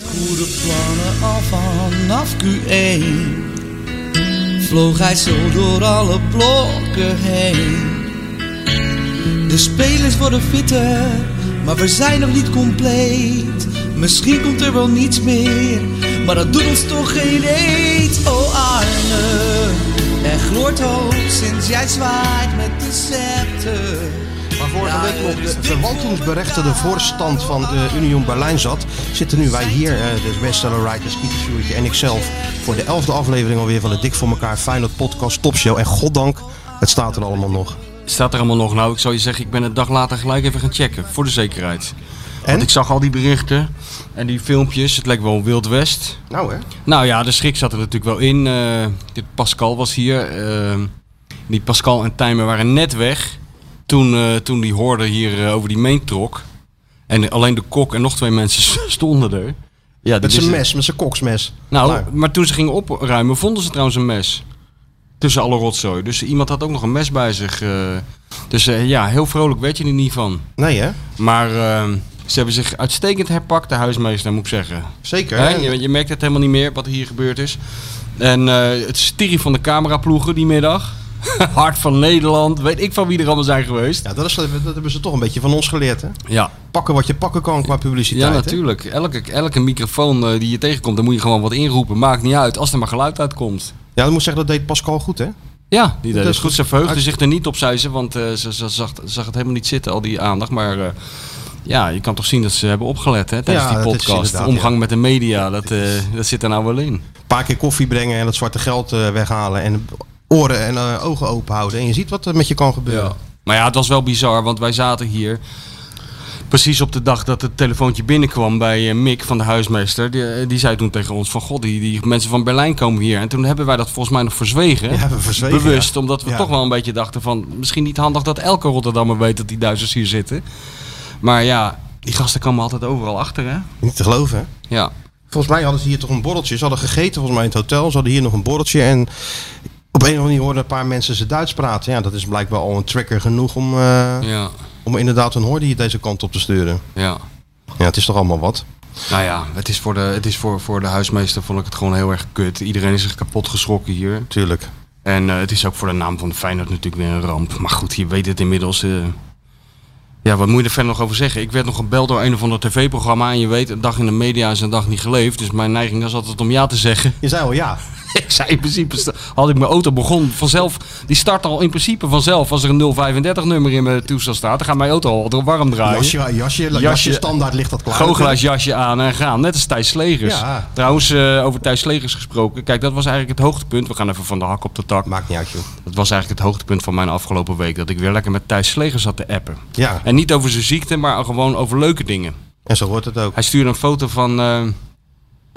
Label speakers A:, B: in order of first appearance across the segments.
A: goede plannen al vanaf Q1 Vloog hij zo door alle blokken heen De spelers worden fitter, maar we zijn nog niet compleet Misschien komt er wel niets meer, maar dat doet ons toch geen eet Oh Arne, er gloort hoop sinds jij zwaait met de scepter
B: Waar vorige week nog de verwaltingsberechtigde voorstand van eh, Union Berlijn zat, zitten nu wij hier, eh de bestseller writers, Pieter Schuurtje en ikzelf, voor de elfde aflevering alweer van de Dik voor elkaar Feyenoord podcast topshow. En goddank, het staat er allemaal nog.
C: Staat er allemaal nog? Nou, ik zou je zeggen, ik ben een dag later gelijk even gaan checken. Voor de zekerheid.
B: En?
C: Want ik zag al die berichten en die filmpjes. Het leek wel Wild West.
B: Nou hè?
C: Nou ja, de schrik zat er natuurlijk wel in. Eh, dit Pascal was hier. Eh, die Pascal en Tijmen waren net weg. Toen, eh, toen die hoorde hier eh, over die main trok. En alleen de kok en nog twee mensen stonden er. Ja, die
B: Met zijn
C: wisten-
B: mes, met zijn koksmes.
C: Nou,
B: Nou.
C: maar toen ze gingen opruimen, vonden ze trouwens een mes. Tussen alle rotzooi. Dus iemand had ook nog een mes bij zich. eh. dus eh, ja, heel vrolijk weet je er niet van.
B: Nee hè?
C: Maar eh, ze hebben zich uitstekend herpakt, de huismeester, moet ik zeggen.
B: Zeker.
C: Hè,
B: En-
C: je, je merkt het helemaal niet meer wat hier gebeurd is. En eh, het stirie van de cameraploegen die middag. Hart van Nederland, weet ik van wie er allemaal zijn geweest.
B: Ja, dat, is, dat hebben ze toch een beetje van ons geleerd hè?
C: Ja,
B: Pakken wat je pakken kan qua publiciteit.
C: ja
B: hè?
C: natuurlijk. Elke, elke microfoon eh, die je tegenkomt, daar moet je gewoon wat inroepen. Maakt niet uit, als er maar geluid uitkomt.
B: Ja, dat moet ik zeggen, dat deed Pascal goed hè?
C: Ja, die deed
B: Dat
C: het
B: is
C: goed.
B: goed.
C: Ze verheugde zich er niet op, zei ze, want eh, ze, ze zag, zag het helemaal niet zitten, al die aandacht. Maar eh, ja, je kan toch zien dat ze hebben opgelet hè, tijdens
B: Ja,
C: die
B: dat is
C: podcast.
B: inderdaad,
C: Omgang met de media, dat, eh, dat zit er nou wel in.
B: Een paar keer koffie brengen en het zwarte geld eh, weghalen en oren en eh, ogen open houden. En je ziet wat er met je kan gebeuren.
C: Maar ja, het was wel bizar, want wij zaten hier precies op de dag dat het telefoontje binnenkwam bij eh, Mick van de huismeester. Die, eh, die zei toen tegen ons van, god, die, die mensen van Berlijn komen hier. En toen hebben wij dat volgens mij nog verzwegen.
B: Ja, we verzwegen,
C: Bewust, omdat we
B: Ja.
C: toch wel een beetje dachten van, misschien niet handig dat elke Rotterdammer weet dat die Duitsers hier zitten. Maar ja, die gasten komen altijd overal achter, hè?
B: Niet te geloven hè?
C: Ja.
B: Volgens mij hadden ze hier toch een borreltje. Ze hadden gegeten volgens mij in het hotel. Ze hadden hier nog een borreltje. En op een of andere manier hoorden een paar mensen ze Duits praten. Ja, dat is blijkbaar al een trigger genoeg om, eh,
C: Ja,
B: om inderdaad een hoorde hier deze kant op te sturen.
C: ja.
B: Ja, het is toch allemaal wat.
C: Nou ja, het is, voor de, het is voor, voor de huismeester vond ik het gewoon heel erg kut. Iedereen is zich kapot geschrokken hier.
B: Tuurlijk.
C: En eh, het is ook voor de naam van Feyenoord natuurlijk weer een ramp. Maar goed, je weet het inmiddels. eh. ja, wat moet je er verder nog over zeggen? Ik werd nog gebeld door een of ander tv-programma. En je weet, een dag in de media is een dag niet geleefd. Dus mijn neiging was altijd om ja te zeggen.
B: Je zei al ja.
C: ik zei in principe, sta- had ik mijn auto begon vanzelf. Die start al in principe vanzelf. Als er een 035-nummer in mijn toestel staat, dan gaat mijn auto al warm draaien.
B: Jasje, jasje, jasje,
C: Jasje.
B: standaard ligt dat klaar.
C: Googelaarsjasje aan en gaan. Net als Thijs Slegers.
B: Ja.
C: Trouwens, eh, over Thijs Slegers gesproken. Kijk, dat was eigenlijk het hoogtepunt. We gaan even van de hak op de tak.
B: Maakt niet uit joh.
C: Dat was eigenlijk het hoogtepunt van mijn afgelopen week. Dat ik weer lekker met Thijs Sleger zat te appen.
B: Ja,
C: En niet over zijn ziekte, maar gewoon over leuke dingen.
B: en zo hoort het ook.
C: Hij stuurde een foto van. eh,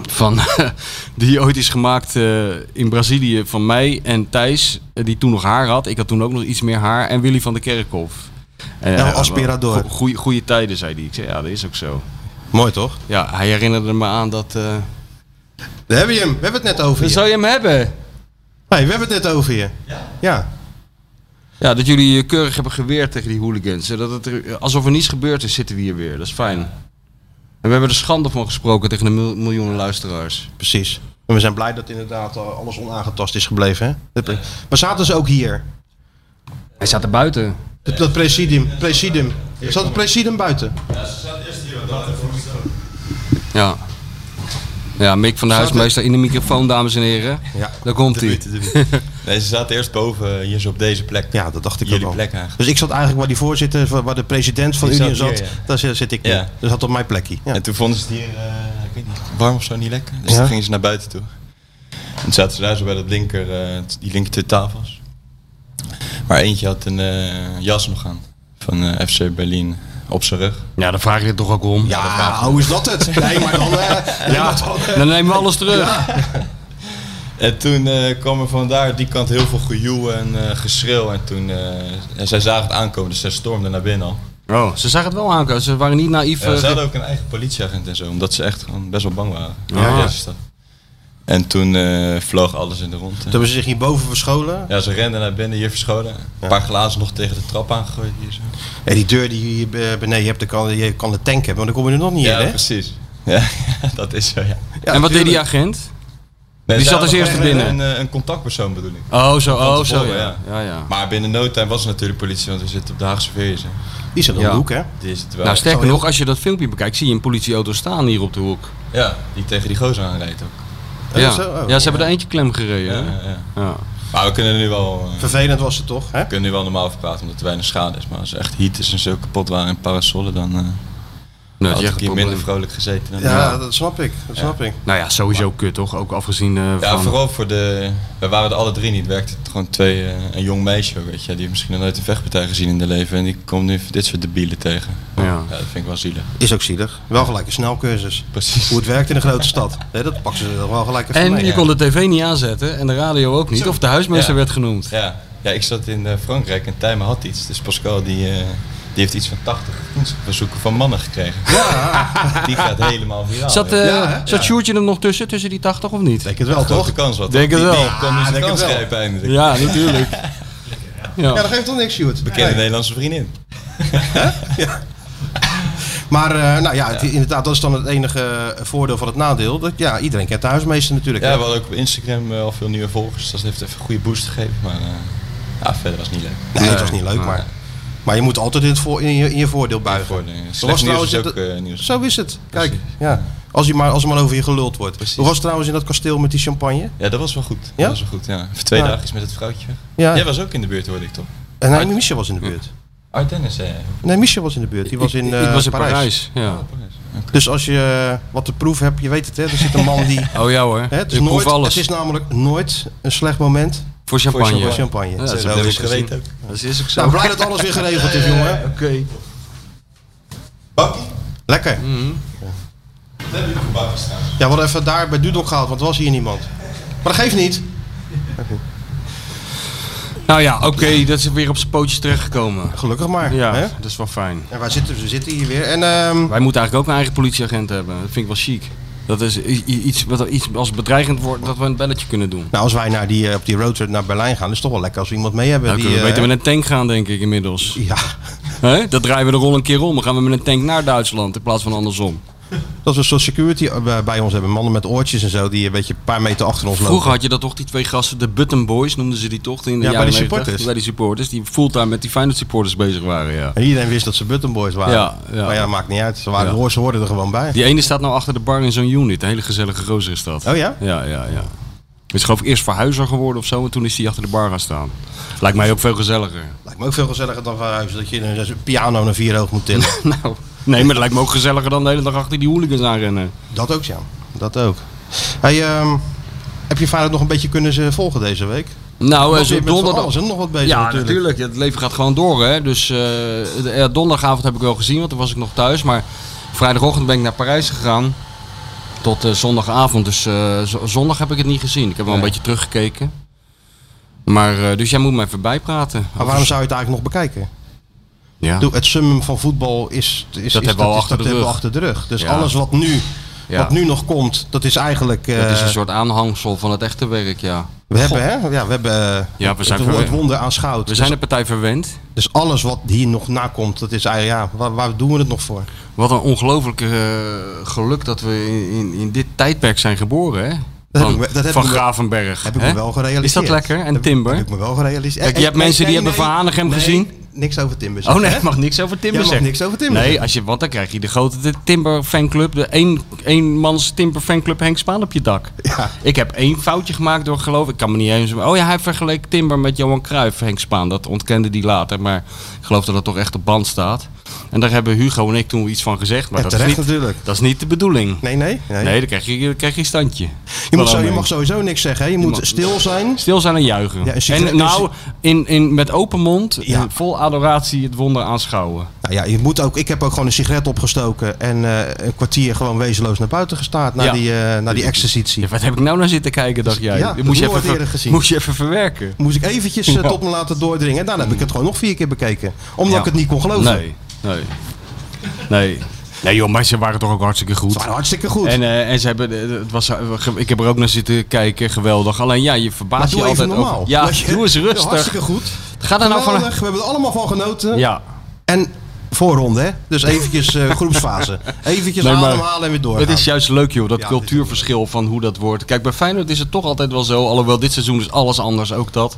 C: van die ooit is gemaakt eh, in Brazilië van mij en Thijs. eh, die toen nog haar had. Ik had toen ook nog iets meer haar. En Willy van de Kerkhof. Eh,
B: El Aspirador.
C: go- goeie- Goede tijden, zei hij. Ik zei, ja, dat is ook zo.
B: Mooi toch?
C: Ja, hij herinnerde me aan dat... eh
B: Daar hebben je hem. We hebben het net over je.
C: Zou je hem hebben?
B: Hey, we hebben het net over je. Ja. ja.
C: Ja, dat jullie eh, keurig hebben geweerd tegen die hooligans. Zodat het er, eh, alsof er niets gebeurd is, zitten we hier weer. Dat is fijn. En we hebben er schande van gesproken tegen de mil- miljoenen luisteraars.
B: Precies. En we zijn blij dat inderdaad eh, alles onaangetast is gebleven. Hè? Maar zaten ze ook hier?
C: Hij staat er buiten.
B: Dat, dat presidium, presidium. Er zat het presidium buiten.
C: Ja. Ja, Mick van de
B: Staat er-
C: huismeester in de microfoon, dames en heren.
B: Ja.
C: Daar komt hij.
D: Nee, ze zaten eerst boven, eh, hier zo op deze plek.
B: Ja, dat dacht ik
D: Jullie
B: ook al.
D: plek eigenlijk.
B: Dus ik zat eigenlijk waar die voorzitter, waar waar de president van
D: Die
B: Unie
D: zat
B: zat,
D: hier, ja.
B: daar zit zit ik nu.
D: Ja.
B: Dus dat op mijn plekje. Ja.
D: En toen vonden ze het hier, eh, ik weet niet, warm of zo niet lekker. Dus
B: Ja.
D: toen gingen ze naar buiten toe. En toen zaten ze daar zo bij dat linker, eh, t- die linker twee tafels. Maar eentje had een eh, jas nog aan van eh, FC Berlin op zijn rug.
C: Ja, dan vraag je er toch ook om.
B: Ja, hoe is dat het? Nee, maar dan... eh,
C: Ja, dan nemen we alles terug.
D: En toen eh kwam er vandaar die kant heel veel gejoel en eh, geschreeuw. En toen, eh, en zij zagen het aankomen, dus zij stormden naar binnen al.
C: Oh, ze zagen het wel aankomen. Ze waren niet naïef.
D: Ja,
C: eh,
D: ze hadden ook een eigen politieagent en zo, omdat ze echt gewoon best wel bang waren.
C: Ah. Ja.
D: Ja. En toen eh, vloog alles in de rond.
B: Toen hebben ze zich hierboven verscholen.
D: Ja, ze renden naar binnen, hier verscholen. Een paar glazen nog tegen de trap aangegooid hier zo.
B: En die deur die je hier eh, beneden hebt, dan kan, je kan de tank hebben, want dan kom je er nog niet
D: Ja,
B: in, hè?
D: precies. Ja, dat is zo, ja.
C: en wat deed die agent?
D: Nee,
C: Die
D: zij
C: zat als
D: hadden
C: eerste
D: gewoon
C: binnen.
D: Een, eh, een contactpersoon bedoel ik.
C: Oh, zo,
D: Van
C: oh, zo,
D: tevoren,
C: ja. ja. ja,
D: Maar binnen no time was het natuurlijk politie, want we zitten op de Haagse Veers. hè.
B: Die zit aan
C: Ja.
B: de hoek, hè?
D: Die is het wel.
C: nou, sterker
B: Zo, ja.
C: nog, als je dat filmpje bekijkt, zie je een politieauto staan hier op de hoek.
D: Ja, die tegen die gozer aanrijdt ook.
C: Ja,
B: zo, oh.
C: ja ze hebben er eentje klem gereden.
D: Ja,
C: hè?
D: ja, ja.
B: Nou,
C: Ja. Nou,
D: Maar we kunnen nu wel, eh,
B: Vervelend was het toch, hè?
D: we kunnen nu wel normaal over praten omdat er weinig schade is. Maar als er echt heat is en zo kapot waren en parasolen, dan eh
C: Nou,
D: had
C: dat is echt
D: ik
C: een
D: hier minder
C: probleem.
D: vrolijk gezeten. Dan
B: Ja,
D: ja,
B: dat snap ik. Dat snap ik.
C: Nou ja, sowieso kut toch? Ook afgezien eh,
D: ja,
C: van...
D: vooral voor de... We waren er alle drie niet. Werkte het gewoon twee... eh, een jong meisje, ook, weet je. Die heeft misschien nog nooit een vechtpartij gezien in haar leven. En die komt nu dit soort debielen tegen.
C: Ja.
D: dat vind ik wel zielig.
B: Is ook zielig. Wel gelijk een snelcursus.
D: Precies.
B: Hoe het werkt in een grote stad. Hè, dat pakken ze er wel gelijk even mee.
C: En je
B: Ja.
C: kon de tv niet aanzetten en de radio ook niet. Of de huismeester
D: Ja.
C: werd genoemd.
D: Ja, ja ik zat in eh, Frankrijk en Tijmen had iets. Dus Pascal die, eh, die heeft iets van 80 bezoeken van mannen gekregen. Die gaat helemaal viraal.
C: Zat,
D: joh.
C: eh
B: Ja, hè?
C: zat Sjoerdje er nog tussen, tussen die 80 of niet?
B: Denk het wel,
D: Grote
B: toch?
D: kans wat.
C: Denk het
D: Die-
C: wel.
D: Die kan nu
B: Ah,
D: zijn
B: denk
D: kans
B: het wel.
D: grijpen eindelijk.
C: Ja, natuurlijk. Ja.
B: Ja, dat geeft toch niks, Sjoerd?
D: Bekende
B: Nee.
D: Nederlandse vriendin.
B: Maar eh, nou ja, het- inderdaad, dat is dan het enige eh, voordeel van het nadeel. Dat, ja, iedereen kent de huismeester natuurlijk.
D: Ja,
B: hè?
D: we hadden ook op Instagram eh, al veel nieuwe volgers. Dus dat heeft even een goede boost gegeven. Maar eh, ja, verder was het niet leuk.
B: nee, het was niet leuk,
D: Nee.
B: maar, maar je moet altijd in, het voor, in, je, in je voordeel buigen.
D: Voor de,
B: Er was
D: eh, slecht nieuws is
B: trouwens-
D: ook eh, nieuws.
B: Zo is het. Kijk,
D: Precies.
B: ja. als, je maar, als er maar over je geluld wordt.
D: Precies.
B: Hoe was het trouwens in dat kasteel met die champagne?
D: Ja, dat was wel goed.
B: Ja?
D: Dat was wel goed, ja. Even twee
B: Ja.
D: dagen is met het vrouwtje weg.
B: Ja.
D: Jij was ook in de buurt, hoorde ik toch?
B: En Eh, nee, Michel was in de buurt.
D: Art Dennis, eh.
B: Nee, Michel was in de buurt. Die was in,
C: Ik-
B: eh,
C: ik was in
B: Parijs.
C: Parijs. Ja.
B: Dus als je eh, wat te proef hebt, je weet het hè. Er zit een man die...
C: Oh ja hoor,
B: Hè, het, is
C: ik proef
B: nooit,
C: alles.
B: het is namelijk nooit een slecht moment
C: Voor champagne.
B: voor
D: champagne.
B: champagne.
C: dat is
B: Zo
C: ook
D: Dat heb
B: is
D: ik
B: het.
D: geweten ook.
C: Dat is ook zo.
B: Nou, blij dat alles weer geregeld is, jongen.
C: Oké.
D: Bakkie?
B: Lekker.
C: Mm.
D: Dat hebben jullie voor bakjes staan.
B: Ja, we hadden even daar bij Dudok gehaald, want er was hier niemand. Maar dat geeft niet.
C: Nou ja, oké, dat is weer op zijn pootjes terechtgekomen.
B: Gelukkig maar.
C: Ja,
B: Hè?
C: dat is wel fijn.
B: En waar zitten we? We zitten hier weer. En ehm,
C: Wij moeten eigenlijk ook een eigen politieagent hebben. Dat vind ik wel chic. Dat is i- i- iets, wat iets als bedreigend wordt dat we een belletje kunnen doen.
B: nou, als wij naar die, eh, op die roadtrip naar Berlijn gaan, is het toch wel lekker als we iemand mee hebben.
C: Dan
B: die,
C: Nou, kunnen we
B: eh,
C: beter met een tank gaan, denk ik inmiddels.
B: Ja,
C: Hè? Dat draaien we de rol een keer om. Dan gaan we met een tank naar Duitsland in plaats van andersom.
B: dat we een soort security eh, bij ons hebben. Mannen met oortjes en zo, die een beetje een paar meter achter ons
C: Vroeger
B: lopen.
C: had je dat toch, die twee gasten, de Button Boys noemden ze die toch? In de
B: Ja, bij
C: jaren
B: die
C: 90,
B: supporters.
C: Bij die supporters, die fulltime met die Feyenoord supporters bezig waren, ja.
B: En iedereen wist dat ze Buttonboys waren.
C: Ja, ja.
B: Maar ja, maakt niet uit. Ze, waren,
C: Ja.
B: ze hoorden er gewoon bij.
C: Die ene staat nou achter de bar in zo'n unit. Een hele gezellige gozer is dat.
B: Oh ja?
C: Ja, ja, ja. Is geloof ik eerst verhuizer geworden of zo en toen is hij achter de bar gaan staan. Lijkt mij ook veel gezelliger.
B: Lijkt me ook veel gezelliger dan van huis dat je een een piano naar vier hoog moet tillen.
C: nou, nee, maar het lijkt me ook gezelliger dan de hele dag achter die hooligans aanrennen.
B: dat ook, ja. Dat ook. Hey, ehm, heb je vader nog een beetje kunnen ze volgen deze week?
C: Nou,
B: Was
C: zo
B: je met van
C: donderdag.
B: alles en nog wat bezig
C: ja,
B: natuurlijk.
C: natuurlijk. Het leven gaat gewoon door, hè. Dus eh, de- ja, donderdagavond heb ik wel gezien, want toen was ik nog thuis. Maar vrijdagochtend ben ik naar Parijs gegaan. Tot eh, zondagavond. Dus eh, z- zondag heb ik het niet gezien. Ik heb wel een beetje teruggekeken. Maar, eh, dus jij moet me even bijpraten.
B: Maar waarom zou je het eigenlijk nog bekijken?
C: Ja.
B: Doe, het summum van voetbal is, is, is- dat,
C: hebben we al
B: is-
C: achter de
B: dat hebben we
C: rug.
B: achter de rug. Dus
C: Ja.
B: alles wat nu,
C: Ja.
B: wat nu nog komt, dat is eigenlijk. eh,
C: Het is een soort aanhangsel van het echte werk, ja.
B: we hebben, hè? Ja, we hebben eh,
C: Ja, we zijn
B: het, wo- het
C: verwe-
B: wonder aanschouwd.
C: We zijn de
B: dus,
C: partij verwend.
B: dus alles wat hier nog nakomt, dat is eigenlijk. Ja, waar, waar doen we het nog voor?
C: Wat een ongelooflijk eh, geluk dat we in, in, in dit tijdperk zijn geboren, hè?
B: Dat
C: Van,
B: heb ik me- dat heb
C: van
B: ik me-
C: Gravenberg.
B: Heb ik
C: hè?
B: me wel gerealiseerd.
C: Is dat lekker? En
B: Heb-
C: Timber?
B: Heb ik me wel gerealiseerd.
C: Kijk,
B: Eh,
C: je hebt
B: eh,
C: mensen die
B: nee,
C: hebben
B: nee,
C: Van Hanegem
B: nee,
C: gezien.
B: Niks over Timber.
C: Oh
B: zeggen,
C: nee,
B: hè?
C: ik mag niks over Timber
B: Jij mag
C: zeggen.
B: niks over Timber
C: Nee,
B: zeggen.
C: als je, want dan krijg je de grote de Timber fanclub, de één, eenmans Timber fanclub Henk Spaan op je dak.
B: Ja.
C: Ik heb één foutje gemaakt door geloof ik, kan me niet eens... Oh ja, hij vergeleek Timber met Johan Cruijff, Henk Spaan. Dat ontkende die later, maar ik geloof dat dat toch echt op band staat. En daar hebben Hugo en ik toen iets van gezegd, maar
B: En
C: dat, is
B: terecht
C: niet,
B: natuurlijk.
C: dat is niet de bedoeling.
B: Nee, nee. nee.
C: Nee, dan krijg je, dan krijg je een standje.
B: je, moet zo, je
C: Waarom?
B: mag sowieso niks zeggen. hè. Je moet stil zijn.
C: Stil zijn en juichen.
B: Ja, een sigaret-
C: en nou, in, in, met open mond,
B: Ja.
C: eh, vol adoratie het wonder aanschouwen.
B: Nou ja, je moet ook, ik heb ook gewoon een sigaret opgestoken en eh, een kwartier gewoon wezenloos naar buiten gestaard. Naar
C: Ja.
B: die, eh, naar die exercitie.
C: Ja, wat heb ik nou naar zitten kijken, dacht jij?
B: ja,
C: Dit moest, je
B: nooit
C: even ver-
B: eerder gezien.
C: moest je even verwerken.
B: Moest ik eventjes eh,
C: Ja.
B: tot me laten doordringen. En daarna heb ik het gewoon nog vier keer bekeken. Omdat
C: Ja.
B: ik het niet kon geloven.
C: Nee, nee. Nee. Nee joh, maar ze waren toch ook hartstikke
B: Het
C: goed.
B: waren hartstikke goed.
C: En, eh, en ze hebben, eh, het was, ik heb er ook naar zitten kijken, geweldig. Alleen ja, je
B: maar
C: verbaast
B: doe
C: je
B: even
C: altijd
B: normaal.
C: over- Ja,
B: Weet je?
C: doe eens
B: Ja,
C: rustig.
B: Hartstikke goed.
C: Ga er nou
B: Geweldig,
C: van...
B: We hebben er allemaal van genoten.
C: Ja,
B: En voorronde, hè? Dus eventjes eh, groepsfase. Eventjes
C: Nee, maar
B: ademhalen en weer door.
C: Het is juist leuk, joh, dat
B: Ja,
C: cultuurverschil van hoe dat wordt. Kijk, bij Feyenoord is het toch altijd wel zo. Alhoewel, dit seizoen is alles anders, ook dat.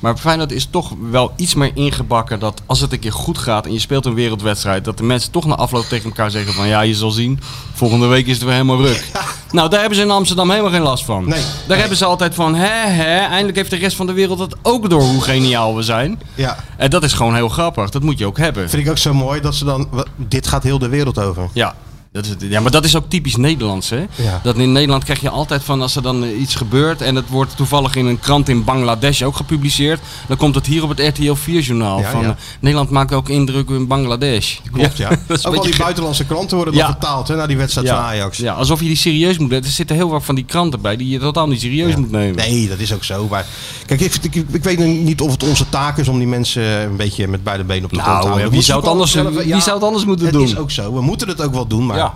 C: Maar bij Feyenoord is toch wel iets meer ingebakken dat als het een keer goed gaat en je speelt een wereldwedstrijd, dat de mensen toch na afloop tegen elkaar zeggen van ja, je zal zien, volgende week is het weer helemaal ruk. Nou, daar hebben ze in Amsterdam helemaal geen last van.
B: Nee.
C: Daar hebben ze altijd van, hè, hè, eindelijk heeft de rest van de wereld het ook door hoe geniaal we zijn.
B: Ja.
C: En dat is gewoon heel grappig. Dat moet je ook hebben.
B: Vind ik ook zo mooi dat ze dan... wa- Dit gaat heel de wereld over.
C: Ja. Dat is het, ja, maar dat is ook typisch Nederlands, hè?
B: Ja.
C: Dat in Nederland krijg je altijd van als er dan eh, iets gebeurt en het wordt toevallig in een krant in Bangladesh ook gepubliceerd, dan komt het hier op het RTL 4-journaal.
B: Ja,
C: van
B: ja.
C: eh, Nederland maakt ook indruk in Bangladesh.
B: Klopt, ja.
C: dat is een
B: ook al
C: beetje
B: die
C: gek.
B: buitenlandse kranten worden dan
C: Ja.
B: vertaald hè, naar die wedstrijd
C: ja.
B: van Ajax.
C: Ja, alsof je die serieus moet nemen. Er zitten heel wat van die kranten bij die je totaal niet serieus moet nemen.
B: Nee, dat is ook zo. Maar kijk, ik, ik, ik weet niet of het onze taak is om die mensen een beetje met beide benen op de
C: Nou,
B: grond te houden.
C: hè,
B: Dat
C: wie
B: moeten
C: zou het
B: ze gewoon
C: anders- wie zou het anders moeten
B: het
C: doen?
B: is ook zo. We moeten het ook wel doen, maar
C: Ja.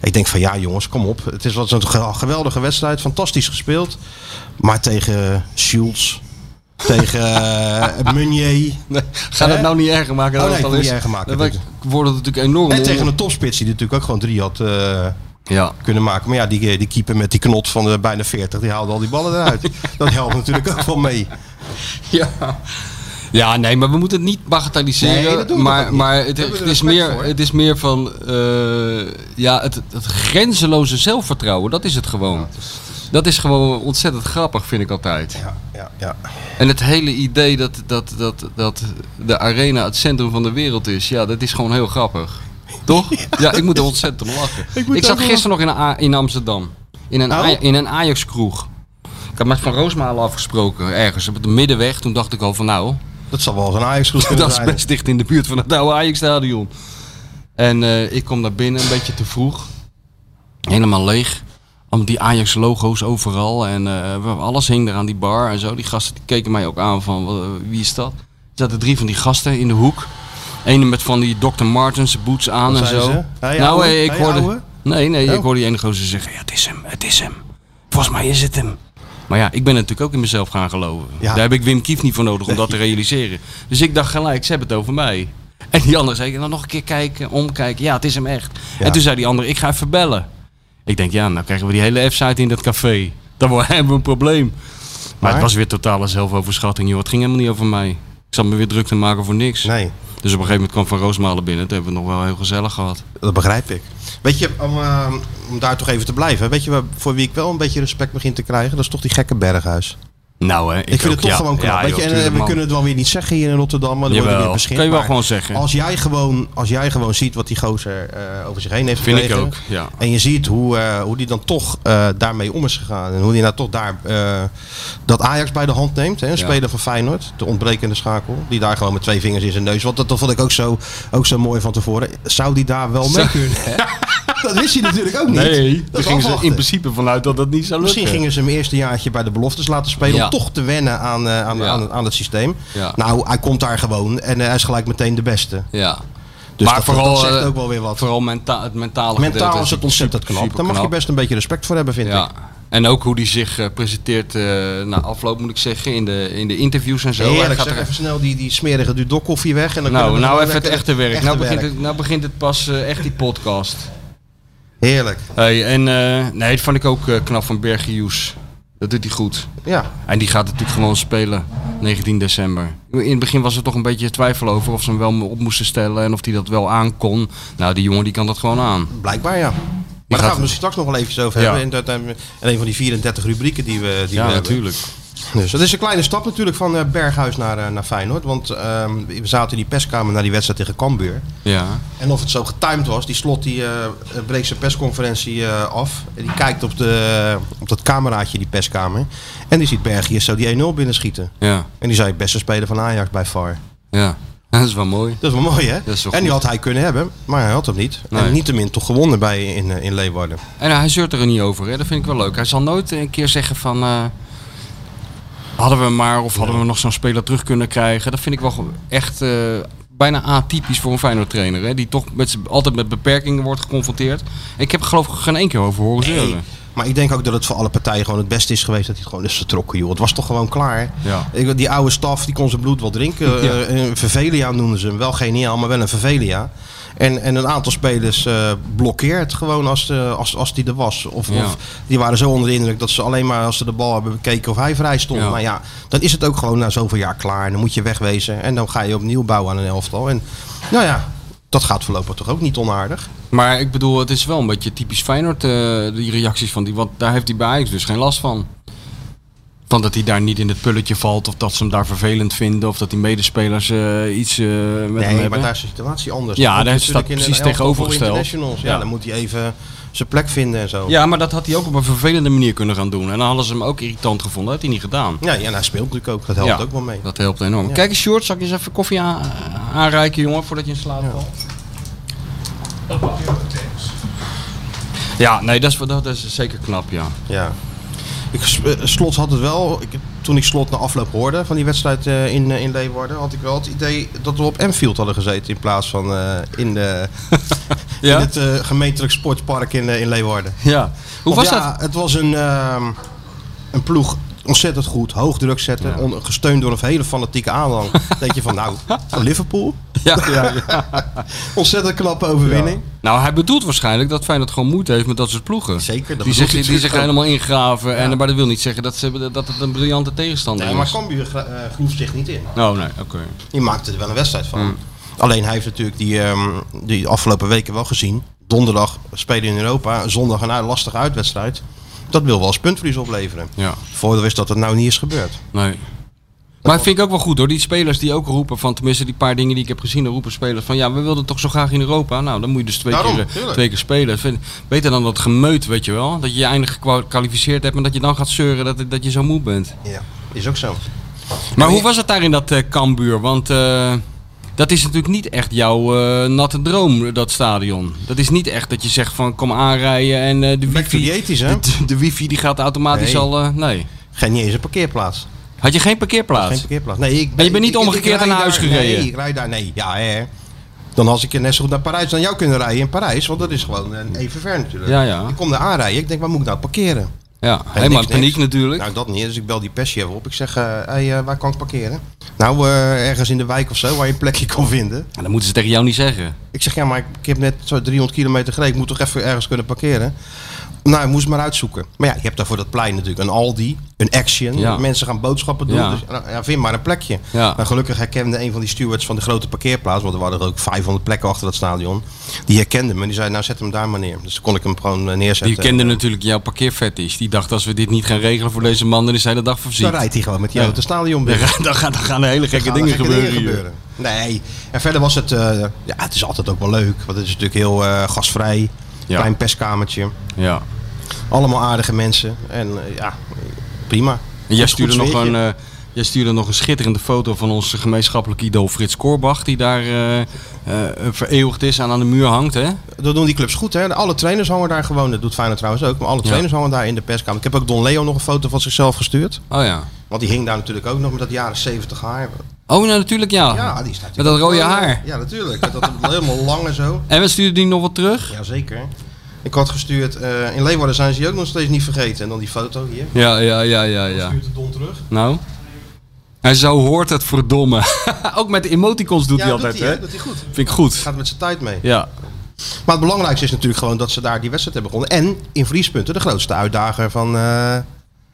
B: ik denk van ja jongens, kom op. Het is wat een ge- geweldige wedstrijd, fantastisch gespeeld. Maar tegen Schultz, tegen eh, Meunier
C: Nee, Ga dat
B: Hè?
C: nou niet erger maken.
B: Oh,
C: dan
B: nee,
C: het al
B: ik moet
C: is.
B: niet erger maken,
C: Dan
B: natuurlijk.
C: wordt het natuurlijk enorm.
B: en tegen
C: on-
B: een topspits die natuurlijk ook gewoon drie had eh,
C: Ja.
B: kunnen maken. Maar ja, die, die keeper met die knot van eh, bijna 40, die haalde al die ballen eruit. dat helpt natuurlijk ook wel mee.
C: Ja. Ja, nee, maar we moeten het niet bagatelliseren.
B: Nee, dat doen we toch ook
C: maar
B: niet?
C: maar het,
B: Daar hebben we
C: het is
B: respect
C: meer,
B: voor.
C: het is meer van. eh, ja, het, het grenzeloze zelfvertrouwen, dat is het gewoon. dat is gewoon ontzettend grappig, vind ik altijd.
B: Ja, ja, ja.
C: En het hele idee dat, dat, dat, dat de arena het centrum van de wereld is, ja, dat is gewoon heel grappig. Toch? Ja, ik moet er ontzettend om lachen. Ik,
B: moet
C: zat
B: ook wel-
C: gisteren nog in, een A- in Amsterdam. In een,
B: Oh.
C: Aj- in een Ajax-kroeg. Ik had met Van Roosmalen afgesproken, ergens op de middenweg. Toen dacht ik al van nou,
B: Dat zal wel eens een Ajax goed kunnen
C: dat is
B: zijn.
C: best dicht in de buurt van het oude Ajax-stadion. En eh, ik kom daar binnen een beetje te vroeg. Helemaal leeg. Al die Ajax-logo's overal. En eh, alles hing er aan die bar en zo. Die gasten die keken mij ook aan van "Wa- wie is dat? Er zaten drie van die gasten in de hoek. Ene met van die Dr. Martens boots aan
B: Wat
C: en
B: zei
C: zo.
B: ze? Hey,
C: nou,
B: ouwe.
C: eh, ik
B: Hey,
C: hoorde...
B: ouwe.
C: Nee, nee, ik
B: Oh.
C: hoorde die ene gozer zeggen, ja, het is hem, het is hem. Volgens mij is het hem. Maar ja, ik ben natuurlijk ook in mezelf gaan geloven.
B: Ja.
C: Daar heb ik Wim Kief niet voor nodig om dat te realiseren. Dus ik dacht gelijk, ze hebben het over mij. En die andere zei, dan nog een keer kijken, omkijken. Ja, het is hem echt.
B: Ja.
C: En toen zei die andere, ik ga even bellen. Ik denk, ja, nou krijgen we die hele F-site in dat café. Dan wo- hebben we een probleem. Maar,
B: Maar?
C: het was weer totale zelfoverschatting, joh. Het ging helemaal niet over mij. Ik zat me weer druk te maken voor niks.
B: Nee,
C: Dus op een gegeven moment kwam Van Roosmalen binnen. Toen hebben we het nog wel heel gezellig gehad.
B: dat begrijp ik. Weet je, om, eh, om daar toch even te blijven. Weet je waar- voor wie ik wel een beetje respect begin te krijgen? Dat is toch die gekke Berghuis.
C: Nou, hè, ik,
B: Ik, vind
C: ook,
B: het toch
C: ja.
B: gewoon knap.
C: Ja,
B: weet
C: joh,
B: je, en eh,
C: tuurlijk,
B: we
C: man.
B: kunnen het wel weer niet zeggen hier in Rotterdam. Maar dan worden we
C: Jawel,
B: weer beschermd.
C: kan je wel
B: Maar
C: gewoon zeggen.
B: Als jij gewoon, als jij gewoon ziet wat die gozer eh, over zich heen heeft
C: Vind ik
B: gekregen,
C: ook, ja.
B: En je ziet hoe, eh, hoe die dan toch eh, daarmee om is gegaan. En hoe die nou toch daar eh, dat Ajax bij de hand neemt. Hè? Een
C: Ja.
B: speler van Feyenoord, de ontbrekende schakel. Die daar gewoon met twee vingers in zijn neus. Want dat, dat vond ik ook zo, ook zo mooi van tevoren. Zou die daar wel mee kunnen? dat wist hij natuurlijk ook niet.
C: Nee,
B: dat
C: daar
B: is
C: gingen ze
B: afwachten.
C: in principe vanuit dat dat niet zou lukken.
B: Misschien gingen ze hem eerst een jaartje bij de beloftes laten spelen.
C: Ja.
B: Om toch te wennen aan, eh, aan,
C: Ja.
B: aan, aan het systeem.
C: Ja.
B: Nou, hij komt daar gewoon. En eh, hij is gelijk meteen de beste.
C: Ja.
B: Dus
C: maar
B: dat-
C: vooral,
B: dat zegt
C: eh,
B: ook wel weer wat.
C: Vooral menta het mentale gedeelte
B: Mentaal is het ontzettend
C: eh, super-
B: knap. Daar mag je
C: superknap.
B: best een beetje respect voor hebben, vind ik.
C: Ja. En ook hoe die zich eh, presenteert eh, na afloop, moet ik zeggen, in de, in de interviews en zo. Hij
B: Heerlijk,
C: gaat
B: zeg
C: er-
B: even snel die, die smerige Dudok koffie weg. En dan kunnen
C: nou,
B: we
C: nou
B: gewoon
C: even het
B: lekker-
C: echte werk. nou, begint
B: werk.
C: Het, nou begint het pas eh, echt die podcast.
B: Heerlijk,
C: Hey, en eh, nee, dat vond ik ook eh, knap van Bergius. Dat doet hij goed.
B: ja.
C: En die gaat natuurlijk gewoon spelen, 19 december. In het begin was er toch een beetje twijfel over of ze hem wel op moesten stellen en of hij dat wel aan kon. Nou, die jongen die kan dat gewoon aan.
B: Blijkbaar ja. Maar
C: gaat-
B: daar gaan we het straks nog wel eventjes over
C: Ja.
B: hebben. In, dat, eh, in een van die 34 rubrieken die we, die
C: Ja,
B: we hebben.
C: natuurlijk.
B: Dus dat is een kleine stap natuurlijk van eh, Berghuis naar, eh, naar Feyenoord. Want ehm, we zaten in die perskamer naar die wedstrijd tegen Cambuur.
C: Ja.
B: En of het zo getimed was, die slot die eh, breekt zijn persconferentie eh, af. En die kijkt op, de, op dat cameraatje, die perskamer. En die ziet Berghuis zo die 1-0 binnenschieten.
C: Ja,
B: En die zei, beste speler van Ajax bij far.
C: ja. Dat is wel mooi.
B: Dat is wel mooi, hè?
C: Dat is wel
B: en die
C: goed.
B: had hij kunnen hebben, maar hij had hem niet. En
C: Nee.
B: niettemin toch gewonnen bij in, eh, in Leeuwarden.
C: En hij zeurt er niet over, hè? dat vind ik wel leuk. Hij zal nooit een keer zeggen van... eh, hadden we maar of hadden we nog zo'n speler terug kunnen krijgen. Dat vind ik wel ge- echt eh, bijna atypisch voor een Feyenoord trainer. Hè? Die toch met z'n- altijd met beperkingen wordt geconfronteerd. Ik heb er geloof ik geen één keer over horen zeuren.
B: Maar ik denk ook dat het voor alle partijen gewoon het beste is geweest dat hij gewoon is vertrokken, joh. Het was toch gewoon klaar.
C: Ja.
B: Ik- die oude staf, die kon zijn bloed wel drinken.
C: Ja.
B: Eh, een Vervelia noemden ze hem. Wel geniaal, maar wel een Vervelia. En, en een aantal spelers eh, blokkeert gewoon als, de- als, als die er was. Of,
C: Ja.
B: of die waren zo onder de indruk dat ze alleen maar als ze de bal hebben bekeken of hij vrij stond.
C: Ja.
B: Maar ja, dan is het ook gewoon na zoveel jaar klaar. Dan moet je wegwezen en dan ga je opnieuw bouwen aan een elftal. En nou ja, dat gaat voorlopig toch ook niet onaardig.
C: Maar ik bedoel, het is wel een beetje typisch Feyenoord, eh, die reacties van die. Want daar heeft hij bij Ajax dus geen last van. Van dat hij daar niet in het pulletje valt, of dat ze hem daar vervelend vinden, of dat die medespelers eh, iets eh, met hem
B: Nee,
C: hebben.
B: maar daar is de situatie anders.
C: Ja,
B: Want
C: daar
B: natuurlijk
C: staat
B: in een
C: precies
B: elftal vol
C: tegenovergesteld.
B: internationals. Ja,
C: Ja.
B: dan moet hij even zijn plek vinden en zo.
C: Ja, maar dat had hij ook op een vervelende manier kunnen gaan doen. En dan hadden ze hem ook irritant gevonden, had hij niet gedaan.
B: Ja, ja, en hij speelt natuurlijk ook. Dat helpt
C: Ja,
B: ook wel mee.
C: Dat helpt enorm.
B: Ja.
C: Kijk eens, Short, zal ik eens even koffie aan- aanreiken, jongen, voordat je in slaap valt? Ja, nee, dat is, dat is zeker knap, ja.
B: Ja. Ik, eh, slot had het wel, ik, toen ik slot na afloop hoorde van die wedstrijd eh, in, eh, in Leeuwarden, had ik wel het idee dat we op Enfield hadden gezeten in plaats van eh, in, de,
C: Ja?
B: in het eh, gemeentelijk sportpark in, eh, in Leeuwarden.
C: Ja. Hoe was
B: Want ja,
C: dat?
B: Het was een, ehm, een ploeg ontzettend goed, hoog druk zetten,
C: Ja.
B: on- gesteund door een hele fanatieke aanhang. dat je van nou, van Liverpool,
C: Ja, ja,
B: ontzettend knappe overwinning.
C: Nou, hij bedoelt waarschijnlijk dat Feyenoord gewoon moeite heeft met dat soort ploegen.
B: Zeker, dat
C: die
B: bedoelt
C: zich,
B: hij
C: die zich
B: natuurlijk
C: helemaal ingraven. En, maar dat wil niet zeggen dat, ze, dat het een briljante tegenstander
B: Nee, maar
C: is.
B: Cambuur eh, groef zich niet in.
C: Oh, nee, oké.
B: Die maakte er wel een wedstrijd van.
C: Hmm.
B: Alleen hij heeft natuurlijk die, ehm, die afgelopen weken wel gezien. Donderdag spelen in Europa, zondag een uit- lastige uitwedstrijd. Dat wil wel eens puntverlies opleveren.
C: Ja,
B: Voordeel is dat dat nou niet is gebeurd.
C: nee. Maar vind ik ook wel goed hoor. Die spelers die ook roepen van, tenminste die paar dingen die ik heb gezien, dan roepen spelers van, ja, we wilden toch zo graag in Europa. Nou, dan moet je dus twee,
B: Daarom,
C: keer, eh,
B: tuurlijk.
C: twee keer spelen. Vind- Beter dan dat gemeut, weet je wel. Dat je je eindig gekwalificeerd hebt en dat je dan gaat zeuren dat, dat je zo moe bent.
B: Ja, is ook zo.
C: Maar hoe was het daar in dat eh Kambuur? Want eh, dat is natuurlijk niet echt jouw eh, natte droom, dat stadion. Dat is niet echt dat je zegt van kom aanrijden en eh, de
B: Back to the
C: wifi...
B: 80s, hè?
C: De, de wifi die gaat automatisch
B: Nee.
C: al... eh, nee.
B: Geen niet eens een parkeerplaats.
C: Had je geen
B: Geen
C: parkeerplaats?
B: parkeerplaats. Nee, ik
C: Maar je bent niet
B: ik- ik-
C: omgekeerd
B: ik rijd
C: naar huis
B: daar-
C: gereden?
B: Nee, ik rijd daar. Nee, ja hè. Dan als ik net zo goed naar Parijs dan jou kunnen rijden in Parijs. Want dat is gewoon eh, even ver natuurlijk.
C: Ja, ja.
B: Ik kom daar aanrijden. Ik denk, waar moet ik nou parkeren?
C: Ja, helemaal in
B: niks,
C: paniek
B: niks.
C: natuurlijk.
B: Nou, dat niet. Dus ik bel die persje even op. Ik zeg, eh, hey, eh, waar kan ik parkeren? Nou, eh, ergens in de wijk of zo, waar je een plekje kan vinden.
C: En Nou, dat moeten ze tegen jou niet zeggen.
B: Ik zeg, ja, maar ik, ik heb net zo 300 kilometer gereden. Ik moet toch even ergens kunnen parkeren? Nou, ik moest maar uitzoeken. Maar ja, je hebt daarvoor dat plein natuurlijk. Een Aldi, een Action.
C: Ja.
B: Mensen gaan boodschappen doen.
C: Ja.
B: Dus, nou, ja, vind maar een plekje.
C: Ja.
B: Maar gelukkig herkende een van die stewards van de grote parkeerplaats. Want er waren er ook 500 plekken achter dat stadion. Die herkende me. En die zei, nou, zet hem daar maar neer. Dus toen kon ik hem gewoon eh, neerzetten.
C: Die kende natuurlijk jouw parkeerfetish. Die dacht als we dit niet gaan regelen voor deze man, dan is hij de dag voorzien.
B: Dan rijdt hij gewoon met die
C: Ja.
B: auto het stadion
C: Dan
B: binnen.
C: gaan, dan gaan, dan gaan er hele gekke
B: gaan er
C: dingen
B: gekke
C: gebeuren.
B: dingen
C: hier.
B: Nee, en verder was het, eh, ja, het is altijd ook wel leuk. Want het is natuurlijk heel eh, gastvrij.
C: Ja.
B: Klein perskamertje.
C: Ja.
B: Allemaal aardige mensen. En eh, ja, prima.
C: En jij
B: Goed
C: stuurde, nog
B: sfeertje.
C: een, eh, jij stuurde nog een schitterende foto van onze gemeenschappelijke idool Frits Korbach. Die daar eh, eh, vereeuwigd is en aan de muur hangt. Hè?
B: Dat doen die clubs goed, hè? Alle trainers hangen daar gewoon. Dat doet Feyenoord trouwens ook. Maar alle
C: Ja.
B: trainers hangen daar in de perskamer. Ik heb ook Don Leo nog een foto van zichzelf gestuurd.
C: Oh ja.
B: Want die hing daar natuurlijk ook nog met dat jaren 70 haar.
C: Oh, nou natuurlijk ja.
B: Ja, die staat
C: Met dat rode
B: Ja,
C: haar.
B: Ja, natuurlijk. Met dat helemaal lang en zo.
C: En we stuurden die nog wat terug.
B: Jazeker. Ik had gestuurd, eh, in Leeuwarden zijn ze die ook nog steeds niet vergeten. En dan die foto hier.
C: Ja, ja, ja, ja, ja.
B: Stuurt de Don terug.
C: Nou. En zo hoort het verdomme. Ook met emoticons doet hij
B: dat
C: altijd,
B: doet hij,
C: hè?
B: hè? Dat hij goed.
C: Vind ik goed.
B: Gaat met zijn tijd mee.
C: Ja.
B: Maar het belangrijkste is natuurlijk gewoon dat ze daar die wedstrijd hebben gewonnen. En in vriespunten de grootste uitdager van, eh,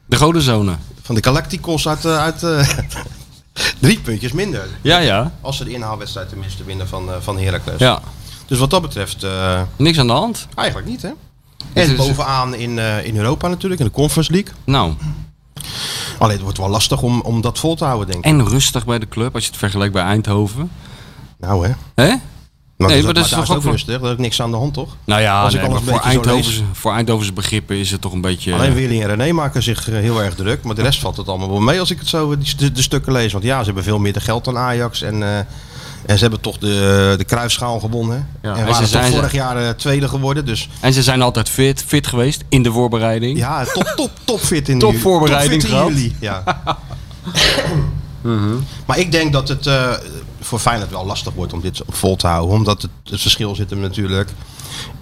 C: De Godenzone.
B: van de Galacticos uit... eh, uit eh, drie puntjes minder.
C: Ja, ja.
B: Als ze de inhaalwedstrijd tenminste winnen van, eh, van Heracles.
C: Ja.
B: Dus wat dat betreft eh,
C: Niks aan de hand.
B: eigenlijk niet, hè?
C: Dus Het
B: En
C: is-
B: bovenaan in, eh, in Europa natuurlijk, in de Conference League.
C: Nou.
B: Alleen het wordt wel lastig om, om dat vol te houden, denk ik.
C: En rustig bij de club als je het vergelijkt bij Eindhoven.
B: Nou, hè?
C: Hè?
B: Maar
C: Nee,
B: dat
C: maar dat is
B: daar
C: toch ook
B: ook
C: voor-
B: rustig. Daar is niks aan de hand, toch?
C: Nou ja,
B: Als ik
C: nee,
B: alles
C: maar
B: een
C: voor,
B: beetje zo lees.
C: Eindhovense, voor Eindhovense begrippen is het toch een beetje...
B: Alleen Willy en René maken zich eh, heel erg druk. Maar de rest valt het allemaal wel mee als ik het zo eh, die st- de, stukken lees. Want ja, ze hebben veel meer de geld dan Ajax. En, eh, en ze hebben toch de, de kruisschaal gewonnen.
C: Ja, en
B: en
C: ze
B: waren toch
C: zijn ze-
B: vorig jaar eh, tweede geworden. Dus
C: eh, En ze zijn altijd fit, fit geweest in de voorbereiding.
B: ja, top, top, top fit in
C: Top
B: juli.
C: voorbereiding
B: top fit in
C: gehad. Mhm.
B: juli, Ja. Maar ik denk dat het eh, voor Feyenoord wel lastig wordt om dit vol te houden. Omdat het, het verschil zit hem natuurlijk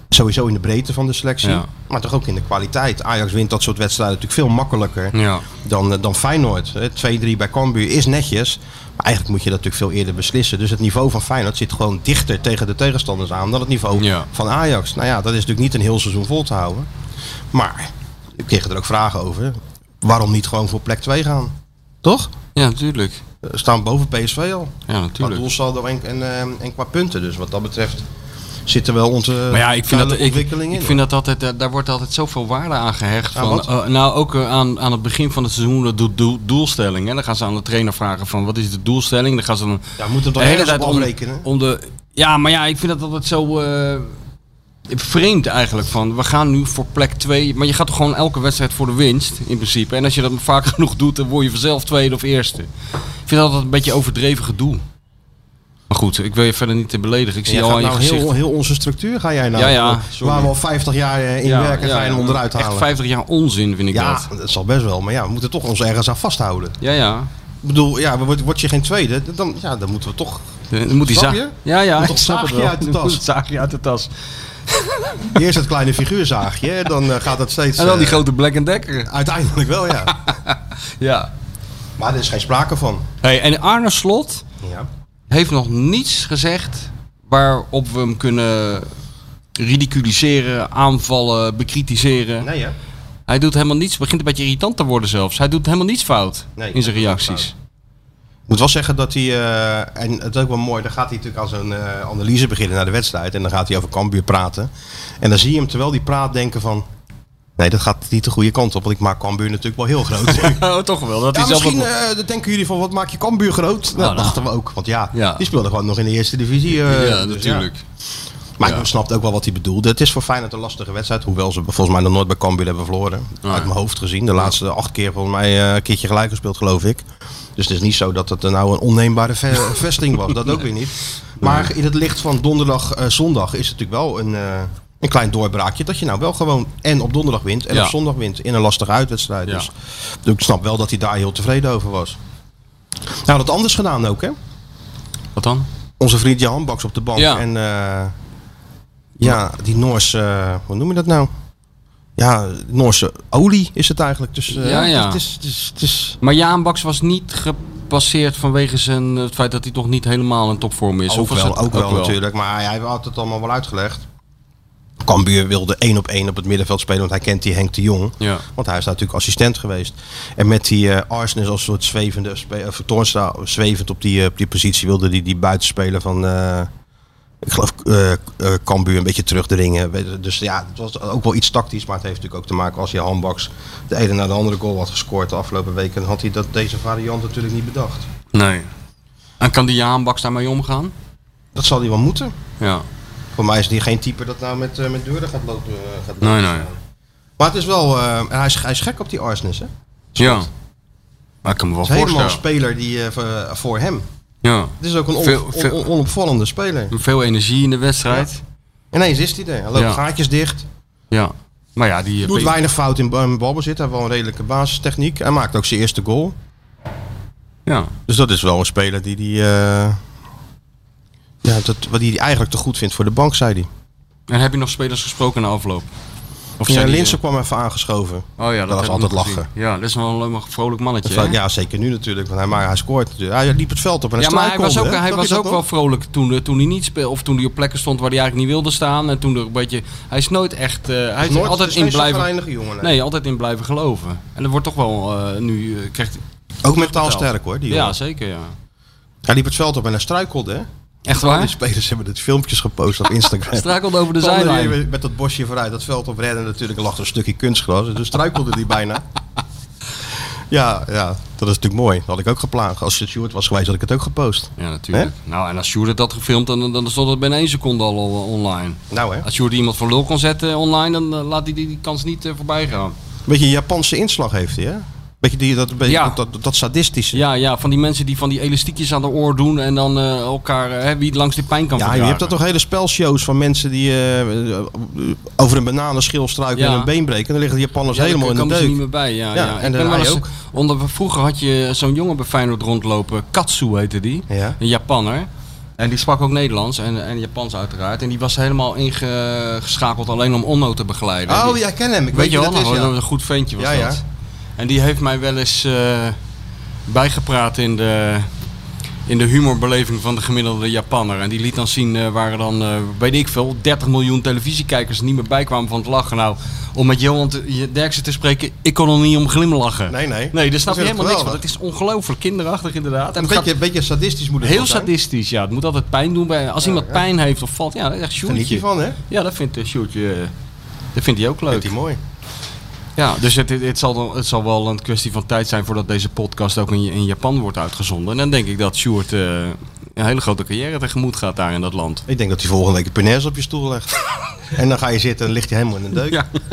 B: Sowieso in de breedte van de selectie,
C: Ja.
B: maar toch ook in de kwaliteit. Ajax wint dat soort wedstrijden natuurlijk veel makkelijker
C: Ja.
B: dan, eh, dan Feyenoord. hè. 2-3 bij Cambuur is netjes, maar eigenlijk moet je dat natuurlijk veel eerder beslissen. Dus het niveau van Feyenoord zit gewoon dichter tegen de tegenstanders aan dan het niveau
C: Ja.
B: van Ajax. Nou ja, dat is natuurlijk niet een heel seizoen vol te houden. Maar ik kreeg er ook vragen over. Waarom niet gewoon voor plek 2 gaan? Toch?
C: Ja, natuurlijk.
B: We staan boven PSV al.
C: Ja,
B: Qua
C: natuurlijk.
B: doelsaldo en, en, eh, en qua punten. Dus wat dat betreft zit er wel onze
C: Maar ja, ik vind dat, ik,
B: ontwikkeling
C: ik
B: eh, in.
C: vind dat altijd, daar- daar wordt altijd zoveel waarde aan gehecht.
B: Aan
C: Van,
B: wat?
C: eh, nou, ook eh, aan, aan het begin van het seizoen, de doel- doel- doelstelling. Hè. Dan gaan ze aan de trainer vragen van, wat is de doelstelling? Dan gaan ze dan
B: ja, we moeten
C: de
B: toch
C: hele
B: ergens
C: tijd
B: op
C: om,
B: afrekenen.
C: om de... Ja, maar ja, ik vind dat altijd zo eh, vreemd eigenlijk. Van, we gaan nu voor plek 2, maar je gaat toch gewoon elke wedstrijd voor de winst in principe. En als je dat vaak genoeg doet, dan word je vanzelf tweede of eerste. Ik vind dat altijd een beetje overdreven gedoe. Maar goed, ik wil je verder niet te beledigen. Ik zie
B: Jij
C: al
B: gaat
C: aan je
B: nou
C: gezicht.
B: heel, heel onze structuur ga jij nou.
C: Ja, ja, sorry.
B: waar we al 50 jaar eh, in werken, ga je hem onderuit
C: Echt
B: halen.
C: 50 jaar onzin vind ik
B: Ja,
C: dat.
B: dat zal best wel. Maar ja, we moeten toch ons ergens aan vasthouden.
C: Ja, ja.
B: Ik bedoel, ja, wordt, wordt je geen tweede, dan, ja, dan moeten we toch
C: De- dan moet die
B: Snap
C: za-
B: je?
C: Ja, ja.
B: Moet toch
C: ik snap
B: zaagje
C: het wel.
B: uit de
C: Dan moet
B: tas. Dus,
C: het zaagje uit de tas.
B: eerst het kleine figuurzaagje. hè, Dan eh, gaat dat steeds...
C: En dan die
B: eh,
C: grote Black and Decker.
B: Uiteindelijk wel, ja.
C: Ja.
B: Maar er is geen sprake van.
C: Hey, en Arne Slot
B: Ja.
C: heeft nog niets gezegd waarop we hem kunnen ridiculiseren, aanvallen, bekritiseren.
B: Nee, hè?
C: Hij doet helemaal niets. Begint een beetje irritant te worden zelfs. Hij doet helemaal niets fout
B: Nee,
C: in zijn
B: hij doet
C: reacties.
B: Ik moet wel zeggen dat hij, eh, en het is ook wel mooi, dan gaat hij natuurlijk als een eh, analyse beginnen naar de wedstrijd. En dan gaat hij over Cambuur praten. En dan zie je hem terwijl hij praat denken van, nee dat gaat niet de goede kant op. Want ik maak Cambuur natuurlijk wel heel groot.
C: Oh, toch wel. Dat
B: ja,
C: is
B: misschien eh, dan denken jullie van, wat maak je Cambuur groot? dat
C: nou.
B: dachten we ook. Want ja,
C: Ja.
B: die speelde gewoon nog in de eerste divisie. eh,
C: ja,
B: dus
C: natuurlijk.
B: ja. Maar ik snapte ook wel wat hij bedoelde. Het is voor Feyenoord een lastige wedstrijd. Hoewel ze volgens mij nog nooit bij Cambuur hebben verloren.
C: Ja.
B: Uit mijn hoofd gezien. De laatste acht keer volgens mij eh, een keertje gelijk gespeeld, geloof ik. Dus het is niet zo dat het eh, nou een onneembare ve- vesting was. Dat ook weer niet. Maar in het licht van donderdag, eh, zondag is het natuurlijk wel een, eh, een klein doorbraakje. Dat je nou wel gewoon en op donderdag wint en
C: Ja.
B: op zondag wint. In een lastige uitwedstrijd.
C: Ja.
B: Dus ik snap wel dat hij daar heel tevreden over was. Nou, dat anders gedaan ook, hè?
C: Wat dan?
B: onze vriend Jan Baks op de bank.
C: Ja.
B: En eh, ja, die Noorse, eh, hoe noem je dat nou? Ja, Noorse olie is het eigenlijk. Dus eh,
C: Ja, ja.
B: Het is, het is, het is-
C: Maar Jaan Baks was niet gepasseerd vanwege zijn, eh, het feit dat hij toch niet helemaal in topvorm is.
B: ook,
C: Of was
B: wel,
C: het-
B: ook, wel, natuurlijk. Maar hij had het allemaal wel uitgelegd. Cambuur wilde één op één op het middenveld spelen, want hij kent die Henk de Jong.
C: Ja.
B: Want hij is daar natuurlijk assistent geweest. En met die eh Arsen is als soort zwevende, spe- eh, of Toornstra zwevend op die, eh, op die positie wilde die, die buitenspeler van, eh, ik geloof, eh eh, Cambuur een beetje terugdringen. Weet je, Dus ja, het was ook wel iets tactisch, maar het heeft natuurlijk ook te maken als je handbaks de ene naar de andere goal had gescoord de afgelopen week. En had hij dat, deze variant natuurlijk niet bedacht.
C: Nee. En kan die Jaan Baks daarmee omgaan?
B: Dat zal hij wel moeten.
C: Ja.
B: Voor mij is die geen type dat nou met, eh, met deuren gaat lopen. eh, gaat
C: Nee,
B: lopen
C: nee.
B: slaan. Maar het is wel, eh, hij, is, hij is gek op die Arsnes, hè?
C: Ja. Maar ik kan me wel
B: Het is helemaal een
C: voorstellen.
B: speler die, eh, voor- voor hem.
C: Ja.
B: Het is ook een on-
C: Veel-
B: on-
C: veel-
B: on- onopvallende speler.
C: Veel energie in de wedstrijd.
B: Ineens is hij er. Hij loopt
C: Ja.
B: gaatjes dicht.
C: Ja. Maar ja, die... eh,
B: Doet weinig fout in ba- in balbezit. Hij heeft wel een redelijke basistechniek. Hij maakt ook zijn eerste goal.
C: Ja.
B: Dus dat is wel een speler die, die, eh, ja, dat, wat die die eigenlijk te goed vindt voor de bank, zei hij.
C: En heb je nog spelers gesproken na afloop? Of
B: Ja,
C: zijn die-
B: Linsen kwam even aangeschoven.
C: eh, Oh ja, dat,
B: was
C: heb ik
B: altijd
C: nog gezien.
B: lachen.
C: Ja, dat is wel een vrolijk mannetje.
B: Ja.
C: hè?
B: zeker nu natuurlijk. Want hij, maar hij scoort natuurlijk. Hij liep het veld op en hij
C: Ja, maar hij
B: struikelde,
C: was ook,
B: hè?
C: hij
B: Zag
C: was
B: je dat
C: ook
B: nog?
C: wel vrolijk toen, toen hij niet speelde. Of toen hij op plekken stond waar hij eigenlijk niet wilde staan. En toen er een beetje... Hij is nooit echt... eh, hij is
B: Nooit-
C: altijd
B: is
C: in
B: geen
C: blijven...
B: chagrijnige jongen. nee.
C: Nee, altijd in blijven geloven. En dat wordt toch wel eh, nu... eh, krijgt,
B: Ook mentaal sterk hoor, die jongen.
C: ja, zeker ja.
B: Hij liep het veld op en hij struikelde. Hè?
C: Echt
B: Die
C: waar?
B: spelers hebben dit filmpjes gepost op Instagram.
C: Strakelde over de
B: Kwam er weer
C: zijlijn.
B: Met dat bosje vooruit, dat veld op rennen natuurlijk. Er lag een stukje kunstgras, dus struikelde die bijna. Ja, ja, dat is natuurlijk mooi. Dat had ik ook geplaatst. Als het Stuart was geweest, had ik het ook gepost.
C: Ja, natuurlijk. Nou, en als Sjoerd het had gefilmd, dan, dan stond het binnen één seconde al on- online.
B: Nou hè,
C: Als Sjoerd iemand voor lul kon zetten online, dan eh, laat hij die, die kans niet eh, voorbij gaan.
B: beetje een Japanse inslag heeft hij hè? Beetje die, dat, beetje
C: Ja.
B: dat, dat, dat sadistische. Ja,
C: Ja, ja, van die mensen die van die elastiekjes aan de oor doen en dan eh, elkaar, eh, wie het langs de pijn kan
B: je
C: verdragen.
B: hebt dat toch hele spelshows van mensen die eh, eh, over een bananenschil struiken
C: Ja.
B: en een been breken. En dan liggen de Japanners
C: Ja, daar
B: helemaal in de
C: komen ze
B: deuk.
C: niet meer bij. Ja,
B: Ja,
C: ja,
B: en
C: Ik
B: de
C: ben wel
B: Rai
C: eens-
B: ook.
C: Onder, vroeger had je zo'n jongen bij Feyenoord rondlopen, Katsu heette die,
B: Ja.
C: een Japanner. En die sprak ook Nederlands en, en Japans uiteraard. En die was helemaal ingeschakeld alleen om Onno te begeleiden.
B: Oh,
C: Die-
B: ja, ik ken hem. Ik
C: Weet je wel,
B: wie dat
C: nog,
B: is, ja.
C: dat was een goed ventje was
B: Ja, ja.
C: dat. En die heeft mij wel eens eh, bijgepraat in de, in de humorbeleving van de gemiddelde Japanner. En die liet dan zien eh, waar dan, eh, weet ik veel, 30 miljoen televisiekijkers niet meer bijkwamen van het lachen. Nou, om met Johan te- Derksen te spreken, ik kon er niet om glimlachen.
B: Nee, nee.
C: Nee, daar snap je
B: Dat is
C: helemaal niks van.
B: geweldig.
C: Het is ongelooflijk kinderachtig inderdaad. En
B: Een
C: het gaat
B: beetje, beetje sadistisch moet het
C: heel
B: wel zijn.
C: sadistisch, ja. Het moet altijd pijn doen. Bij, als iemand pijn heeft of valt, ja, dat is echt
B: Geniet
C: Sjoerdje.
B: je van, hè?
C: Ja, dat vindt eh, Sjoerdje, eh, dat vindt hij ook leuk.
B: Vindt hij mooi.
C: Ja, dus het, het, het zal, dan- het zal wel een kwestie van tijd zijn voordat deze podcast ook in, in Japan wordt uitgezonden. En dan denk ik dat Sjoerd eh, een hele grote carrière tegemoet gaat daar in dat land.
B: Ik denk dat hij volgende week een punaise op je stoel legt. en dan ga je zitten en ligt hij helemaal in een deuk.
C: Ja.
B: vindt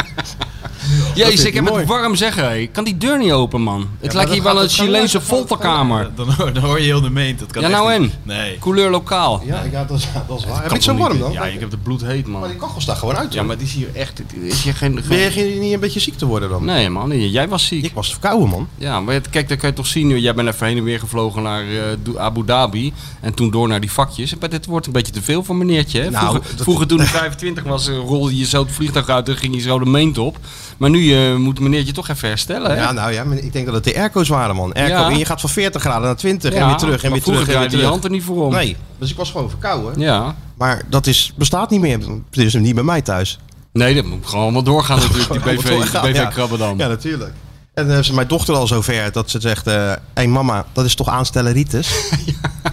C: Jezus,
B: hij
C: ik heb
B: mooi.
C: het warm zeggen. hé. Ik kan die deur niet open, man. Het
B: maar
C: lijkt
B: dat
C: hier wel
B: gaat- dat
C: een
B: gaat
C: Chileense
B: luisteren, dat gaat
C: volkenkamer.
D: Dan, hoor- dan hoor je heel de meent. Dat kan
C: Ja,
D: echt
C: nou
D: niet.
C: en?
D: Nee.
C: Couleur lokaal.
B: Ja, ja, dat, is, dat is waar. Heb
C: Kan
B: je het zo
C: toch
B: warm
C: niet?
B: dan?
C: Ja, ik heb de bloed heet,
B: Maar die
C: man.
B: kachel staat gewoon uit.
C: Ja,
B: hoor.
C: maar het is hier echt... het Is hier geen...
B: Ben je geen- niet een beetje ziek te worden dan?
C: Nee, man. Jij was ziek.
B: Ik was verkouden, man.
C: Ja, maar het- kijk, dat kan je toch zien. Jij bent even heen en weer gevlogen naar eh, Do- Abu Dhabi. En toen door naar die vakjes. Maar dit wordt een beetje te veel voor meneertje. Hè?
B: Nou,
C: Vroeger,
B: dat-
C: vroeger toen ik 25 was, eh, rolde je zo het vliegtuig uit en ging je zo de meent op. Maar nu eh, moet meneertje toch even herstellen. Hè?
B: Ja, nou ja, maar ik denk dat het de airco's waren, man. Airco,
C: Ja.
B: En je gaat van 40 graden naar 20 en
C: Ja,
B: weer terug en
C: maar
B: weer
C: vroeger
B: terug en weer
C: draaide je
B: terug.
C: hand er niet voor om.
B: Nee, dus ik was gewoon verkouden.
C: Ja.
B: Maar dat is, bestaat niet meer. Dus niet bij mij thuis.
C: Nee, dat moet gewoon wel doorgaan natuurlijk, die BV,
B: Allemaal doorgaan,
C: BV
B: ja.
C: Krabbendam.
B: Ja, natuurlijk. En dan heeft ze mijn dochter al zover dat ze zegt... eh hey mama, dat is toch aanstelleritis?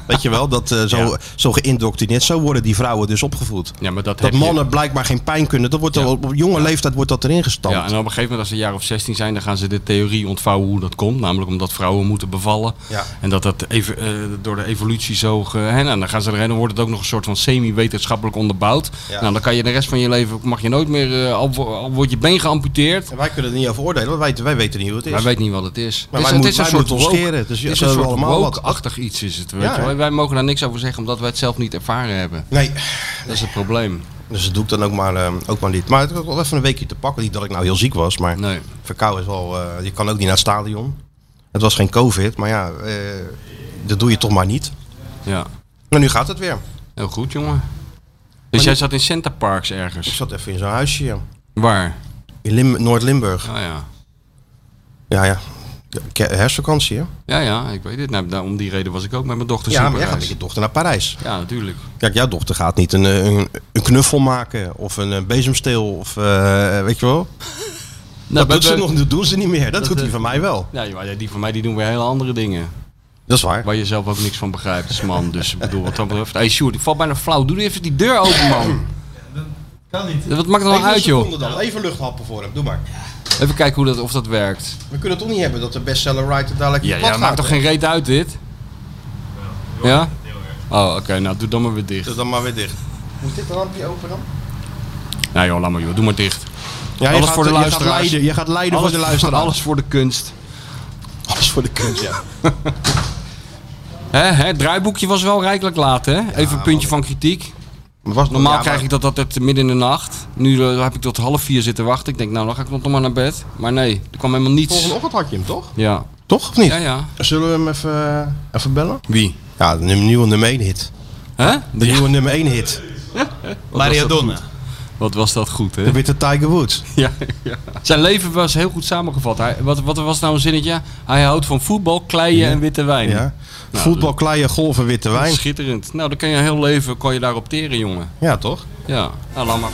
B: Weet je wel, dat eh, zo,
C: Ja.
B: zo geïndoctrineerd. Zo worden die vrouwen dus opgevoed.
C: Ja, maar dat,
B: Dat
C: heb je-
B: mannen blijkbaar geen pijn kunnen. Dat wordt
C: Ja.
B: al- op jonge leeftijd wordt dat erin gestampt.
C: Ja, en op een gegeven moment als ze een jaar of 16 zijn, dan gaan ze de theorie ontvouwen hoe dat komt. Namelijk omdat vrouwen moeten bevallen.
B: Ja.
C: En dat dat even, eh, door de evolutie zo... Ge, hè, nou, dan gaan ze erin en dan wordt het ook nog een soort van semi-wetenschappelijk onderbouwd.
B: Ja.
C: Nou, dan kan je de rest van je leven, mag je nooit meer... eh, al, wo- al wordt je been geamputeerd.
B: En wij kunnen er niet over oordelen, want wij, wij weten niet hoe het is.
C: Wij weten niet wat het is.
B: Maar
C: het
B: wij
C: is,
B: moeten- wij moeten ons
C: woke-
B: scheren, dus
C: het is
B: ze
C: een
B: hebben
C: soort
B: allemaal wat.
C: woke-achtig iets is het. Weet
B: Ja,
C: je wel.
B: hè?
C: Wij mogen daar niks over zeggen omdat wij het zelf niet ervaren hebben.
B: Nee,
C: Dat is het probleem.
B: dus dat doe ik dan ook maar, eh, ook maar niet. Maar het is ook wel even een weekje te pakken. Niet dat ik nou heel ziek was, maar
C: Nee.
B: verkouden is wel... eh, je kan ook niet naar het stadion. Het was geen covid, maar ja, eh, dat doe je toch maar niet.
C: Ja.
B: Maar nu gaat het weer.
C: Heel goed, jongen. Dus jij zat in Center Parks
B: Ik
C: ergens.
B: zat even in zo'n huisje ja.
C: Waar?
B: in Lim- Noord-Limburg.
C: Oh ja.
B: Ja, ja. Ja, ke- Herfstvakantie, hè?
C: Ja, ja, ik weet het. Nou, daar- om die reden was ik ook met mijn dochter
B: Ja, maar jij gaat met
C: superreis.
B: je dochter naar Parijs.
C: Ja, natuurlijk.
B: Kijk, jouw dochter gaat niet een, eh, een, een knuffel maken of een, eh, bezemsteel of eh, weet je wel.
C: Nou,
B: dat
C: bij-
B: doet ze
C: bij-
B: nog, dat doen ze niet meer. Dat, doet hij
C: eh,
B: van mij wel.
C: Ja, joh, ja, die van mij die doen weer hele andere dingen.
B: Dat is waar.
C: Waar je zelf ook niks van begrijpt als man. Dus ik bedoel, wat dat betreft. Hey Sjoerd, ik val bijna flauw. Doe even die deur open, man.
D: Kan niet.
C: Wat maakt het nou uit, joh?
B: Dan. Even luchthappen voor hem, doe maar.
C: Even kijken hoe dat, of dat werkt.
B: We kunnen het toch niet hebben dat de bestseller writer dadelijk
C: Ja,
B: plat
C: ja maakt toch geen reet uit, dit? Ja? Oh, oké. nou, doe dan maar weer dicht.
B: Dus dan maar weer dicht. Moet dit rampje open dan?
C: Nou joh, laat maar, joh. Doe maar dicht.
B: Ja,
C: Alles voor de luisteraars.
B: Je gaat leiden, je gaat leiden voor de luisteraar.
C: alles voor de kunst.
B: alles voor de kunst, ja.
C: Hè, hè, het draaiboekje was wel rijkelijk laat, hè? Even een puntje van kritiek.
B: Was,
C: Normaal krijg ik dat altijd midden in de nacht. Nu eh, heb ik tot half vier zitten wachten. Ik denk, nou, dan ga ik nog maar naar bed. Maar nee, er kwam helemaal niets.
B: Volgende ochtend had je hem, toch?
C: Ja,
B: Toch, of niet?
C: ja, ja.
B: Zullen we hem even, eh, even bellen?
C: Wie?
B: Ja, de num- nieuwe nummer 1 hit.
C: Hè?
B: De nieuwe nummer 1 hit.
D: Mariadonna.
C: Wat was dat goed, hè?
B: De witte Tiger Woods.
C: Ja, ja. Zijn leven was heel goed samengevat. Hij, wat, wat was nou een zinnetje? Hij houdt van voetbal, kleien en witte wijn.
B: Ja.
C: Nou,
B: Voetbal, kleien, golven, witte
C: Dat is
B: wijn.
C: Schitterend. Nou, dan kan je heel leven kan je daarop teren, jongen.
B: Ja, toch?
C: Ja. Nou, laat maar.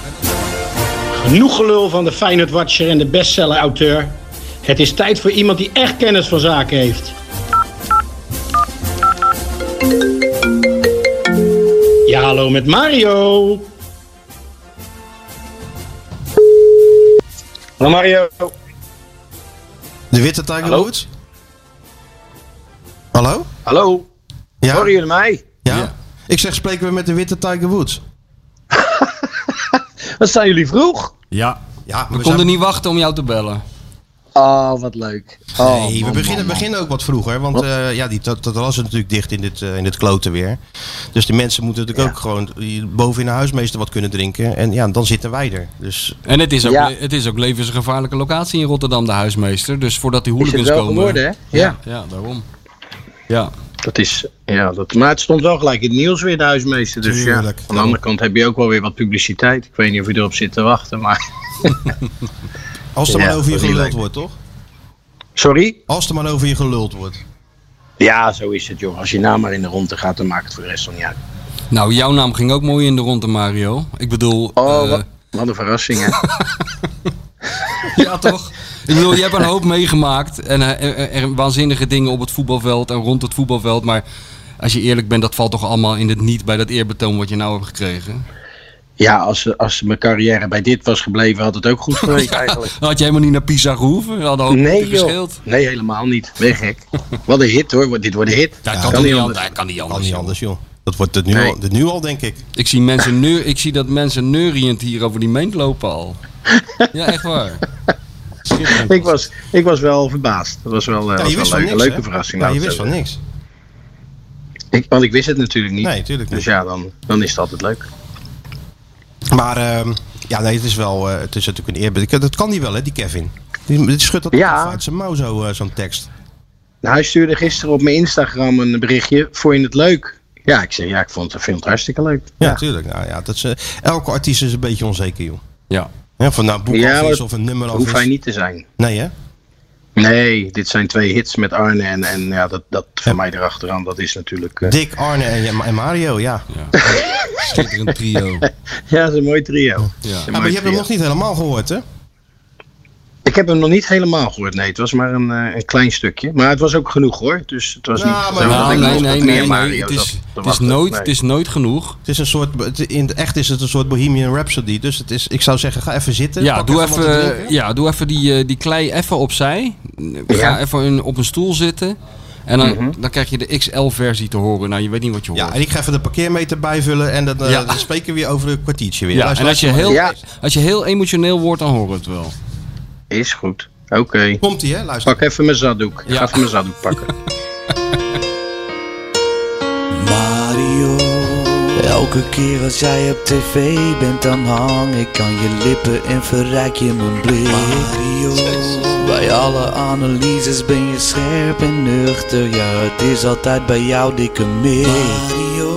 E: Genoeg gelul van de Feyenoord Watcher en de bestseller auteur. Het is tijd voor iemand die echt kennis van zaken heeft. Ja, hallo met Mario.
F: Hallo Mario.
B: De witte Tiger
F: Hallo?
B: Woods. Hallo?
F: Hallo.
B: Ja?
F: Horen jullie mij?
B: Ja?
C: Ja.
B: Ik zeg, spreken we met de witte Tiger Woods?
F: Wat zijn jullie vroeg?
C: Ja.
B: Ja,
C: We, konden niet wachten om jou te bellen. Ah,
F: Oh, wat leuk. Oh,
B: Nee, we
F: man,
B: beginnen,
F: man, man.
B: beginnen ook wat vroeger. Want eh, ja, die, dat, dat was natuurlijk dicht in dit, eh, in dit kloten weer. Dus die mensen moeten natuurlijk ook gewoon eh, boven in de huismeester wat kunnen drinken. En ja, dan zitten wij er. Dus
C: En het is ook,
F: Ja.
C: het is ook levensgevaarlijke locatie in Rotterdam, de huismeester. Dus voordat die
F: Is het
C: hooligans
F: wel
C: komen...
F: geworden, hè? Ja.
C: Ja, daarom. Ja,
E: Dat is, ja, dat, maar het stond wel gelijk in het nieuws weer, de huismeester. Dus ja,
B: Tuurlijk.
E: aan de andere kant heb je ook wel weer wat publiciteit. Ik weet niet of je erop zit te wachten, maar...
B: Als er
E: Ja,
B: maar over je
E: dat is
B: geluld
E: leuk.
B: wordt, toch?
E: Sorry?
B: Als er maar over je geluld wordt.
E: Ja, zo is het, joh. Als je naam maar in de ronde gaat, dan maakt het voor de rest dan niet uit.
C: Nou, jouw naam ging ook mooi in de ronde, Mario. Ik bedoel,
E: Oh,
C: eh,
E: wat, wat een verrassing, hè?
C: ja toch? Ik bedoel, je hebt een hoop meegemaakt en eh, er, er- waanzinnige dingen op het voetbalveld en rond het voetbalveld. Maar als je eerlijk bent, dat valt toch allemaal in het niet bij dat eerbetoon wat je nou hebt gekregen.
E: Ja, als, als mijn carrière bij dit was gebleven, had het ook goed geweest eigenlijk.
C: Dan had je helemaal niet naar Pisa gehoeven. Dat had een hoop
E: Nee,
C: punten
E: joh.
C: gescheeld.
E: Nee, helemaal niet. Ben je gek? Wat een hit, hoor. Dit wordt een hit.
C: Ja, kan,
E: Kan
C: toch
E: niet
C: niet
E: anders.
C: anders. Ja, kan niet
B: Kan
C: anders.
B: niet
C: joh.
B: anders, joh. Dat wordt het nu,
E: Nee.
B: al, het nu al, denk ik.
C: Ik zie, mensen neur, ik zie dat mensen neuriënd hier over die meent lopen al. Ja, echt waar. Schitterend.
E: Ik was, ik was wel verbaasd. Dat was wel, eh,
B: Ja,
E: was
B: je wist
E: wel
B: van
E: leuk.
B: niks,
E: een leuke
B: hè?
E: verrassing.
B: Ja,
E: laat
B: je
E: ik
B: wist
E: zo
B: van niks.
E: zeggen. Ik, want ik wist het natuurlijk niet.
B: Nee, tuurlijk
E: Dus
B: niet.
E: ja, dan, dan is het altijd leuk.
B: Maar ehm, ja, nee, het is wel, eh, het is natuurlijk een eerbied. Ik- Dat kan die wel, hè, die Kevin. Die, die schudt dat
E: Ja.
B: even uit zijn mouw, zo, eh, zo'n tekst.
E: Nou, hij stuurde gisteren op mijn Instagram een berichtje. Vond je het leuk? Ja, ik zei ja, ik vond het, vind het hartstikke leuk.
B: Ja, natuurlijk. Nou ja, dat is, eh, elke artiest is een beetje onzeker, joh.
C: Ja.
B: Ja, of het nou een boek
E: Ja,
B: af
E: maar
B: is of een nummer
E: Dat
B: af is.
E: hoeft hij niet te zijn.
B: Nee, hè?
E: Nee, dit zijn twee hits met Arne en, en ja, dat, dat van mij erachteraan. Dat is natuurlijk... eh,
B: Dick, Arne en, en Mario, ja.
C: Schitterend trio.
E: Ja, dat is een mooi trio.
C: Ja.
B: Ja, Ah, maar je hebt hem nog niet helemaal gehoord, hè?
E: Ik heb hem nog niet helemaal gehoord. Nee, het was maar een, eh, een klein stukje. Maar het was ook genoeg hoor. Dus het was
B: Nou,
E: niet.
B: maar-
E: zo dat
C: Nou,
E: ik
C: nee,
E: dacht,
C: nee,
E: meer
C: nee,
E: Mario
C: nee. Het
E: zat
C: is,
E: te
C: het is
E: wachten.
C: nooit,
E: Nee.
C: het is nooit genoeg.
B: Het is een soort, het- in het echt is het een soort Bohemian Rhapsody. Dus het is, ik zou zeggen, ga even zitten.
C: Ja,
B: pak
C: doe
B: wat te
C: even, eh,
B: drinken.
C: ja, doe even die, eh, die klei even opzij. Ga even een- op een stoel zitten. En dan,
E: Mhm.
C: dan krijg je de XL-versie te horen. Nou, je weet niet wat je hoort.
B: Ja, en ik ga even de parkeermeter bijvullen en dan, eh,
C: Ja.
B: dan spreken we weer over een kwartiertje weer.
C: Ja,
B: Luister,
C: en als je,
B: luister
C: heel,
B: maar.
E: Ja.
C: als je heel emotioneel wordt, dan horen we het wel.
E: Is goed. Oké.
B: Komt ie, hè? Luister.
E: Pak even mijn zaddoek. Ik
C: Ja.
E: ga even mijn zaddoek pakken.
A: Mario, elke keer als jij op tv bent, dan hang ik aan je lippen en verrijk je mijn blik. Mario, bij alle analyses ben je scherp en nuchter, ja het is altijd bij jou dikke mik. Mario,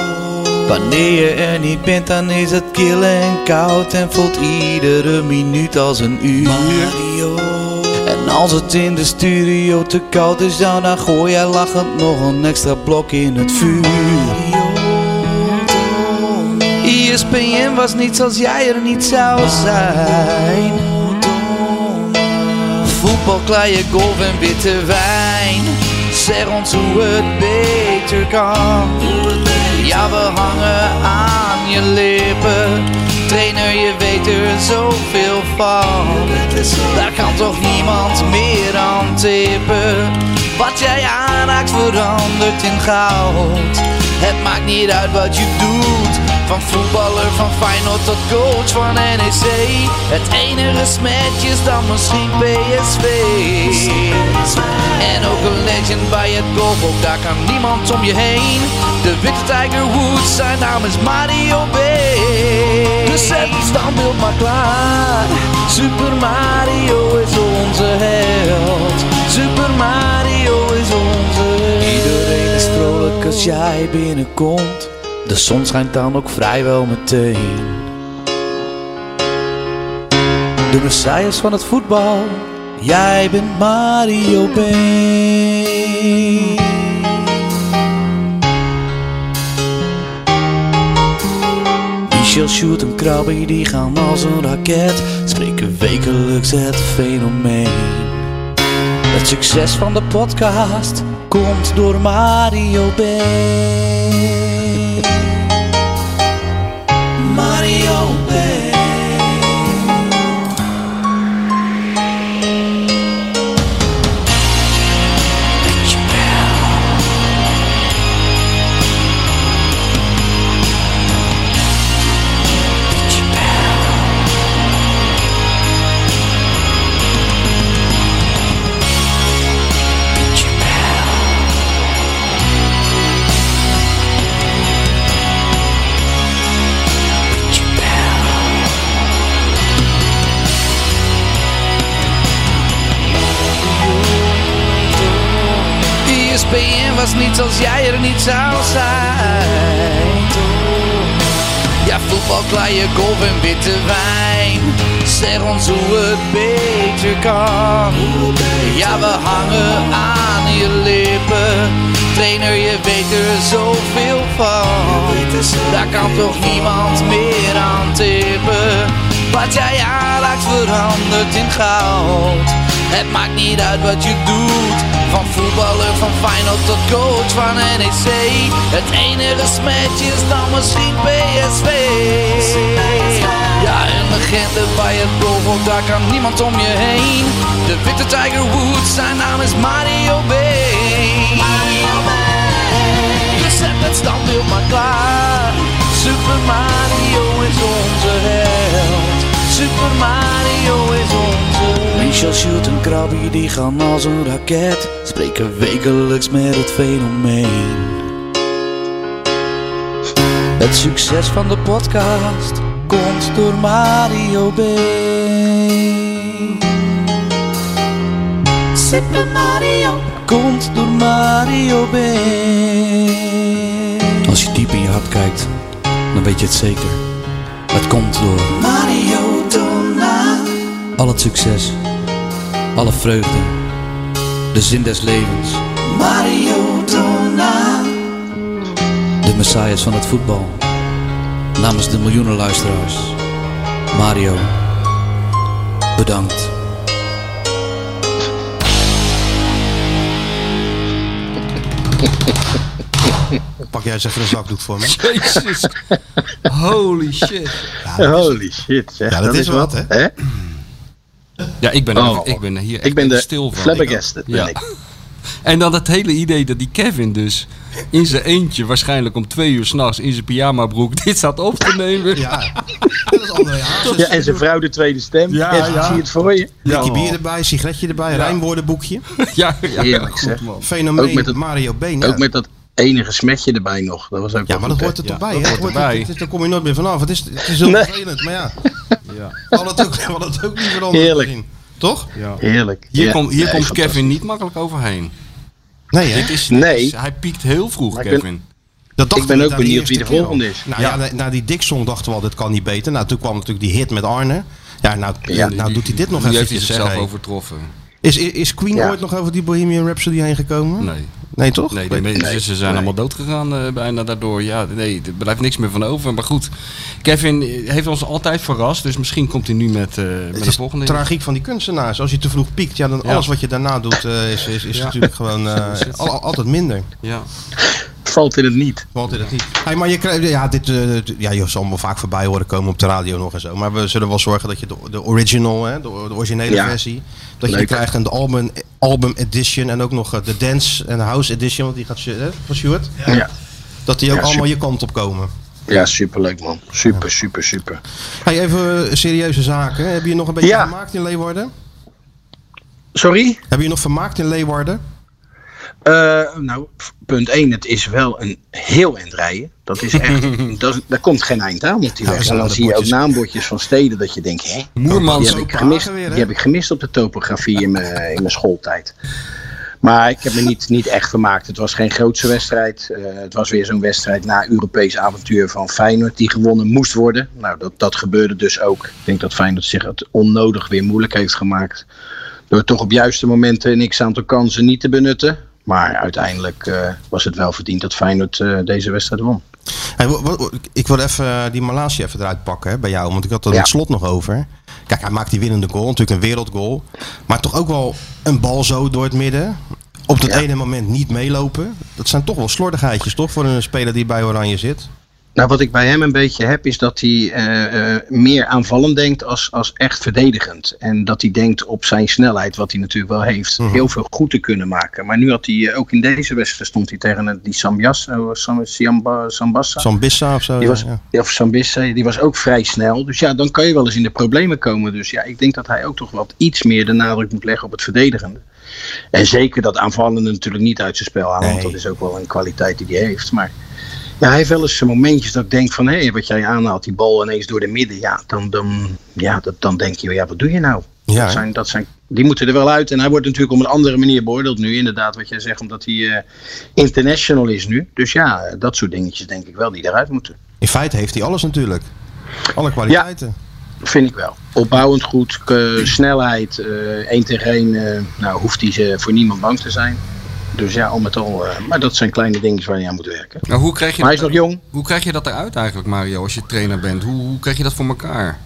A: wanneer je er niet bent, dan is het kil en koud en voelt iedere minuut als een uur. Mario. En als het in de studio te koud is, ja, dan gooi jij lachend nog een extra blok in het vuur. E ESPN was niets als jij er niet zou zijn. Voetbal, kleien, golf en witte wijn. Zeg ons hoe het beter kan. Ja, we hangen aan je lippen. Trainer, je weet er zoveel van. Daar kan toch niemand meer aan tippen. Wat jij aanraakt verandert in goud. Het maakt niet uit wat je doet. Van voetballer, van Feyenoord tot coach van NEC. Het enige smetje is dan misschien PSV. En ook een legend bij het golf, ook daar kan niemand om je heen. De witte Tiger Woods, zijn naam is Mario B. Dus zet het standbeeld maar klaar. Super Mario is onze held. Super Mario is onze held. Iedereen is vrolijk als jij binnenkomt. De zon schijnt dan ook vrijwel meteen. De messias van het voetbal, jij bent Mario Been. Michel Sjoerd en Krabbe die gaan als een raket, spreken wekelijks het fenomeen. Het succes van de podcast komt door Mario B. Mario B. BN was niets als jij er niet zou zijn. Ja, voetbal, klaaien, golf en witte wijn. Zeg ons hoe het beter kan. Ja, we hangen aan je lippen. Trainer, je weet er zoveel van. Daar kan toch niemand meer aan tippen. Wat jij aanraakt verandert in goud. Het maakt niet uit wat je doet Van voetballer, van Feyenoord tot coach van NEC Het enige smetje is dan misschien PSV Ja, een legende bij het doelvol, daar kan niemand om je heen De witte Tiger Woods, zijn naam is Mario B Je Dus zet het standbeeld maar klaar Super Mario is onze held Super Mario is onze Michel Sjoerd en Krabby die gaan als een raket Spreken wekelijks met het fenomeen Het succes van de podcast komt door Mario B Super Mario Komt door Mario B Als je diep in je hart kijkt, dan weet je het zeker Het komt door Mario Dona. Al het succes, alle vreugde, de zin des levens. Mario Dona. De messias van het voetbal. Namens de miljoenen luisteraars. Mario, bedankt.
B: Pak jij eens even een zakdoek voor me.
C: Jezus. Holy shit.
E: Holy shit, zeg.
B: Ja, dat is wat, hè?
C: Ja, ik ben,
E: Oh.
C: er- ik ben er hier echt
E: Ik ben de
C: stil van.
E: flabbergasted, ben
C: Ja.
E: ik.
C: En dan dat hele idee dat die Kevin dus in zijn eentje, waarschijnlijk om twee uur s'nachts in zijn pyjamabroek, dit staat op te nemen.
B: Ja, dat is André Hazes.
E: Ja, en zijn vrouw de tweede stem.
C: Ja,
E: Ja,
C: ja.
E: Zie je het voor je?
B: Blikje bier erbij, sigaretje erbij, rijmwoordenboekje.
C: ja, ja,
E: Heerlijk, zeg.
C: man.
B: Fenomeen
E: Ook met het-
B: Mario Been.
E: Ook met dat enige smetje erbij nog. Dat was ook
B: Ja, maar dat hoort er
E: het.
B: toch
C: Ja,
B: bij,
C: dat
B: hè?
C: hoort
B: Het hoort-
C: erbij.
B: het is- Daar kom je nooit meer vanaf. Het is, het is heel
E: Nee.
B: vervelend, maar ja. We hadden het ook, we hadden het ook niet veranderd
E: Heerlijk.
B: gezien. Toch?
E: Heerlijk.
C: Hier,
E: Ja.
C: komt- hier
E: Nee,
C: komt
E: fantastisch.
C: Kevin niet makkelijk overheen.
B: Nee, hè?
C: Dit is,
E: Nee.
C: dit is- hij piekt heel vroeg,
E: Maar ik ben-
C: Kevin.
B: Dat dachten
E: Ik ben
B: we
E: ook
B: na die
E: benieuwd
B: eerste
E: wie de
B: keer al.
E: volgende is.
B: Nou ja, na, na die Dick-song dachten we al, dit kan niet beter. Nou, toen kwam natuurlijk die hit met Arne. Ja, nou,
E: Ja.
B: nou doet hij dit nog
C: Nu
B: even.
C: heeft hij zichzelf overtroffen.
B: Is, is, is Queen
E: Ja.
B: ooit nog over die Bohemian Rhapsody heen gekomen?
C: Nee.
B: Nee, toch?
C: Nee, die mensen
E: Nee.
C: ze zijn allemaal dood gegaan eh, bijna daardoor. Ja, nee, er blijft niks meer van over. Maar goed, Kevin eh, heeft ons altijd verrast. Dus misschien komt hij nu met, eh met
B: Het
C: de
B: is
C: volgende.
B: tragiek van die kunstenaars. Als je te vroeg piekt, ja, dan
C: Ja.
B: alles wat je daarna doet eh, is, is, is natuurlijk gewoon eh, al- al- altijd minder.
C: Ja.
E: Valt in het niet.
B: Valt dit het niet. Hey, maar je, krijgt- ja, dit, eh, dit- ja, je zal me vaak voorbij horen komen op de radio nog en zo. Maar we zullen wel zorgen dat je de, de original, hè, de, de originele
E: Ja.
B: versie, dat je die
E: Leuk.
B: krijgt. En de album, album edition en ook nog eh, de dance en de house edition, want die gaat Sjo- hè, van Stuart.
E: Ja.
B: Dat die ook
E: Ja,
B: allemaal
E: super.
B: je kant op komen.
E: Ja, superleuk man. Super, super, super.
B: Hey, even eh, serieuze zaken. Heb je nog een beetje
E: Ja.
B: vermaakt in Leeuwarden?
E: Sorry?
B: Heb je nog vermaakt in Leeuwarden?
E: Eh, nou, f- punt 1. Het is wel een heel eind rijden. Dat is echt, dat, is- daar komt geen eind aan met die
B: Ja,
E: weg.
B: er
E: En
B: staan
E: dan
B: de
E: zie je ook
B: bordjes.
E: naambordjes van steden dat je denkt, hè?
C: Moermans
E: Die heb,
B: ook
E: ik gemist,
B: Hagen weer, hè?
E: die heb ik gemist op de topografie in mijn, in mijn schooltijd. Maar ik heb me niet, niet echt vermaakt. Het was geen grootse wedstrijd. Eh, het was weer zo'n wedstrijd na Europees avontuur van Feyenoord die gewonnen moest worden. Nou, dat, dat gebeurde dus ook. Ik denk dat Feyenoord zich het onnodig weer moeilijk heeft gemaakt. Door toch op juiste momenten niks aantal kansen niet te benutten. Maar uiteindelijk eh, was het wel verdiend dat Feyenoord eh, deze wedstrijd won.
B: Hey, wa- wa- wa- ik wil even eh, die Malasia even eruit pakken hè, bij jou, want ik had er
E: Ja.
B: het slot nog over. Kijk, hij maakt die winnende goal, natuurlijk een wereldgoal. Maar toch ook wel een bal zo door het midden. Op dat
E: Ja.
B: ene moment niet meelopen. Dat zijn toch wel slordigheidjes, toch? Voor een speler die bij Oranje zit.
E: Nou, wat ik bij hem een beetje heb, is dat hij eh, eh, meer aanvallend denkt als, als echt verdedigend. En dat hij denkt op zijn snelheid, wat hij natuurlijk wel heeft, heel veel goed te kunnen maken. Maar nu had hij, eh, ook in deze wedstrijd stond hij tegen een- die Sambias, eh, Sam, Siamba, Sambassa.
B: Zambissa of zo.
E: die
B: ja,
E: was,
B: ja.
E: ja, Of Sambissa, eh, die was ook vrij snel. Dus ja, dan kan je wel eens in de problemen komen. Dus ja, ik denk dat hij ook toch wat iets meer de nadruk moet leggen op het verdedigende. En zeker dat aanvallende natuurlijk niet uit zijn spel halen. Want
B: Nee.
E: dat is ook wel een kwaliteit die hij heeft. Maar ja, hij heeft wel eens momentjes dat ik denk van... hé, wat jij aanhaalt, die bal ineens door de midden. Ja, dan, dan, ja, dat, dan denk je, ja, wat doe je nou?
B: Ja,
E: dat,
B: hè?
E: zijn, dat zijn die moeten er wel uit. En hij wordt natuurlijk op een andere manier beoordeeld nu. Inderdaad, wat jij zegt, omdat hij eh, international is nu. Dus ja, eh, dat soort dingetjes denk ik wel die eruit moeten.
B: In feite heeft hij alles natuurlijk. Alle kwaliteiten.
E: Vind ik wel. Opbouwend goed, eh, snelheid, eh één tegen één. eh, nou, hoeft hij ze voor niemand bang te zijn. Dus ja, al met al. eh, maar dat zijn kleine dingetjes waar je aan moet werken.
C: Nou, hoe, krijg je
E: Maar hij is
C: dat,
E: nog jong.
C: hoe krijg je dat eruit eigenlijk, Mario, als je trainer bent? Hoe, hoe krijg je dat voor elkaar?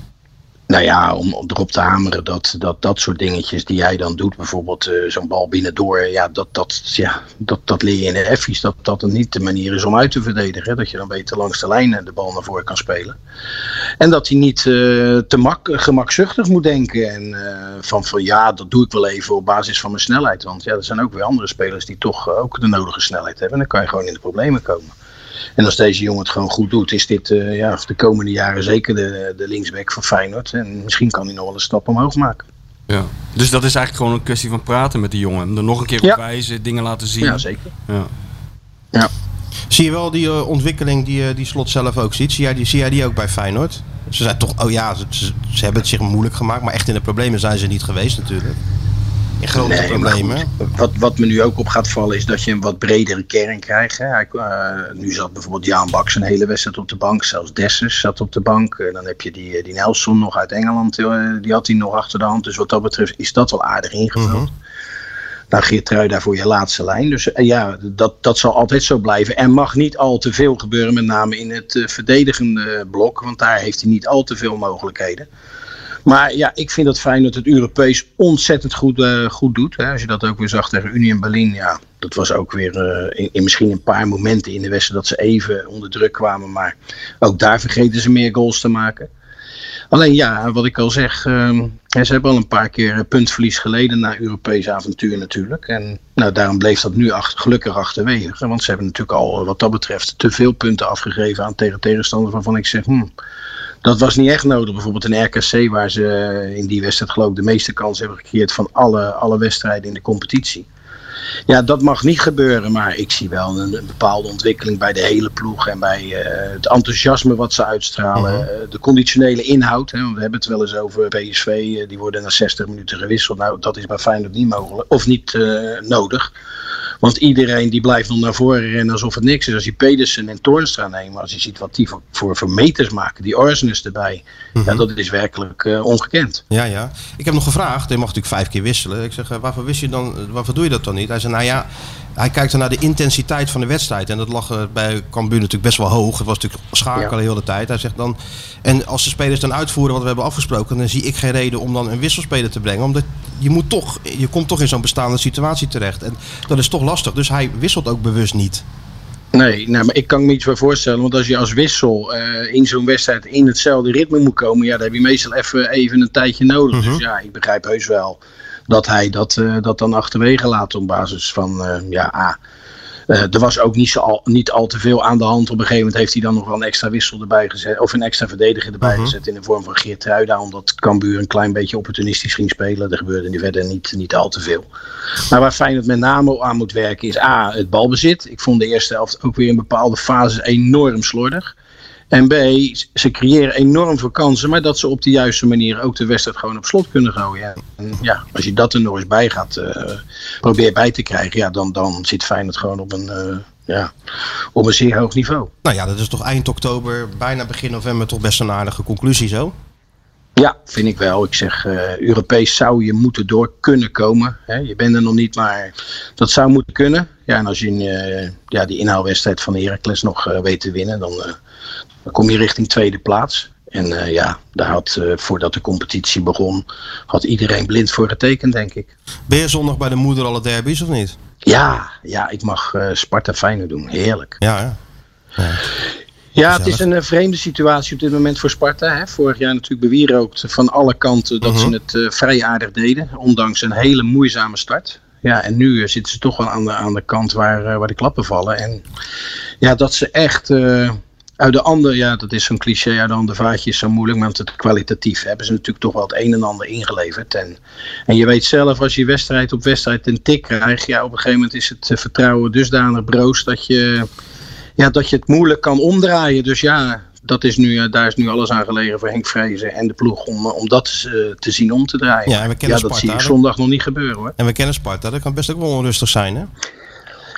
E: Nou ja, om om erop te hameren dat dat, dat soort dingetjes die jij dan doet, bijvoorbeeld eh, zo'n bal binnendoor, ja, dat, dat, ja dat, dat leer je in de F's. Dat dat dan niet de manier is om uit te verdedigen. Dat je dan beter langs de lijn eh, de bal naar voren kan spelen. En dat hij niet eh, te mak gemakzuchtig moet denken. En eh, van, van ja, dat doe ik wel even op basis van mijn snelheid. Want ja, er zijn ook weer andere spelers die toch eh, ook de nodige snelheid hebben. En dan kan je gewoon in de problemen komen. En als deze jongen het gewoon goed doet, is dit eh, ja, de komende jaren zeker de, de linksback van Feyenoord. En misschien kan hij nog wel een stap omhoog maken.
C: Ja. Dus dat is eigenlijk gewoon een kwestie van praten met die jongen. Hem er nog een keer
E: Ja.
C: op wijzen, dingen laten zien.
E: Ja, zeker.
C: Ja.
B: Zie je wel die eh, ontwikkeling die, eh, die Slot zelf ook ziet? Zie jij, die, zie jij die ook bij Feyenoord? Ze zijn toch, oh ja, ze, ze- ze hebben het zich moeilijk gemaakt. Maar echt in de problemen zijn ze niet geweest natuurlijk. In grote
E: Nee, maar
B: problemen.
E: Wat, wat me nu ook op gaat vallen is dat je een wat bredere kern krijgt. Hè. Hij, eh, nu zat bijvoorbeeld Jaan Baks een hele wedstrijd op de bank. Zelfs Dessers zat op de bank. Eh, dan heb je die, eh, die Nelson nog uit Engeland. eh, die had hij nog achter de hand. Dus wat dat betreft is dat wel aardig ingevuld.
B: Mhm.
E: Nou, Geertrui daarvoor je laatste lijn. Dus eh, ja, dat, dat zal altijd zo blijven. En mag niet al te veel gebeuren, met name in het eh, verdedigende blok. Want daar heeft hij niet al te veel mogelijkheden. Maar ja, ik vind het fijn dat het Europees ontzettend goed, eh, goed doet. Hè. Als je dat ook weer zag tegen Union Berlin. Ja, dat was ook weer eh, in, in misschien een paar momenten in de wedstrijd dat ze even onder druk kwamen. Maar ook daar vergeten ze meer goals te maken. Alleen ja, wat ik al zeg, ehm, hè, ze hebben al een paar keer eh, puntverlies geleden na Europees avontuur natuurlijk. En nou, daarom bleef dat nu ach- gelukkig achterwege. Want ze hebben natuurlijk al eh, wat dat betreft te veel punten afgegeven aan tegen tegenstanders waarvan ik zeg, hmm, dat was niet echt nodig. Bijvoorbeeld in RKC, waar ze eh, in die wedstrijd geloof ik de meeste kansen hebben gecreëerd van alle, alle wedstrijden in de competitie. Ja, dat mag niet gebeuren, maar ik zie wel een, een bepaalde ontwikkeling bij de hele ploeg en bij eh, het enthousiasme wat ze uitstralen. eh, de conditionele inhoud, hè, want we hebben het wel eens over PSV, eh, die worden na 60 minuten gewisseld. Nou, dat is bij Feyenoord niet mogelijk, of niet eh, nodig. Want iedereen die blijft nog naar voren rennen alsof het niks is. Als je Pedersen en Toornstra nemen, als je ziet wat die voor, voor, voor meters maken, die Arsenis erbij. Ja, dat is werkelijk eh, ongekend.
B: Ja, ja. Ik heb nog gevraagd. Hij mag natuurlijk vijf keer wisselen. Ik zeg, eh, waarvoor, wist je dan, eh, waarvoor doe je dat dan niet? Hij zei, nou ja, hij kijkt dan naar de intensiteit van de wedstrijd. En dat lag eh, bij Cambuur natuurlijk best wel hoog. Het was natuurlijk schakelen heel de hele tijd. Hij zegt dan, en als de spelers dan uitvoeren wat we hebben afgesproken... dan zie ik geen reden om dan een wisselspeler te brengen. Omdat je, moet toch, je komt toch in zo'n bestaande situatie terecht. En dat is toch lastig. Dus hij wisselt ook bewust niet.
E: Nee, nee, maar ik kan me iets bij voorstellen. Want als je als wissel eh, in zo'n wedstrijd in hetzelfde ritme moet komen, ja, dan heb je meestal even, even een tijdje nodig. Dus ja, ik begrijp heus wel dat hij dat, eh, dat dan achterwege laat op basis van, eh, ja, ah, eh, er was ook niet, zo al, niet al te veel aan de hand. Op een gegeven moment heeft hij dan nog wel een extra wissel erbij gezet. Of een extra verdediger erbij gezet in de vorm van Geert Ruida. Omdat Cambuur een klein beetje opportunistisch ging spelen. Er gebeurde nu verder niet, niet al te veel. Maar waar Feyenoord met name aan moet werken is A, het balbezit. Ik vond de eerste helft ook weer in bepaalde fases enorm slordig. En B, ze creëren enorm veel kansen, maar dat ze op de juiste manier ook de wedstrijd gewoon op slot kunnen gooien. En ja, als je dat er nog eens bij gaat eh, probeer bij te krijgen, ja, dan, dan zit Feyenoord gewoon op een, eh, ja, op een zeer hoog niveau.
B: Nou ja, dat is toch eind oktober, bijna begin november... toch best een aardige conclusie zo.
E: Ja, vind ik wel. Ik zeg, eh, Europees zou je moeten door kunnen komen. Hè? Je bent er nog niet, maar dat zou moeten kunnen. Ja, en als je eh, ja, die inhaalwedstrijd van Heracles nog eh, weet te winnen, dan, eh, dan kom je richting tweede plaats. En eh, ja, daar had, eh, voordat de competitie begon, had iedereen blind voor getekend, denk ik.
B: Ben je zondag bij de moeder alle derbies of niet?
E: Ja, ja ik mag eh, Sparta Feyenoord doen. Heerlijk.
B: Ja, hè?
E: Ja, het is een eh, vreemde situatie op dit moment voor Sparta. Hè. Vorig jaar natuurlijk bewierookt van alle kanten dat ze het eh, vrij aardig deden. Ondanks een hele moeizame start. Ja, en nu eh, zitten ze toch wel aan de, aan de kant waar, eh, waar de klappen vallen. En ja, dat ze echt eh, uit de ander, ja, dat is zo'n cliché, uit de ander vaatje is zo moeilijk. Maar het kwalitatief hebben ze natuurlijk toch wel het een en ander ingeleverd. En, en je weet zelf, als je wedstrijd op wedstrijd een tik krijgt, ja, op een gegeven moment is het eh, vertrouwen dusdanig broos dat je ja, dat je het moeilijk kan omdraaien. Dus ja, dat is nu, eh, daar is nu alles aan gelegen voor Henk Vrezen en de ploeg om, eh, om dat eh, te zien om te draaien.
B: Ja, en we kennen
E: dat
B: Sparta,
E: zie ik
B: hè?
E: zondag nog niet gebeuren hoor.
B: En we kennen Sparta, dat kan best ook wel onrustig zijn, hè?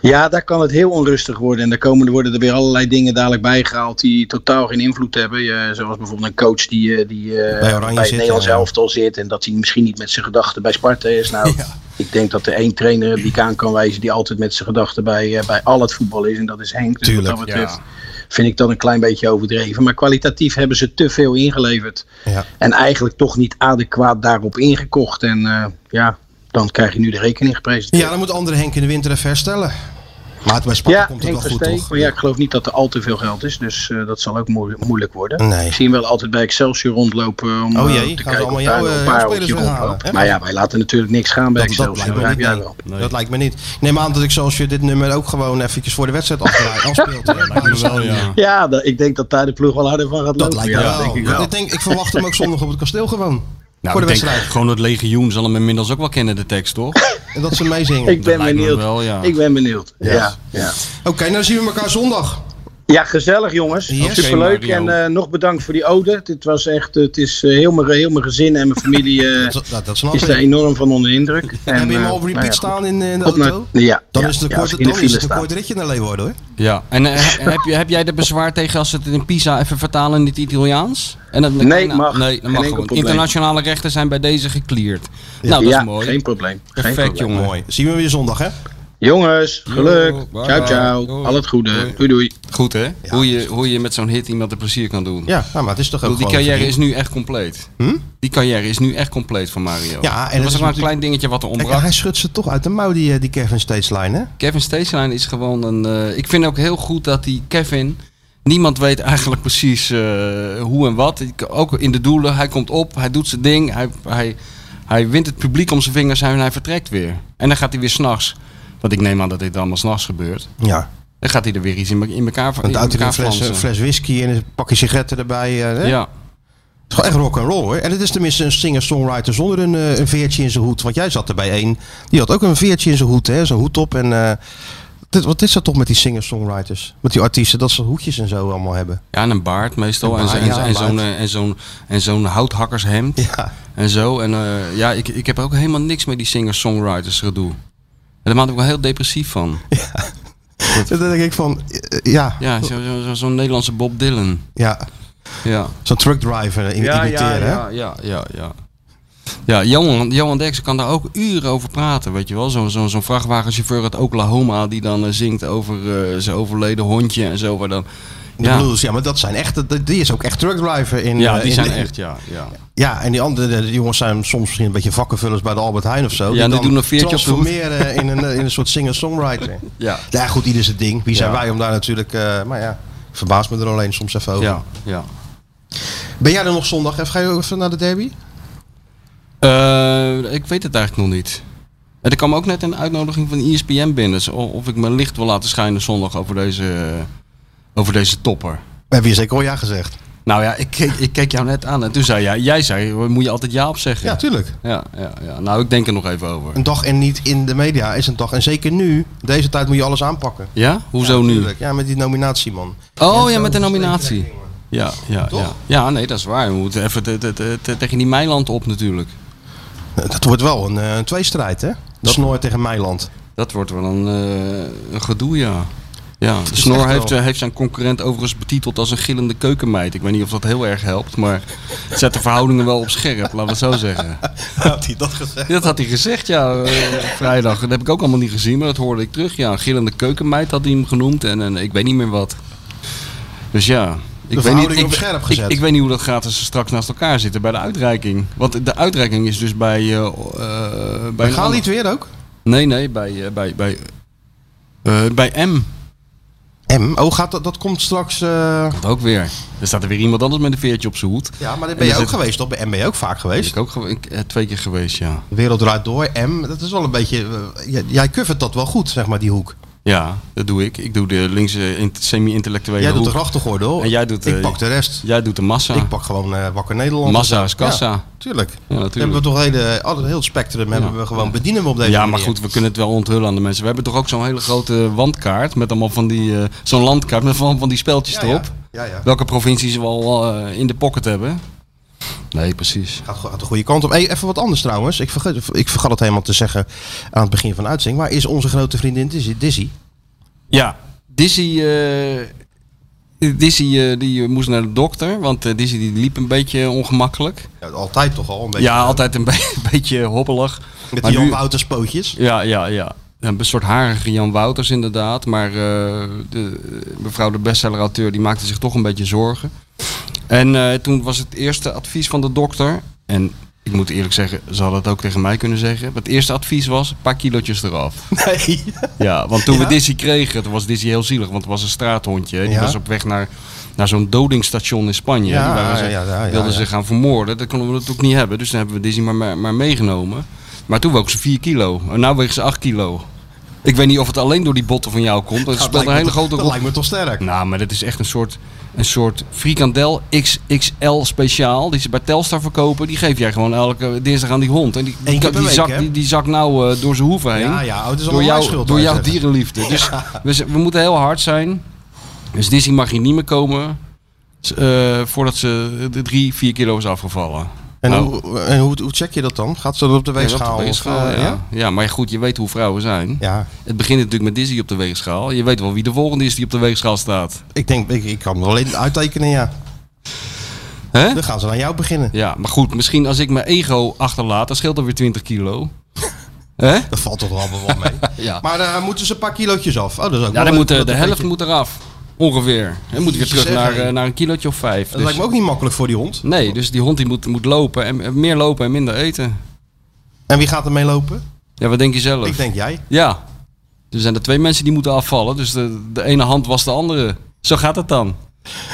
E: Ja, daar kan het heel onrustig worden. En daar komen, er worden er weer allerlei dingen dadelijk bijgehaald die totaal geen invloed hebben. Je, zoals bijvoorbeeld een coach die, eh, die eh,
B: Bij
E: bij,
B: Oranje
E: het
B: zit,
E: Nederlands
B: ja.
E: elftal zit. En dat hij misschien niet met zijn gedachten bij Sparta is. Nou, ik denk dat er één trainer die ik aan kan wijzen die altijd met zijn gedachten bij, eh, bij al het voetbal is. En dat is Henk. Dus
B: Tuurlijk,
E: wat dat betreft vind ik dat een klein beetje overdreven. Maar kwalitatief hebben ze te veel ingeleverd.
B: Ja.
E: En eigenlijk toch niet adequaat daarop ingekocht. En eh, ja, dan krijg je nu de rekening gepresenteerd.
B: Ja, dan moet andere Henk in de winter even herstellen. Maar bij Sparta
E: Ja,
B: komt het
E: Henk
B: wel goed,
E: Versteeg.
B: toch?
E: Maar ja, ik geloof niet dat er al te veel geld is. Dus eh, dat zal ook moe- moeilijk worden.
B: Nee.
E: Ik zie hem wel altijd bij Excelsior rondlopen. Om,
B: Oh
E: eh,
B: jee,
E: te
B: gaan ze
E: kijken
B: allemaal
E: of daar
B: jouw,
E: nog een
B: eh,
E: paar
B: spelers
E: rondje
B: weghalen,
E: rondlopen.
B: hè?
E: Maar ja, wij laten natuurlijk niks gaan bij
B: Dat, dat
E: Excelsior.
B: lijkt me
E: Ja,
B: niet.
E: ja,
B: nee.
E: wel.
C: Nee.
B: Dat lijkt me niet. Ik Neem aan dat Excelsior dit nummer ook gewoon eventjes voor de wedstrijd afdraai- afspeelt. hè?
C: Lijkt me wel, ja.
E: Ja, dat- ik denk dat daar de ploeg wel harder van gaat
B: Dat
E: lopen.
B: lijkt me
E: ja,
B: wel.
E: denk ik
B: Want
E: wel.
B: Ik, denk, ik verwacht hem ook zondag op het kasteel gewoon.
C: Nou,
B: voor de
C: ik denk
B: wedstrijd.
C: gewoon het legioen zal hem inmiddels ook wel kennen, de tekst, toch?
B: En dat ze meezingen.
E: Ik ben
C: lijkt me
E: benieuwd.
C: wel, ja.
E: Ik ben benieuwd. Ja, ja.
B: Oké, nou zien we elkaar zondag.
E: ja, gezellig jongens.
B: Yes.
E: Superleuk.
C: Oké,
E: en
C: Mario.
E: eh, nog bedankt voor die ode. Dit was echt, eh, het is eh, heel, mijn, heel mijn gezin en mijn familie eh,
B: Dat, dat, dat snap
E: is
B: ik.
E: daar enorm van onder de indruk. En,
B: Heb je hem
E: eh,
B: al op repeat
E: nou ja, goed.
B: staan in, eh, de
E: Op naar-
B: auto?
E: ja,
B: Dan
E: ja,
B: is het
E: ja,
B: een
E: als
B: kort,
E: ik in de
B: dan is
E: file
B: het een
E: sta.
B: kort ritje naar Leeuwarden hoor.
C: Ja. En eh, he- heb, je, heb jij er bezwaar tegen als ze het in Pisa even vertalen in het Italiaans? En dat,
E: Nee,
C: nou,
E: mag.
C: Nee, dat
E: Geen
C: mag
E: enkel
C: gewoon.
E: probleem.
C: Internationale rechten zijn bij deze gecleared. Nou, dat
E: ja,
C: is mooi.
E: geen probleem. Geen
C: Perfect,
E: probleem.
C: jongen.
B: Mooi. Zien we weer zondag hè?
E: Jongens, geluk.
C: Yo, bye.
E: ciao, ciao.
C: Doei.
E: Al het goede. Doei, doei.
C: Goed, hè? Hoe, je, hoe je met zo'n hit iemand een plezier kan doen.
B: Ja, nou, maar het is toch
C: Ik
B: ook
C: bedoel, die
B: gewoon
C: carrière is
B: verdiend.
C: nu echt compleet. Die carrière is nu echt compleet van Mario.
B: Ja, en dat
C: er was
B: is
C: ook maar een
B: natuurlijk-
C: klein dingetje wat er
B: En
C: ontbrak.
B: hij schudt ze toch uit de mouw, die, eh, die Kevin Stageline hè?
C: Kevin Stageline is gewoon een... eh, ik vind ook heel goed dat die Kevin... Niemand weet eigenlijk precies eh, hoe en wat. Ik- Ook in de doelen. Hij komt op, hij doet zijn ding. Hij, hij, hij wint het publiek om zijn vingers en hij vertrekt weer. En dan gaat hij weer s'nachts. Want ik neem aan dat dit allemaal s'nachts gebeurt.
B: Ja.
C: Dan gaat hij er weer iets in, me- in elkaar in
B: Dan houdt hij
C: elkaar
B: een fles,
C: flansen.
B: een fles whisky en een pakje sigaretten erbij. eh, hè?
C: Ja.
B: Het is gewoon echt rock and roll hoor. En het is tenminste een singer-songwriter zonder een, eh, een veertje in zijn hoed. Want jij zat er bij één. Die had ook een veertje in zijn hoed, hè? Zo'n hoed op. En eh, dit, wat is dat toch met die singer-songwriters? Met die artiesten, dat ze hoedjes en zo allemaal hebben.
C: Ja, en een baard meestal.
B: Een
C: en zo-
B: baard,
C: en zo-
B: ja,
C: en
B: een
C: zo'n
B: baard.
C: eh, en zo'n en zo'n houthakkershemd.
B: Ja.
C: En zo. En eh, ja, ik, ik heb ook helemaal niks met die singer-songwriters gedoe. En daar maak ik wel heel depressief van.
B: En dan denk ik van, eh, ja, ja.
C: Ja, zo'n zo, zo, zo'n Nederlandse Bob Dylan. Ja.
B: Zo'n truckdriver eh, im-
C: ja,
B: imiteren, hè?
C: ja, ja, ja, ja. Ja, Johan, Johan Derksen kan daar ook uren over praten, weet je wel. Zo'n zo, zo'n vrachtwagenchauffeur uit Oklahoma die dan eh, zingt over eh, zijn overleden hondje en zo. Waar dan,
B: De
C: ja,
B: blues, ja, maar dat zijn echt, dat- die is ook echt truckdriver in...
C: ja,
B: eh,
C: die
B: in-
C: zijn echt, ja. ja.
B: Ja, en die andere die jongens zijn soms misschien een beetje vakkenvullers bij de Albert Heijn of zo.
C: Ja, die
B: dan
C: doen een veertje op de hoed.
B: transformeren in een, eh, in een soort singer-songwriter.
C: ja.
B: Ja, goed, ieder zijn ding. Wie zijn
C: Ja.
B: wij om daar natuurlijk... eh, maar ja, ik verbaas me er alleen soms even over.
C: Ja, ja.
B: Ben jij er nog zondag? Even, ga je ook even naar de derby?
C: Eh, ik weet het eigenlijk nog niet. En Er kwam ook net een uitnodiging van E ESPN binnen. zo- Of ik mijn licht wil laten schijnen zondag over deze, over deze topper.
B: Heb je zeker al ja gezegd?
C: Nou ja, ik keek, ik keek jou net aan en toen zei jij, jij zei, moet je altijd ja op zeggen.
B: Ja, tuurlijk.
C: ja, ja, ja. Nou, ik denk er nog even over.
B: Een dag en niet in de media is een dag. En zeker nu, deze tijd moet je alles aanpakken.
C: Ja? Hoezo
B: ja,
C: nu?
B: tuurlijk. Ja, met die nominatie, man.
C: Oh ja, met de nominatie. Ja, ja, ja.
B: Toch?
C: ja, nee, dat is waar. We moeten even te- te- te- te- tegen die Meiland op natuurlijk.
B: Dat wordt wel een, eh, een tweestrijd, hè? De Snoor tegen Meiland.
C: Dat wordt wel een, eh, een gedoe, ja. Ja, de
B: is
C: Snor
B: echt
C: heeft,
B: wel-
C: eh, heeft zijn concurrent overigens betiteld als een gillende keukenmeid. Ik weet niet of dat heel erg helpt, maar het zet de verhoudingen wel op scherp, laten we het zo zeggen.
B: Had hij dat gezegd?
C: Dat had hij gezegd, ja, eh, vrijdag. Dat heb ik ook allemaal niet gezien, maar dat hoorde ik terug. Ja, een gillende keukenmeid had hij hem genoemd en, en ik weet niet meer wat. Dus ja... Ik weet, niet,
B: verhoudingen
C: ik,
B: op scherp
C: ik-
B: gezet.
C: Ik, weet niet hoe dat gaat als ze straks naast elkaar zitten bij de uitreiking. Want de uitreiking is dus bij... eh eh, bij
B: We
C: een
B: gaan
C: ander-
B: niet weer ook?
C: Nee, nee, bij, eh, bij, bij, eh, bij M.
B: M? Oh, gaat dat, dat komt straks... eh,
C: Dat ook weer. Er staat er weer iemand anders met een veertje op zijn hoed.
B: Ja, maar daar
C: En
B: ben je
C: dan
B: ook
C: zit-
B: geweest, toch? Bij M ben je ook vaak
C: Ben
B: geweest.
C: ik ook gewe- ik, eh, twee keer geweest, ja.
B: De wereld draait door, M. Dat is wel een beetje... eh, j- jij covert dat wel goed, zeg maar, die hoek.
C: Ja, dat doe ik. Ik doe de linkse in- semi-intellectuele
B: Jij doet de
C: hoek.
B: grachtengordel.
C: En jij doet,
B: Ik
C: eh,
B: pak de rest.
C: Jij doet de massa.
B: Ik pak gewoon eh, Wakker Nederland.
C: massa is kassa.
B: Ja,
C: Ja,
B: tuurlijk.
C: natuurlijk.
B: Hebben we toch hele, al het heel spectrum hebben
C: Ja.
B: we gewoon bedienen we op deze
C: ja, maar
B: manier.
C: goed, we kunnen het wel onthullen aan de mensen. We hebben toch ook zo'n hele grote wandkaart met allemaal van die... eh, zo'n landkaart met allemaal van die speltjes
B: Ja,
C: erop.
B: ja. Ja, ja.
C: welke provincies we al eh, in de pocket hebben. Nee, precies.
B: Gaat, go- gaat de goede kant op. Hey, even wat anders trouwens. Ik vergat, ik vergat het helemaal te zeggen aan het begin van de uitzending. Maar is onze grote vriendin Dizzy? Dizzy?
C: Ja, Dizzy, eh, Dizzy eh, die moest naar de dokter, want eh, Dizzy die liep een beetje ongemakkelijk.
B: Ja, altijd toch al? Een beetje,
C: Ja, altijd een be- beetje hobbelig.
B: Met
C: Maar
B: die Jan
C: nu-
B: Wouters pootjes.
C: Ja, ja, ja. Een soort harige Jan Wouters inderdaad. Maar eh, de, mevrouw de bestseller-auteur die maakte zich toch een beetje zorgen. En eh, toen was het eerste advies van de dokter. En ik moet eerlijk zeggen, ze hadden het ook tegen mij kunnen zeggen. Maar het eerste advies was, een paar kilootjes eraf.
B: Nee.
C: Ja, want toen we Dizzy kregen, toen was Dizzy heel zielig. Want het was een straathondje. hè. Die
B: Ja.
C: was op weg naar, naar zo'n dodingstation in Spanje.
B: Ja,
C: die waren ze,
B: ja, ja, ja,
C: wilden
B: ja.
C: ze gaan vermoorden. Dat konden we natuurlijk niet hebben. Dus dan hebben we Dizzy maar, maar, maar meegenomen. Maar toen woog ze 4 kilo. En nu weegt ze 8 kilo. Ik weet niet of het alleen door die botten van jou komt. Dat speelt een hele grote
B: Dat
C: rol.
B: lijkt me toch sterk.
C: Nou, maar dit is echt een soort, een soort frikandel XXL speciaal. Die ze bij Telstar verkopen. Die geef jij gewoon elke dinsdag aan die hond. En die, die,
B: Eén keer
C: die,
B: per week,
C: zak,
B: hè?
C: die, die zak nou eh, door zijn hoeven heen
B: Ja, ja, het is
C: door,
B: allemaal
C: jou,
B: mijn schuld.
C: door
B: wou je
C: jouw
B: zeggen.
C: dierenliefde. Dus we, z- we moeten heel hard zijn. Dus Disney mag hier niet meer komen s- eh, voordat ze de drie, vier kilo is afgevallen.
B: En,
C: Nou,
B: hoe, en hoe, hoe check je dat dan? Gaat ze dat op de
C: ja,
B: weegschaal?
C: op de
B: of,
C: weegschaal,
B: eh,
C: ja. ja, maar goed, je weet hoe vrouwen zijn.
B: Ja,
C: Het begint natuurlijk met Disney op de weegschaal. Je weet wel wie de volgende is die op de weegschaal staat.
B: ik denk, ik, ik kan hem alleen uittekenen, ja.
C: Hè?
B: Dan gaan ze aan jou beginnen.
C: Ja, maar goed, misschien als ik mijn ego achterlaat, dan scheelt er weer 20 kilo. Hè? Nou,
B: Dat valt toch allemaal wel mee.
C: Ja.
B: Maar daar moeten ze een paar kilootjes af. Oh, dat is ook
C: Ja,
B: wel
C: dan
B: leuk,
C: moet de,
B: dat
C: de
B: een
C: helft
B: beetje-
C: moet eraf. Ongeveer. En moet weer
B: Jezus,
C: terug
B: zeg,
C: naar,
B: hé.
C: eh, naar een kilootje of vijf.
B: Dat
C: Dus-
B: lijkt me ook niet makkelijk voor die hond.
C: Nee, dus die hond die moet, moet lopen. En, en meer lopen en minder eten.
B: En wie gaat er mee lopen?
C: Ja, wat denk je zelf?
B: Ik denk jij.
C: Ja. Er zijn er twee mensen die moeten afvallen. Dus de, de ene hand was de andere. Zo gaat het dan.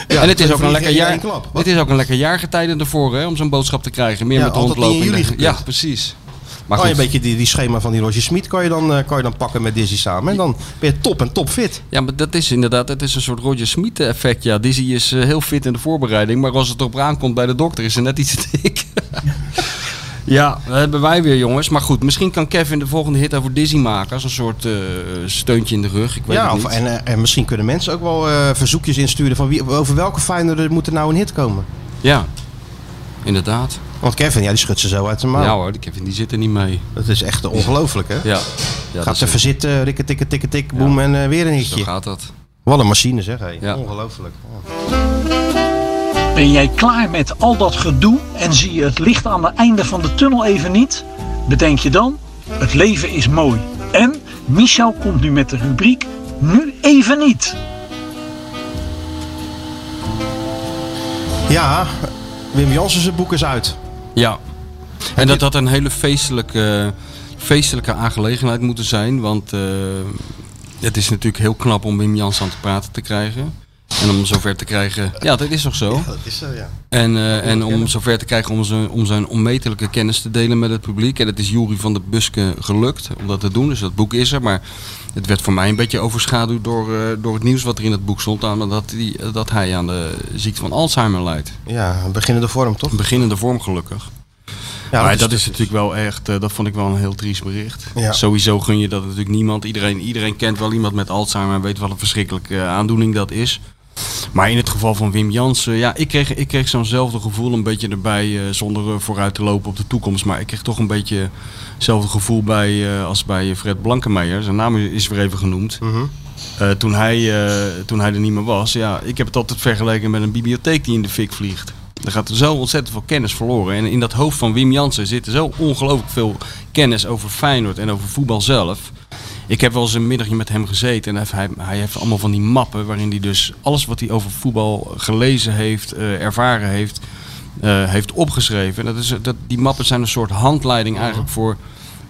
B: Ja,
C: en het
B: twee
C: is, ook
B: vliegen
C: een lekker
B: in
C: jaar,
B: één klap. Wat?
C: het is ook een lekker jaargetijde ervoor hè, om zo'n boodschap te krijgen. Meer
B: Ja,
C: met de
B: had
C: hond
B: dat niet
C: lopen.
B: in juli
C: ja,
B: gekund?
C: precies. Maar
B: Kan je
C: goed.
B: een beetje die, die schema van die Roger Smit kan je, dan, eh, kan je dan pakken met Dizzy samen. En dan ben je top en top fit.
C: Ja, maar dat is inderdaad dat is een soort Roger Smit effect. Ja, Dizzy is eh, heel fit in de voorbereiding. Maar als het erop aankomt bij de dokter is ze net iets te dik. ja, dat hebben wij weer jongens. Maar goed, misschien kan Kevin de volgende hit over Dizzy maken. Als een soort eh, steuntje in de rug. Ik weet
B: Ja,
C: het
B: of,
C: niet.
B: en, eh, en misschien kunnen mensen ook wel eh, verzoekjes insturen van wie, over welke Feyenoorder moet er nou een hit komen.
C: Ja, inderdaad.
B: Want Kevin, ja, die schudt ze zo uit de mouw.
C: Ja hoor, die Kevin die zit er niet mee.
B: Dat is echt ongelooflijk, hè?
C: Ja. ja dat
B: Gaat
C: is-
B: even zitten, rikke, tikke, tikke, tik, boem en eh, weer een
C: Zo
B: hitje.
C: gaat dat.
B: Wat een machine, zeg. hé.
C: Ja.
B: Ongelooflijk. Ja.
G: Ben jij klaar met al dat gedoe en zie je het licht aan het einde van de tunnel even niet? Bedenk je dan, het leven is mooi. En Michel komt nu met de rubriek Nu even niet.
B: Ja, Wim Jansen's boek is uit.
C: Ja. En dat had een hele feestelijke, feestelijke aangelegenheid moeten zijn. Want eh, het is natuurlijk heel knap om Wim Jans aan te praten te krijgen. En om hem zover te krijgen. Ja, dat is toch zo?
B: Dat is zo, ja.
C: En, eh, en om hem zover te krijgen om zijn, om zijn onmetelijke kennis te delen met het publiek. En het is Jury van de Buske gelukt om dat te doen. Dus dat boek is er. Maar het werd voor mij een beetje overschaduwd door, eh, door het nieuws wat er in het boek stond. Aan dat, die, dat hij aan de ziekte van Alzheimer lijdt.
B: Ja, een beginnende vorm, toch?
C: Een beginnende vorm gelukkig.
B: Ja, dus-
C: maar dat is natuurlijk wel echt, eh, dat vond ik wel een heel triest bericht.
B: Ja.
C: Sowieso gun je dat natuurlijk niemand. Iedereen, iedereen kent wel iemand met Alzheimer en weet wat een verschrikkelijke eh, aandoening dat is. Maar in het geval van Wim Jansen, ja, ik kreeg, ik kreeg zo'nzelfde gevoel een beetje erbij, eh, zonder eh, vooruit te lopen op de toekomst. Maar ik kreeg toch een beetje hetzelfde gevoel bij, eh, als bij Fred Blankenmeijer. Zijn naam is weer even genoemd. Eh, toen, hij, eh, toen hij er niet meer was, ja, ik heb het altijd vergeleken met een bibliotheek die in de fik vliegt. Er gaat zo ontzettend veel kennis verloren. En in dat hoofd van Wim Jansen zit zo ongelooflijk veel kennis over Feyenoord en over voetbal zelf. Ik heb wel eens een middagje met hem gezeten en hij heeft- hij, hij heeft allemaal van die mappen waarin hij dus alles wat hij over voetbal gelezen heeft, eh, ervaren heeft, eh, heeft opgeschreven. En dat is, dat, die mappen zijn een soort handleiding eigenlijk voor,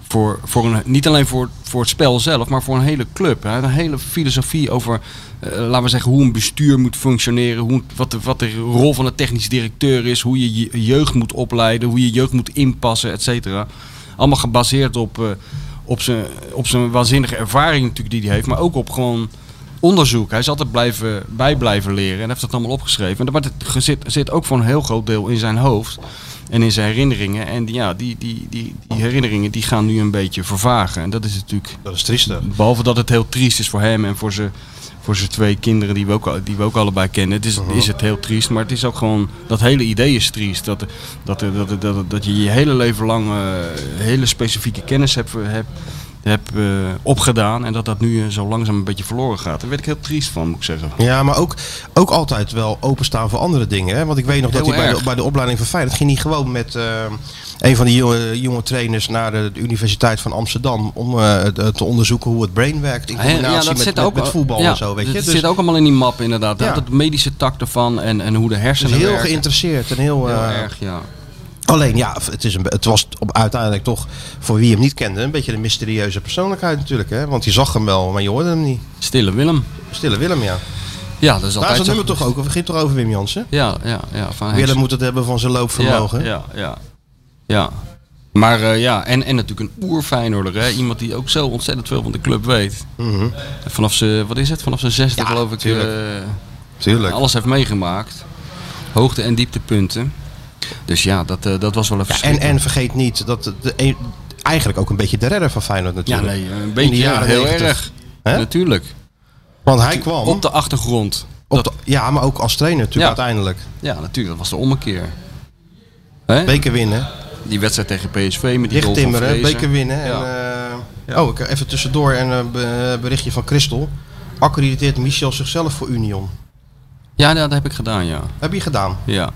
C: voor, voor een, niet alleen voor, voor het spel zelf, maar voor een hele club. Hij had een hele filosofie over, eh, laten we zeggen, hoe een bestuur moet functioneren, hoe, wat, de, wat de rol van de technisch directeur is, hoe je je jeugd moet opleiden, hoe je jeugd moet inpassen, et cetera. Allemaal gebaseerd op, eh, op, zijn, op zijn waanzinnige ervaring natuurlijk die hij heeft, maar ook op gewoon onderzoek. Hij is altijd blijven, bij blijven leren en heeft dat allemaal opgeschreven. En dat maar het zit, zit ook voor een heel groot deel in zijn hoofd en in zijn herinneringen. En die, ja, die, die, die, die herinneringen die gaan nu een beetje vervagen. En dat is natuurlijk,
B: Dat is triester.
C: behalve dat het heel triest is voor hem en voor zijn, voor zijn twee kinderen die we ook, al- die we ook allebei kennen. Het is,
B: Mhm.
C: is het heel triest, maar het is ook gewoon, dat hele idee is triest. Dat, dat, dat, dat, dat, dat je je hele leven lang eh, hele specifieke kennis hebt, hebt, hebt eh, opgedaan en dat dat nu eh, zo langzaam een beetje verloren gaat. Daar werd ik heel triest van, moet ik zeggen.
B: Ja, maar ook, ook altijd wel openstaan voor andere dingen. Hè? Want ik weet nog dat
C: Heel
B: hij bij de,
C: erg.
B: bij de opleiding van Feyenoord ging hij gewoon met eh, een van die jonge, jonge trainers naar de, Universiteit van Amsterdam om eh, te- te onderzoeken hoe het brain werkt in combinatie met, met, met voetbal
C: ja,
B: en zo. Weet je?
C: Dat
B: Dus,
C: zit ook allemaal in die map inderdaad.
B: Ja.
C: Dat het medische tak ervan en, en hoe de
B: dus
C: hersenen
B: heel
C: werken.
B: geïnteresseerd en heel.
C: Heel
B: eh,
C: erg, ja.
B: alleen ja, het, is een, be- het was op, uiteindelijk toch voor wie hem niet kende een beetje de mysterieuze persoonlijkheid natuurlijk. Hè? Want je zag hem wel, maar je hoorde hem niet.
C: Stille Willem.
B: Stille Willem, ja.
C: Ja, dat is
B: Daar is
C: altijd
B: het
C: zo.
B: nummer toch ook. We toch over Wim Jansen.
C: Ja, ja, ja. Van Henk
B: Willem moet het hebben van zijn loopvermogen.
C: Ja, ja, ja. ja. Maar eh, ja, en, en natuurlijk een oerfijnorder. Hè? Iemand die ook zo ontzettend veel van de club weet.
B: Mhm.
C: Vanaf zijn, wat is het? Vanaf zijn zesde
B: Ja,
C: geloof ik.
B: tuurlijk.
C: eh,
B: Tuurlijk.
C: alles heeft meegemaakt. Hoogte- en dieptepunten. Dus ja, dat, eh, dat was wel even
B: Ja, en, en vergeet niet dat de, een- eigenlijk ook een beetje de redder van Feyenoord
C: ja,
B: natuurlijk.
C: nee, een beetje ja,
B: jaren
C: heel
B: 90.
C: erg.
B: Hè?
C: Natuurlijk.
B: Want hij kwam
C: Op de achtergrond.
B: op de- ja, maar ook als trainer natuurlijk
C: Ja.
B: uiteindelijk.
C: Ja, natuurlijk. Dat was de ommekeer. Hè?
B: Beker winnen,
C: Die wedstrijd tegen PSV met die
B: dicht
C: goal van
B: timmeren,
C: Vrezen.
B: beker winnen. En, eh, Oh, ik, even tussendoor een eh, be- berichtje van Christel. Accrediteert Michel zichzelf voor Union.
C: Ja, dat heb ik gedaan, ja.
B: Heb je gedaan?
C: Ja.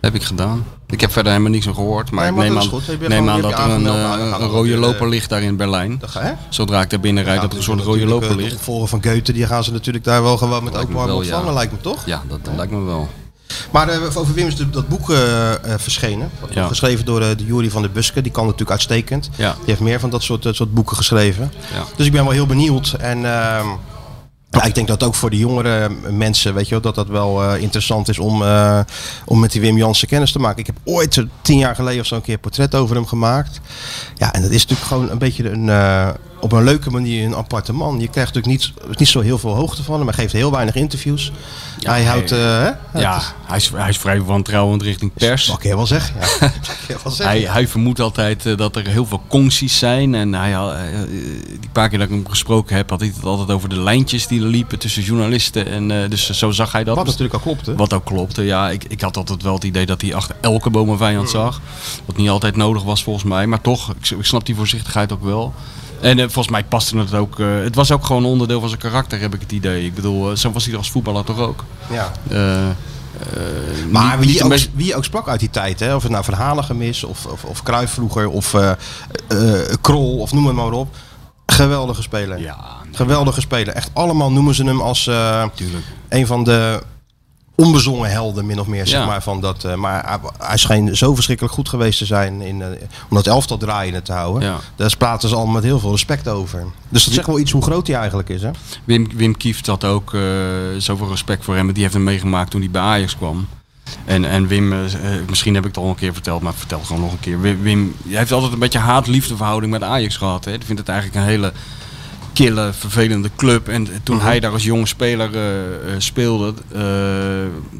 C: Heb ik gedaan. Ik heb verder helemaal niks van gehoord. Maar
B: Nee,
C: ik
B: maar
C: neem
B: dat
C: aan,
B: is goed. Je bent
C: neem
B: gewoon-
C: aan
B: je
C: dat
B: hebt
C: er
B: je
C: een,
B: aangemeld,
C: eh,
B: nou, dan gaan
C: een
B: we
C: rode
B: weer, eh,
C: loper ligt daar in Berlijn.
B: Dat ga, hè?
C: Zodra ik daar binnen rijd, dat er een soort rode loper
B: natuurlijk, eh, De
C: ligt.
B: opvolger van Goethe, die gaan ze natuurlijk daar wel gewoon met
C: Lijkt
B: open
C: me
B: armen
C: wel, ja.
B: ontvangen, lijkt me toch?
C: Ja, dat, dat lijkt me wel.
B: Maar eh, over Wim is de- dat boek eh, eh, verschenen.
C: Ja.
B: Geschreven door eh, de Jury van de Buske. Die kan natuurlijk uitstekend.
C: Ja.
B: Die heeft meer van dat soort, eh, soort boeken geschreven.
C: Ja.
B: Dus ik ben wel heel benieuwd. En ehm, ja, ik denk dat ook voor de jongere mensen, weet je wel, dat dat wel eh, interessant is om, eh, om met die Wim Jansen kennis te maken. Ik heb ooit eh, tien jaar geleden of zo een keer een portret over hem gemaakt. Ja, en dat is natuurlijk gewoon een beetje een, eh, op een leuke manier een aparte man. Je krijgt natuurlijk niet, niet zo heel veel hoogte van hem. Hij geeft heel weinig interviews. hij houdt... eh, hè?
C: Ja, hij is, hij is vrij wantrouwend richting pers.
B: Dat kan je wel zeggen. Ja. Dat kan je wel zeggen.
C: Hij, hij vermoedt altijd eh, dat er heel veel concties zijn. En hij, had, eh, eh, die paar keer dat ik hem gesproken heb, had hij het altijd over de lijntjes die er liepen tussen journalisten. En, eh, dus zo zag hij dat.
B: Wat natuurlijk al klopte.
C: Wat ook klopte, ja. Ik, ik had altijd wel het idee dat hij achter elke boom een vijand zag. Wat niet altijd nodig was volgens mij. Maar toch, ik, ik snap die voorzichtigheid ook wel. En eh, volgens mij paste het ook. eh, het was ook gewoon onderdeel van zijn karakter, heb ik het idee. Ik bedoel, eh, zo was hij als voetballer toch ook.
B: Ja.
C: Eh, eh,
B: Maar
C: niet-
B: wie,
C: niet
B: ook,
C: een beetje-
B: wie ook sprak uit die tijd, hè? of het nou Van Halegemis of, of, of Cruijff vroeger of eh, eh, Krol of noem het maar op. Geweldige speler.
C: Ja,
B: Geweldige speler. Echt allemaal noemen ze hem als eh,
C: natuurlijk.
B: een van de onbezongen helden min of meer. Zeg
C: Ja.
B: maar, van dat, eh, maar hij, hij scheen zo verschrikkelijk goed geweest te zijn in, eh, om dat elftal draaiende te houden.
C: Ja.
B: Daar praten ze allemaal met heel veel respect over. Dus dat zegt wel iets hoe groot hij eigenlijk is. Hè?
C: Wim, Wim Kieft had ook eh, zoveel respect voor hem. want Die heeft hem meegemaakt toen hij bij Ajax kwam. En, en Wim, eh, eh, misschien heb ik het al een keer verteld, maar ik vertel het gewoon nog een keer. Wim, Wim hij heeft altijd een beetje haat-liefde verhouding met Ajax gehad. Hè. Hij vindt het eigenlijk een hele kille, vervelende club. En toen hij daar als jonge speler eh, eh, speelde, eh,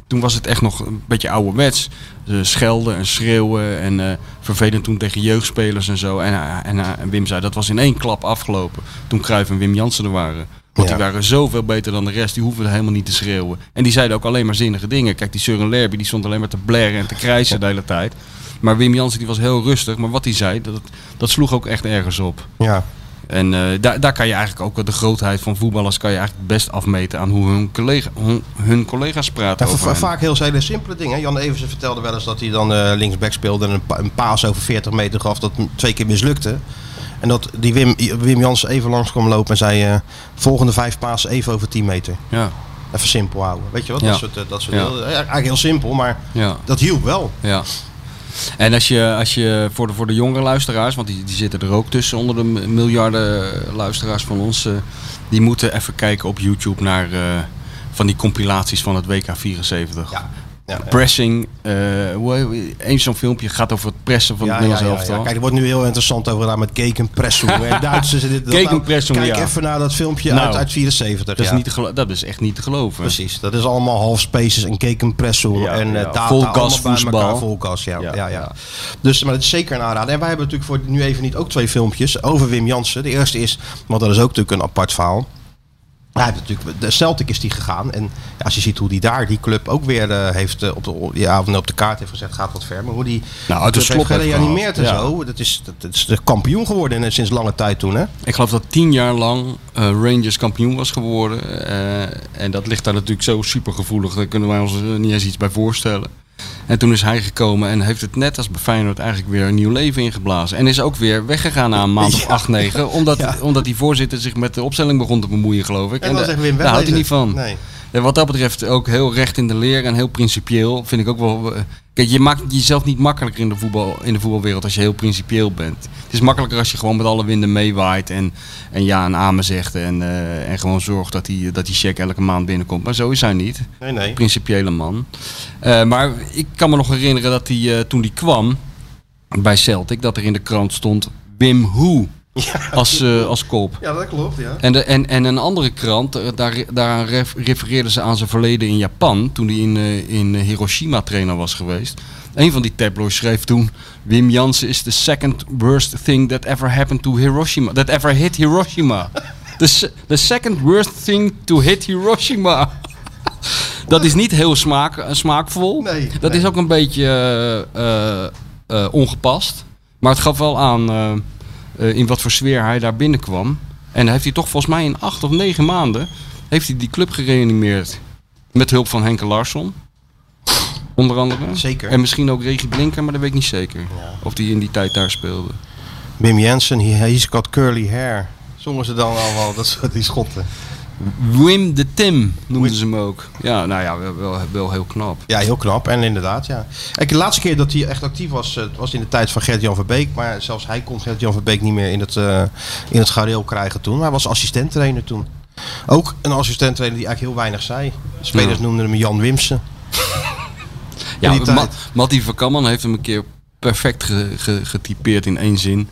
C: toen was het echt nog een beetje ouderwets. Ze schelden en schreeuwen en eh, vervelend toen tegen jeugdspelers en zo. En, hij- en, hij- en Wim zei, dat was in één klap afgelopen toen Cruijff en Wim Jansen er waren. Want
B: Ja.
C: die waren zoveel beter dan de rest, die hoefden helemaal niet te schreeuwen. En die zeiden ook alleen maar zinnige dingen. Kijk, die Søren Lerby die stond alleen maar te blaren en te krijsen de hele tijd. Maar Wim Jansen die was heel rustig, maar wat hij zei, dat, dat sloeg ook echt ergens op.
B: Ja.
C: En eh, daar, daar kan je eigenlijk ook wel de grootheid van voetballers kan je eigenlijk best afmeten aan hoe hun, collega, hun, hun collega's praten.
B: Ja, va-
C: over
B: va-
C: hen.
B: vaak heel hele simpele dingen. hè. Jan Eversen vertelde wel eens dat hij dan eh, linksback speelde en een, pa- een paas over 40 meter gaf dat hem twee keer mislukte. En dat die Wim, Wim Jans even langs kwam lopen en zei eh, volgende vijf paas even over 10 meter.
C: Ja,
B: Even simpel houden. Weet je wat?
C: Ja.
B: Dat soort, eh, dat soort
C: Ja.
B: heel- eh, eigenlijk heel simpel, maar
C: ja,
B: dat hielp wel.
C: ja. En als je, als je voor, de, voor de jongere luisteraars, want die, die zitten er ook tussen onder de m- miljarden eh, luisteraars van ons, eh, die moeten even kijken op YouTube naar eh, van die compilaties van het WK 74.
B: Ja. Ja, ja.
C: Pressing, eh, hoe- eens zo'n filmpje gaat over het pressen van
B: Ja,
C: het
B: ja,
C: Nederlands
B: ja, ja.
C: elftal.
B: Kijk, er wordt nu heel interessant over gedaan met Kekenpresso en Duitsers. en dit, dat.
C: Kekenpresso,
B: Nou, Kijk
C: ja.
B: even naar dat filmpje
C: Nou,
B: uit, uit 74.
C: dat, is
B: ja.
C: niet te gelo- dat is echt niet te geloven.
B: Precies, dat is allemaal half spaces en kekenpresso
C: Ja,
B: en eh,
C: ja.
B: data.
C: Vol
B: allemaal
C: gas
B: bij
C: voetbal.
B: elkaar, Vol gas, ja. Ja, ja,
C: Ja, ja.
B: Dus, maar dat is zeker een aanrader. En wij hebben natuurlijk voor nu even niet ook twee filmpjes over Wim Jansen. De eerste is, want dat is ook natuurlijk een apart verhaal. Hij heeft natuurlijk, de Celtic is die gegaan. En ja, als je ziet hoe die daar die club ook weer eh, heeft eh, op, de, ja, of op de kaart heeft gezet, gaat wat ver. Maar hoe die
C: Nou, uit de
B: club
C: slop
B: heeft
C: heeft
B: gereanimeerd en
C: gehaald,
B: zo. Dat is, dat, dat is de kampioen geworden eh, sinds lange tijd toen. Hè?
C: Ik geloof dat tien jaar lang eh, Rangers kampioen was geworden. eh, en dat ligt daar natuurlijk zo supergevoelig. Daar kunnen wij ons eh, niet eens iets bij voorstellen. En toen is hij gekomen en heeft het net als bij Feyenoord eigenlijk weer een nieuw leven ingeblazen. En is ook weer weggegaan na een maand of acht, negen. Omdat, omdat die voorzitter zich met de opstelling begon te bemoeien, geloof ik.
B: En dan
C: de-
B: zeggen we in
C: daar houdt hij niet van.
B: Nee.
C: En wat dat betreft ook heel recht in de leer en heel principieel. Vind ik ook wel. eh, Kijk, je maakt jezelf niet makkelijker in de, voetbal, in de voetbalwereld als je heel principieel bent. Het is makkelijker als je gewoon met alle winden meewaait en, en ja en amen zegt. En, eh, en gewoon zorgt dat die, dat die check elke maand binnenkomt. Maar zo is hij niet.
B: Nee, nee.
C: Principiële man. Eh, maar ik kan me nog herinneren dat hij eh, toen hij kwam bij Celtic, dat er in de krant stond Wim Hoe als, eh, als kop.
B: Ja, dat klopt. Ja.
C: En, de, en, en een andere krant, eh, daar, daar ref- refereerden ze aan zijn verleden in Japan. Toen hij in, eh, in Hiroshima trainer was geweest. Een van die tabloids schreef toen: Wim Jansen is the second worst thing that ever happened to Hiroshima. That ever hit Hiroshima. The, se- the second worst thing to hit Hiroshima. Dat is niet heel smaak, eh, smaakvol.
B: Nee,
C: dat
B: nee.
C: is ook een beetje eh, eh, eh, ongepast. Maar het gaf wel aan eh, eh, in wat voor sfeer hij daar binnenkwam. En heeft hij toch volgens mij in acht of negen maanden... heeft hij die club gereanimeerd. Met hulp van Henke Larsson. Onder andere.
B: Zeker.
C: En misschien ook Regie Blinker, maar dat weet ik niet zeker. Of die in die tijd daar speelde.
B: Wim Jensen, he, he's got curly hair. Zongen ze dan allemaal, dat soort die schotten.
C: Wim de Tim noemden ze hem ook. Ja, nou ja, wel, wel, wel heel knap.
B: Ja, heel knap. En inderdaad, ja. Kijk, de laatste keer dat hij echt actief was, eh, was in de tijd van Gert-Jan van Beek. Maar zelfs hij kon Gert-Jan van Beek niet meer in het, eh, in het gareel krijgen toen. Maar hij was assistenttrainer toen. Ook een assistenttrainer die eigenlijk heel weinig zei. De spelers
C: Ja.
B: noemden hem Jan Wimsen.
C: Ja,
B: die
C: Ma-
B: tijd.
C: Matty Verkamman heeft hem een keer perfect ge- ge- getypeerd in één zin.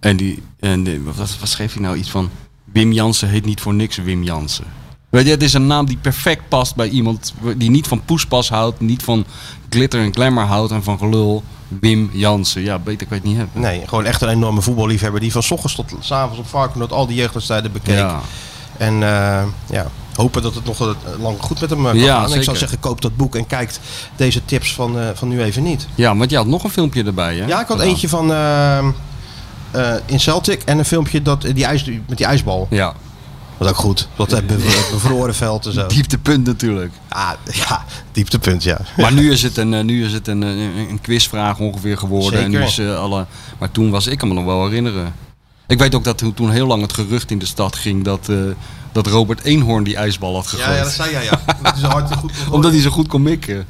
C: En, die, en die- wat, wat schreef hij nou? Iets van Wim Jansen heet niet voor niks Wim Jansen. Weet je, het is een naam die perfect past bij iemand die niet van poespas houdt, niet van glitter en glamour houdt en van gelul. Wim Jansen. Ja, beter kan je het niet hebben.
B: Nee, gewoon echt een enorme voetballiefhebber die van 's ochtends tot 's avonds op Varkenoord al die jeugdwedstrijden bekeek.
C: Ja.
B: En eh, ja, hopen dat het nog eh, lang goed met hem eh, kan
C: Ja,
B: gaan. En Ik zou
C: zeker.
B: zeggen, koop dat boek en kijkt deze tips van, eh, van nu even niet.
C: ja, want je had nog een filmpje erbij, hè?
B: Ja, ik had
C: Vandaan.
B: eentje van ehm, eh, in Celtic en een filmpje dat, eh, die ijs, met die ijsbal.
C: Ja,
B: Wat ook goed. Wat eh, be- be- bevroren veld en zo.
C: dieptepunt natuurlijk.
B: Ja, ja, dieptepunt, ja.
C: Maar nu is het een, eh, nu is het een, eh, een, een quizvraag ongeveer geworden. En nu
B: Zeker.
C: is, eh, alle... Maar toen was ik kan me nog wel herinneren. Ik weet ook dat toen- toen heel lang het gerucht in de stad ging dat, eh, dat Robert Eenhoorn die ijsbal had gegooid.
B: zei jij, ja. Dat is hard goed
C: Omdat hij zo goed kon mikken.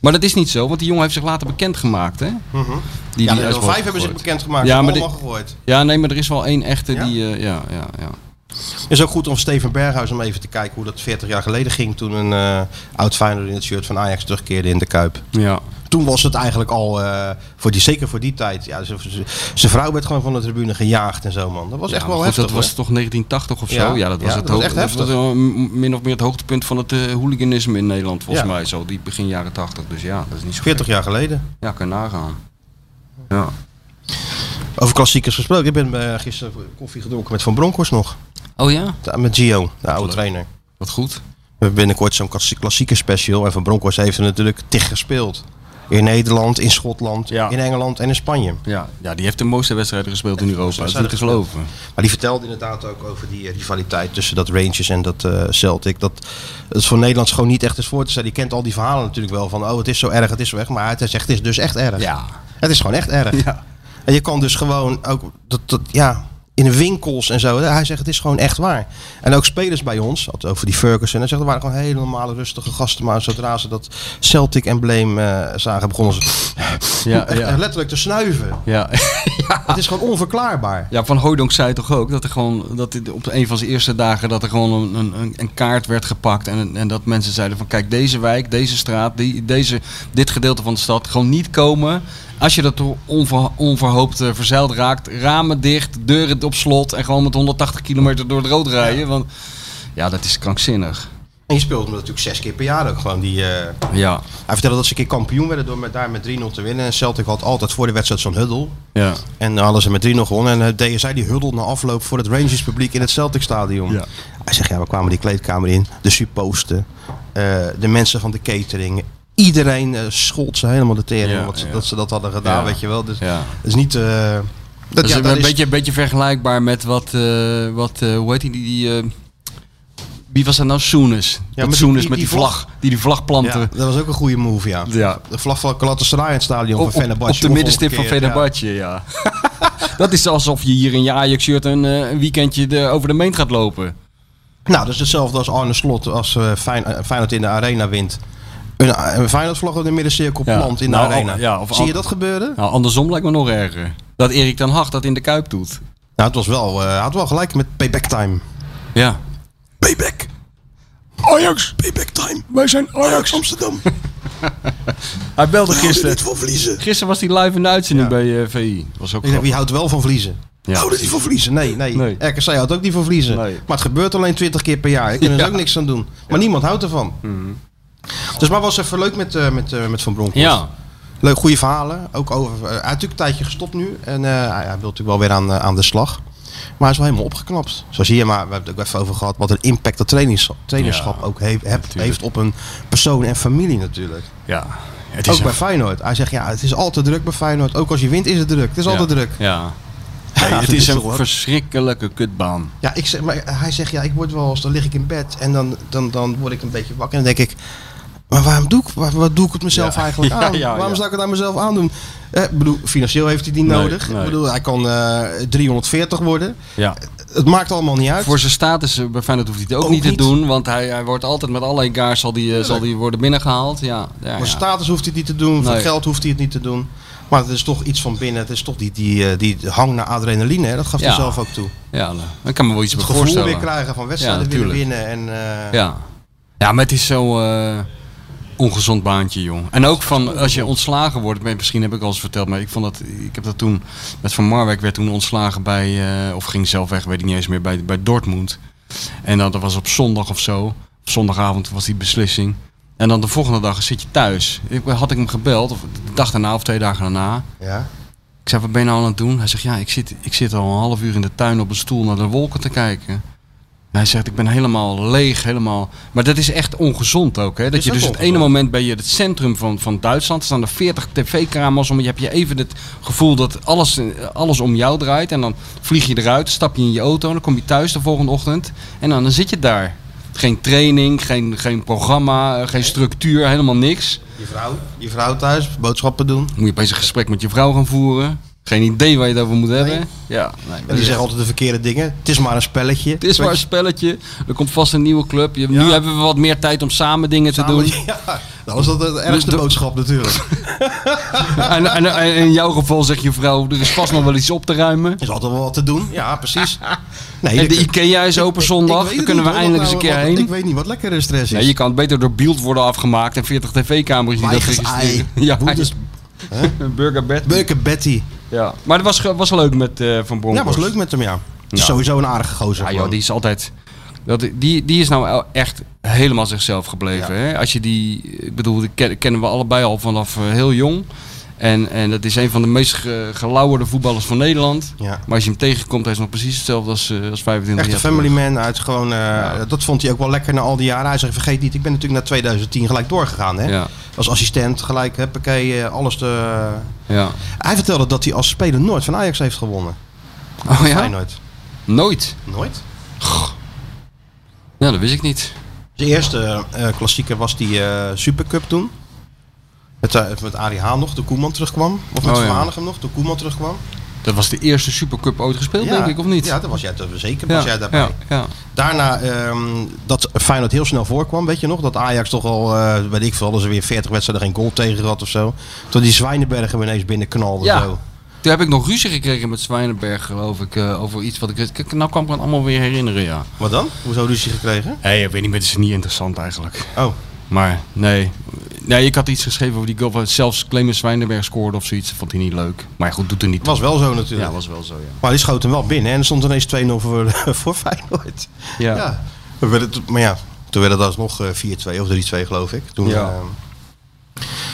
C: Maar dat is niet zo, want die jongen heeft zich later bekendgemaakt. Hè? Die,
B: Mhm. Ja,
C: die
B: maar
C: ijsbal
B: er
C: had
B: vijf hebben ze
C: gegooid.
B: bekendgemaakt.
C: Ja,
B: Ja, maar
C: maar
B: allemaal
C: dit-
B: gegooid.
C: Ja, nee, maar er is wel één echte
B: Ja?
C: die... eh, ja, ja, ja.
B: is ook goed om Steven Berghuis om even te kijken hoe dat 40 jaar geleden ging. Toen een eh oud Feyenoord in het shirt van Ajax terugkeerde in de Kuip.
C: ja.
B: Toen was het eigenlijk al, eh, voor die, zeker voor die tijd. Ja, z- z- zijn vrouw werd gewoon van de tribune gejaagd en zo, man. Dat was
C: Ja,
B: echt
C: maar
B: wel
C: goed,
B: heftig.
C: Dat was
B: hoor.
C: toch 1980 of zo?
B: Ja,
C: Ja, dat was
B: ja,
C: het
B: dat was
C: hoog-
B: echt
C: dat
B: heftig.
C: was, eh, m- min of meer het hoogtepunt van het eh, hooliganisme in Nederland, volgens
B: Ja.
C: mij. Zo, die begin jaren 80. Dus ja, dat is niet zo
B: 40 jaar geleden.
C: Ja, kan nagaan. Ja.
B: Over klassiekers gesproken. Ik ben eh, gisteren koffie gedronken met Van Bronckhorst nog.
C: Oh ja?
B: Ja, Met Gio, de oude trainer.
C: Wat goed.
B: We hebben binnenkort zo'n klassie- klassieke special. En Van Bronckhorst heeft er natuurlijk tig gespeeld. In Nederland, in Schotland,
C: Ja.
B: in Engeland en in Spanje.
C: Ja, ja die heeft de mooiste wedstrijden gespeeld in Europa. Dat is niet te
B: wedstrijden
C: geloven.
B: Maar die vertelde inderdaad ook over die eh, rivaliteit tussen dat Rangers en dat eh, Celtic. Dat het voor Nederlands gewoon niet echt is voor te stellen. Je kent al die verhalen natuurlijk wel van, oh het is zo erg, het is zo erg. Maar hij zegt, het is dus echt erg.
C: Ja.
B: Het is gewoon echt erg.
C: Ja.
B: En je kan dus gewoon ook, dat, dat, ja, in de winkels en zo. Hij zegt, het is gewoon echt waar. En ook spelers bij ons, had het over die Ferguson. Hij zegt, er waren gewoon hele normale, rustige gasten. Maar zodra ze dat Celtic-embleem eh, zagen, begonnen ze
C: Ja,
B: echt
C: ja.
B: letterlijk te snuiven.
C: Ja.
B: Het is gewoon onverklaarbaar.
C: ja, Van Hooydonk zei toch ook dat er gewoon, dat dit op een van zijn eerste dagen, dat er gewoon een, een, een kaart werd gepakt. En, en dat mensen zeiden van, kijk, deze wijk, deze straat, die, deze, dit gedeelte van de stad, gewoon niet komen. Als je dat door onver, onverhoopt eh, verzeild raakt, ramen dicht, deuren op slot en gewoon met 180 kilometer door het rood rijden. Want ja, dat is krankzinnig.
B: En En je speelt hem natuurlijk zes keer per jaar ook gewoon. Die, eh,
C: Ja,
B: Hij vertelde dat ze een keer kampioen werden door met, daar met 3-0 te winnen. En Celtic had altijd voor de wedstrijd zo'n huddle.
C: ja.
B: En dan hadden ze met 3-0 gewonnen. En eh, deden zij die huddle na afloop voor het Rangers publiek in het Celtic stadion.
C: Ja.
B: Hij zegt, ja, we kwamen die kleedkamer in. De supposten, eh, de mensen van de catering. Iedereen eh, schold ze helemaal de tering.
C: Ja,
B: omdat ze,
C: ja.
B: dat ze dat hadden gedaan,
C: Ja.
B: weet je wel. Dus
C: Ja.
B: het is niet... eh, dat,
C: Dat is
B: ja,
C: een,
B: dat is-
C: beetje, een beetje vergelijkbaar met wat, eh, wat eh, hoe heet die, die, die eh, wie was dat nou? Soenis. Ja,
B: met
C: met
B: die-
C: Soenis
B: die-
C: met die
B: die
C: vlag, die die vlag
B: ja,
C: planten.
B: dat was ook een goede move, ja.
C: Ja.
B: De vlag van Galatasaray in het stadion
C: Op,
B: van
C: op,
B: Fenerbahce.
C: op de
B: of
C: middenstip van
B: omgekeerd, ja.
C: Fenerbahce, ja. dat is alsof je hier in je Ajax-shirt een eh, een weekendje de, over de meent gaat lopen.
B: Nou, dat is hetzelfde als Arne Slot als eh, Fijn- eh, Feyenoord in de arena wint. Een, een Feyenoord-vlag op de middencirkel
C: Ja.
B: plant in de
C: Nou,
B: arena.
C: al- ja, of
B: Zie
C: al-
B: je dat gebeuren?
C: Nou, andersom lijkt me nog erger. Dat Erik ten Hag dat in de Kuip doet.
B: Nou, het was wel, eh, hij had wel gelijk met payback time.
C: Ja.
B: Payback.
C: Ajax!
B: Payback time.
C: Wij zijn
B: Ajax Amsterdam.
C: Hij belde gisteren.
B: van verliezen.
C: Gisteren was hij live in de uitzending
B: Ja.
C: bij eh, VI. Was ook
B: Ik denk,
C: grappig.
B: wie houdt wel van verliezen?
C: Ja.
B: Houden die van verliezen? Nee, nee.
C: Nee.
B: RKC houdt ook niet van verliezen.
C: Nee.
B: Maar het gebeurt alleen 20 keer per jaar. Ik kan er
C: Ja. Mhm.
B: ook niks aan doen. Maar niemand houdt ervan. Dus maar was even leuk met, eh, met, eh, met Van Bronckhorst.
C: Ja.
B: Leuk, goede verhalen. Ook over, eh, hij is natuurlijk een tijdje gestopt nu. En eh, hij, hij wil natuurlijk wel weer aan, eh, aan de slag. Maar hij is wel helemaal opgeknapt. Zo zie je maar, we hebben het ook even over gehad. Wat een impact dat trainings- trainerschap
C: Ja,
B: ook heeft, heeft,
C: natuurlijk.
B: heeft op een persoon en familie natuurlijk.
C: ja. Het
B: ook bij Feyenoord. Hij zegt ja, het is altijd druk bij Feyenoord. Ook als je wint is het druk. Het is altijd
C: ja.
B: druk.
C: Ja.
B: Ja,
C: het
B: dat
C: is een
B: toch ook-
C: verschrikkelijke kutbaan.
B: Ja, ik zeg, maar hij zegt ja, ik word wel eens, dan lig ik in bed en dan, dan, dan word ik een beetje wakker en dan denk ik, maar waarom doe ik, waar, wat doe ik het mezelf
C: Ja.
B: eigenlijk
C: Ja,
B: aan?
C: ja,
B: waarom
C: ja.
B: zou ik het aan mezelf aandoen? Eh, Ik bedoel, financieel heeft hij die
C: Nee,
B: nodig.
C: nee.
B: Ik bedoel, hij kan eh, 340 worden.
C: Ja.
B: Het maakt allemaal niet uit.
C: Voor zijn status eh, bij Feyenoord hoeft hij het ook,
B: Ook
C: niet te
B: niet.
C: doen. Want hij, hij wordt altijd met allerlei gaars zal die, eh, zal die worden binnengehaald. Ja, ja,
B: Voor
C: ja.
B: status hoeft hij het niet te doen, voor
C: Nee.
B: geld hoeft hij het niet te doen. Maar het is toch iets van binnen, het is toch die, die, eh, die hang naar adrenaline, hè? dat gaf hij
C: Ja.
B: zelf ook toe.
C: ja nou, dan kan ik me wel iets
B: Het
C: bij
B: gevoel weer
C: voorstellen.
B: krijgen van wedstrijden
C: Ja,
B: willen
C: tuurlijk.
B: winnen. En, eh,
C: Ja. ja, maar het is zo eh, ongezond baantje, jong. En ook van als je ontslagen wordt, maar misschien heb ik al eens verteld, maar ik vond dat, ik heb dat toen met Van Marwijk werd toen ontslagen bij, eh, of ging zelf weg, weet ik niet eens meer, bij, bij Dortmund. En dan, dat was op zondag of zo. Op zondagavond was die beslissing. En dan de volgende dag zit je thuis. Ik, had ik hem gebeld, of de dag daarna of twee dagen daarna.
B: ja.
C: Ik zei, wat ben je nou aan het doen? Hij zegt, ja, ik zit, ik zit al een half uur in de tuin op een stoel naar de wolken te kijken. En hij zegt, ik ben helemaal leeg, helemaal... Maar dat is echt ongezond ook, hè? Dat
B: Is
C: je
B: ook
C: dus het
B: ongezond.
C: ene moment ben je het centrum van, van Duitsland. Er staan er 40 tv-kamers om. Je hebt je even het gevoel dat alles, eh, alles om jou draait. En dan vlieg je eruit, stap je in je auto. Dan kom je thuis de volgende ochtend. En dan, dan zit je daar. Geen training, geen, geen programma, eh, geen structuur, helemaal niks.
B: Je vrouw, je vrouw thuis, boodschappen doen.
C: Moet je opeens een gesprek met je vrouw gaan voeren. Geen idee waar je het over moet hebben. Ja, nee,
B: En die zeggen altijd de verkeerde dingen. Het is maar een spelletje.
C: Het is maar een spelletje. Er komt vast een nieuwe club. Je- Nu hebben we wat meer tijd om samen dingen te doen.
B: Ja, dat was dat de ergste
C: de-
B: boodschap natuurlijk.
C: En, en, en in jouw geval zegt je vrouw, er is vast nog wel iets op te ruimen.
B: Er is altijd wel wat te doen. Ja, precies. Nee,
C: En
B: ik-
C: de IKEA is open zondag. Daar kunnen we eindelijk eens een keer
B: Ik
C: heen.
B: weet niet wat lekkere stress is.
C: Nee, je kan het beter door Beeld worden afgemaakt en 40 tv-camera's die dat
B: Weigels ei.
C: registreren. Ja,
B: Boetes-
C: een burgerbed.
B: Beuken Betty.
C: Ja. Maar het was, ge- was leuk met eh, Van
B: Ja,
C: Bronckhorst.
B: was leuk met hem, ja. Het is
C: Ja.
B: sowieso een aardige gozer.
C: Ja, Ah, joh,
B: gewoon.
C: die is altijd. Dat, die, die is nou el- echt helemaal zichzelf gebleven. Hè? Als je die. Ik bedoel, die ken- kennen we allebei al vanaf eh, heel jong. En, en dat is een van de meest ge, gelauwerde voetballers van Nederland.
B: Ja.
C: Maar als je hem tegenkomt, hij is nog precies hetzelfde als, eh, als 25
B: Echt een
C: jaar.
B: family
C: terug.
B: man uit gewoon... eh, Dat vond hij ook wel lekker na al die jaren. Hij zegt, vergeet niet, ik ben natuurlijk na 2010 gelijk doorgegaan. Hè?
C: Ja.
B: Als assistent gelijk, huppakee, eh, alles te...
C: Ja.
B: Hij vertelde dat hij als speler nooit van Ajax heeft gewonnen.
C: Oh ja?
B: Feyenoord.
C: Nooit.
B: Nooit?
C: Ja, dat wist ik niet.
B: De eerste eh klassieker was die eh, Supercup toen. Met, eh, met Arie Haan nog, toen Koeman terugkwam. Of met
C: Oh,
B: Van
C: ja.
B: Hanegem nog, toen Koeman terugkwam.
C: Dat was de eerste Supercup ooit gespeeld, denk ik, of niet?
B: Ja, dat was jij, dat, zeker was jij daarbij.
C: Ja, ja.
B: Daarna ehm, dat Feyenoord heel snel voorkwam, weet je nog? Dat Ajax toch al, eh weet ik veel, hadden ze weer 40 wedstrijden geen goal tegen had of zo. Toen die Zwijnenbergen ineens binnenknalde.
C: Ja.
B: Zo.
C: Toen heb ik nog ruzie gekregen met Zwijnenberg, geloof ik, eh, over iets wat ik... Kijk, Nou kan ik me het allemaal weer herinneren, ja.
B: Wat dan? Hoezo ruzie gekregen?
C: Nee, ik weet niet, maar het is niet interessant eigenlijk.
B: Oh,
C: Maar nee. Nee, ik had iets geschreven over die goal. waar Zelfs Clemens Zwijnenberg scoorde of zoiets. Vond hij niet leuk. Maar goed, doet er niet
B: het was wel zo natuurlijk.
C: Ja, was wel zo, ja.
B: Maar die schoot hem wel binnen hè, en er stond ineens 2-0 voor, voor Feyenoord.
C: Ja.
B: Ja. We werden t- maar ja, Toen werd het alsnog eh, 4-2 of 3-2 geloof ik. Toen,
D: Ja.
B: eh,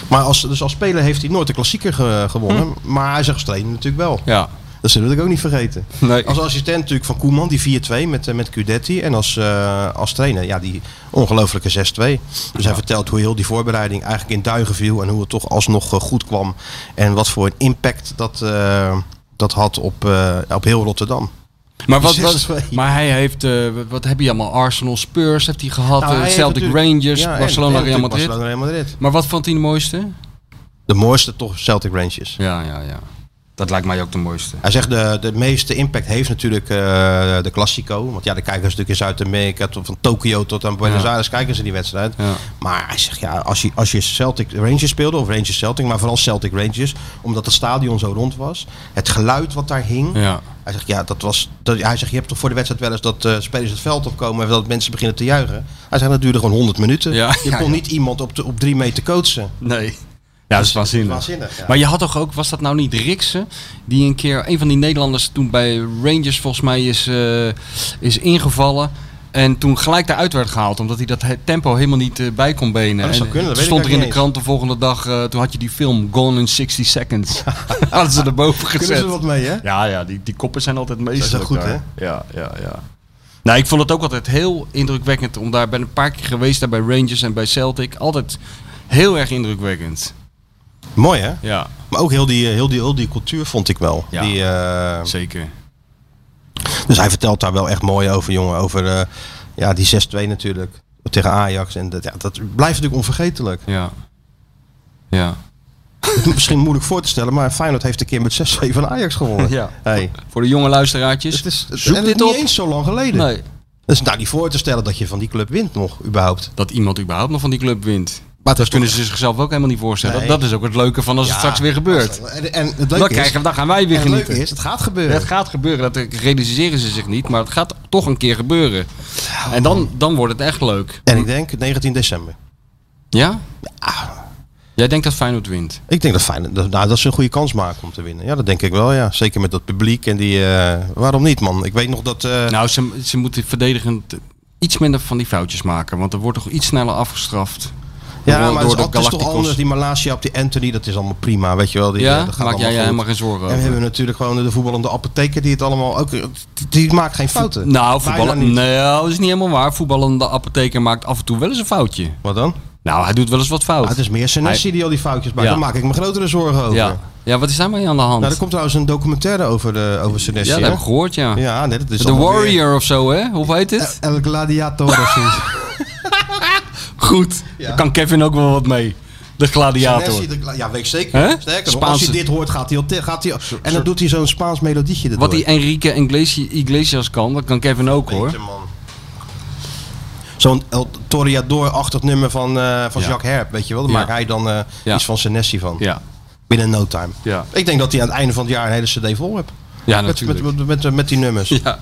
B: maar als, dus als speler heeft hij nooit de klassieker ge- gewonnen. Maar hij zegt trainer natuurlijk wel.
C: Hm. Ja.
B: Dat zullen we natuurlijk ook niet vergeten.
C: Nee.
B: Als assistent natuurlijk van Koeman, die 4-2 met, eh, met Cudetti. En als, eh, als trainer, ja, die ongelofelijke 6-2. Dus hij vertelt hoe heel die voorbereiding eigenlijk in duigen viel. En hoe het toch alsnog eh, goed kwam. En wat voor een impact dat, eh, dat had op, eh, op heel Rotterdam.
C: Maar, wat, wat-
B: 6-2.
C: maar hij heeft, eh, wat- wat heb je allemaal? Arsenal, Spurs heeft hij gehad,
B: Nou,
C: eh,
B: hij heeft
C: Celtic
B: natuurlijk-
C: Rangers,
B: Ja, en-
C: Barcelona,
B: en natuurlijk
C: Real Madrid.
B: Barcelona, Real Madrid.
C: Maar wat vond hij de mooiste?
B: De mooiste toch Celtic Rangers.
C: Ja, ja, ja. Dat lijkt mij ook de mooiste.
B: Hij zegt de, de meeste impact heeft natuurlijk eh, de Classico. Want ja, de kijkers natuurlijk in Zuid-Amerika, tot- van Tokio tot aan Buenos
C: Ja.
B: Aires kijken ze die wedstrijd.
C: Ja.
B: Maar hij zegt ja, als je, als je Celtic Rangers speelde, of Rangers Celtic, maar vooral Celtic Rangers, omdat het stadion zo rond was, het geluid wat daar hing.
C: Ja.
B: Hij zegt ja, dat was. Dat, hij zegt je hebt toch voor de wedstrijd wel eens dat eh, spelers het veld opkomen en dat mensen beginnen te juichen. Hij zegt dat duurde gewoon 100 minuten.
C: Ja.
B: Je
C: Ja,
B: kon
C: ja.
B: niet iemand op, de, op drie meter coachen.
C: Nee. Ja, dat is waanzinnig.
B: Waanzinnig, ja.
C: Maar je had toch ook, was dat nou niet Riksen, die een keer, een van die Nederlanders toen bij Rangers volgens mij is, eh, is ingevallen. En toen gelijk eruit werd gehaald, omdat hij dat he- tempo helemaal niet eh, bij kon benen.
B: Oh, dat zou
C: En
B: kunnen, dat
C: toen
B: weet
C: stond
B: ik
C: er in de
B: eigenlijk
C: krant de volgende dag, eh, toen had je die film Gone in 60 Seconds. Hadden ze erboven gezet.
B: Kunnen ze er wat mee, hè?
C: Ja, ja die, die koppen zijn altijd meestal.
B: Dat is wel goed,
C: Ja, ja, ja. Nou, ik vond het ook altijd heel indrukwekkend. Om daar ben een paar keer geweest daar bij Rangers en bij Celtic. Altijd heel erg indrukwekkend.
B: Mooi hè?
C: Ja,
B: Maar ook heel die, eh, heel die, heel die cultuur vond ik wel.
C: Ja.
B: Die, eh,
C: zeker.
B: Dus hij vertelt daar wel echt mooi over, jongen. Over eh, ja, die 6-2 natuurlijk. Tegen Ajax. En dat, ja, dat blijft natuurlijk onvergetelijk.
C: Ja. Ja.
B: Misschien moeilijk voor te stellen, maar Feyenoord heeft een keer met 6-2 van Ajax gewonnen.
C: Ja.
B: Hey,
C: Voor de jonge luisteraartjes.
B: het is, het,
C: zoek
B: en het
C: dit
B: is niet
C: op.
B: eens zo lang geleden.
C: Nee.
B: Dat is nou niet voor te stellen dat je van die club wint nog, überhaupt.
C: Dat iemand überhaupt nog van die club wint.
B: Maar dat
C: Kunnen ze zichzelf ook helemaal niet voorstellen.
B: Nee.
C: Dat is ook het leuke van als het straks weer gebeurt.
B: En, en het leuke
C: Dan,
B: is,
C: krijgen, we- dan gaan wij
B: en
C: weer
B: het
C: genieten.
B: leuke is, het gaat gebeuren.
C: Het gaat gebeuren, dat realiseren ze zich niet, maar het gaat toch een keer gebeuren. En dan, dan wordt het echt leuk.
B: En ik denk 19 december.
C: Ja? Ah. Jij denkt dat Feyenoord wint?
B: Ik denk dat Feyenoord, dat- nou, dat ze een goede kans maken om te winnen. Ja, dat denk ik wel, ja. Zeker met dat publiek en die... eh, waarom niet, man? Ik weet nog dat... eh,
C: Nou, ze, ze moeten verdedigend iets minder van die foutjes maken, want er wordt toch iets sneller afgestraft.
B: Ja, maar het is,
C: de
B: al- het is toch
C: Galacticos.
B: anders. Die Malasia op die Anthony, dat is allemaal prima. Weet je wel, die, eh,
C: Ja,
B: dat gaat
C: maak jij je
B: allemaal goed.
C: helemaal geen zorgen
B: En we
C: over.
B: hebben natuurlijk gewoon de voetballende apotheker die het allemaal ook... Die maakt geen fouten.
C: Nou,
B: Bijna
C: voetballen,
B: niet.
C: nee, dat is niet helemaal waar. Voetballende apotheker maakt af en toe wel eens een foutje.
B: Wat dan?
C: Nou, hij doet wel eens wat fout.
B: Ah, het is meer Senesi die al die foutjes maakt.
C: Ja.
B: Daar maak ik me grotere zorgen over.
C: ja. ja, wat is daarmee aan de hand?
B: Nou, er komt trouwens een documentaire over, de, over Senesi.
C: ja, dat
B: hè?
C: heb ik gehoord, ja.
B: ja nee, dat is
C: The
B: allemaal weer-
C: Warrior of zo, hè? Hoe heet het?
B: El Gladiator of zoiets.
C: Goed. Daar kan Kevin ook wel wat mee. De gladiator.
B: Senesi, de gla- ja, weet ik zeker.
C: Hè?
B: Sterker nog, als
C: Spaanse-
B: hij dit hoort, gaat hij... al te- Gaat hij al- en dan doet hij zo'n Spaans melodietje erdoor.
C: Wat die Enrique Iglesi- Iglesias kan, dat kan Kevin ook
B: Beetje,
C: hoor.
B: man. Zo'n El Toriador-achtig nummer van, eh, van
C: Ja.
B: Jacques Herp, weet je wel. Daar
C: Ja.
B: maakt hij dan eh,
C: Ja.
B: iets van Senesi van.
C: Ja,
B: Binnen no time.
C: Ja.
B: Ik denk dat hij aan het einde van het jaar een hele cd vol hebt.
C: ja
B: Met,
C: natuurlijk.
B: met, met, met, met die nummers.
C: ja.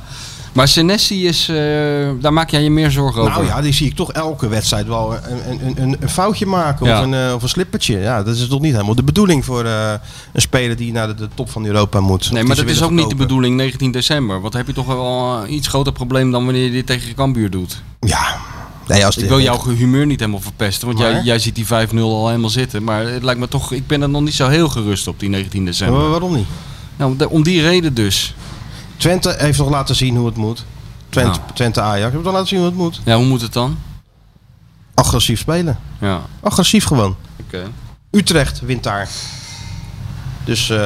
C: Maar Senesi is, eh, daar maak jij je meer zorgen
B: Nou
C: over.
B: ja, die zie ik toch elke wedstrijd wel een, een, een, een foutje maken
C: Ja.
B: of, een, eh, of een slippertje. Ja, dat is toch niet helemaal de bedoeling voor eh, een speler die naar de, de top van Europa moet. Of
C: Nee,
B: die
C: maar
B: ze
C: dat is
B: willen
C: ook niet de
B: verkopen.
C: bedoeling 19 december. Want dan heb je toch wel een iets groter probleem dan wanneer je dit tegen je kambuur doet.
B: Ja. Nee, als
C: Ik wil jouw humeur niet helemaal verpesten, want jij,
B: Maar?
C: jij ziet die 5-0 al helemaal zitten. Maar het lijkt me toch, ik ben er nog niet zo heel gerust op, die 19 december.
B: Maar waarom niet?
C: Nou, da- om die reden dus.
B: Twente heeft nog laten zien hoe het moet. Twente,
C: Nou.
B: Twente Ajax heeft nog laten zien hoe het moet.
C: Ja, hoe moet het dan?
B: Agressief spelen.
C: Ja,
B: Agressief gewoon.
C: oké.
B: Utrecht wint daar. Dus eh,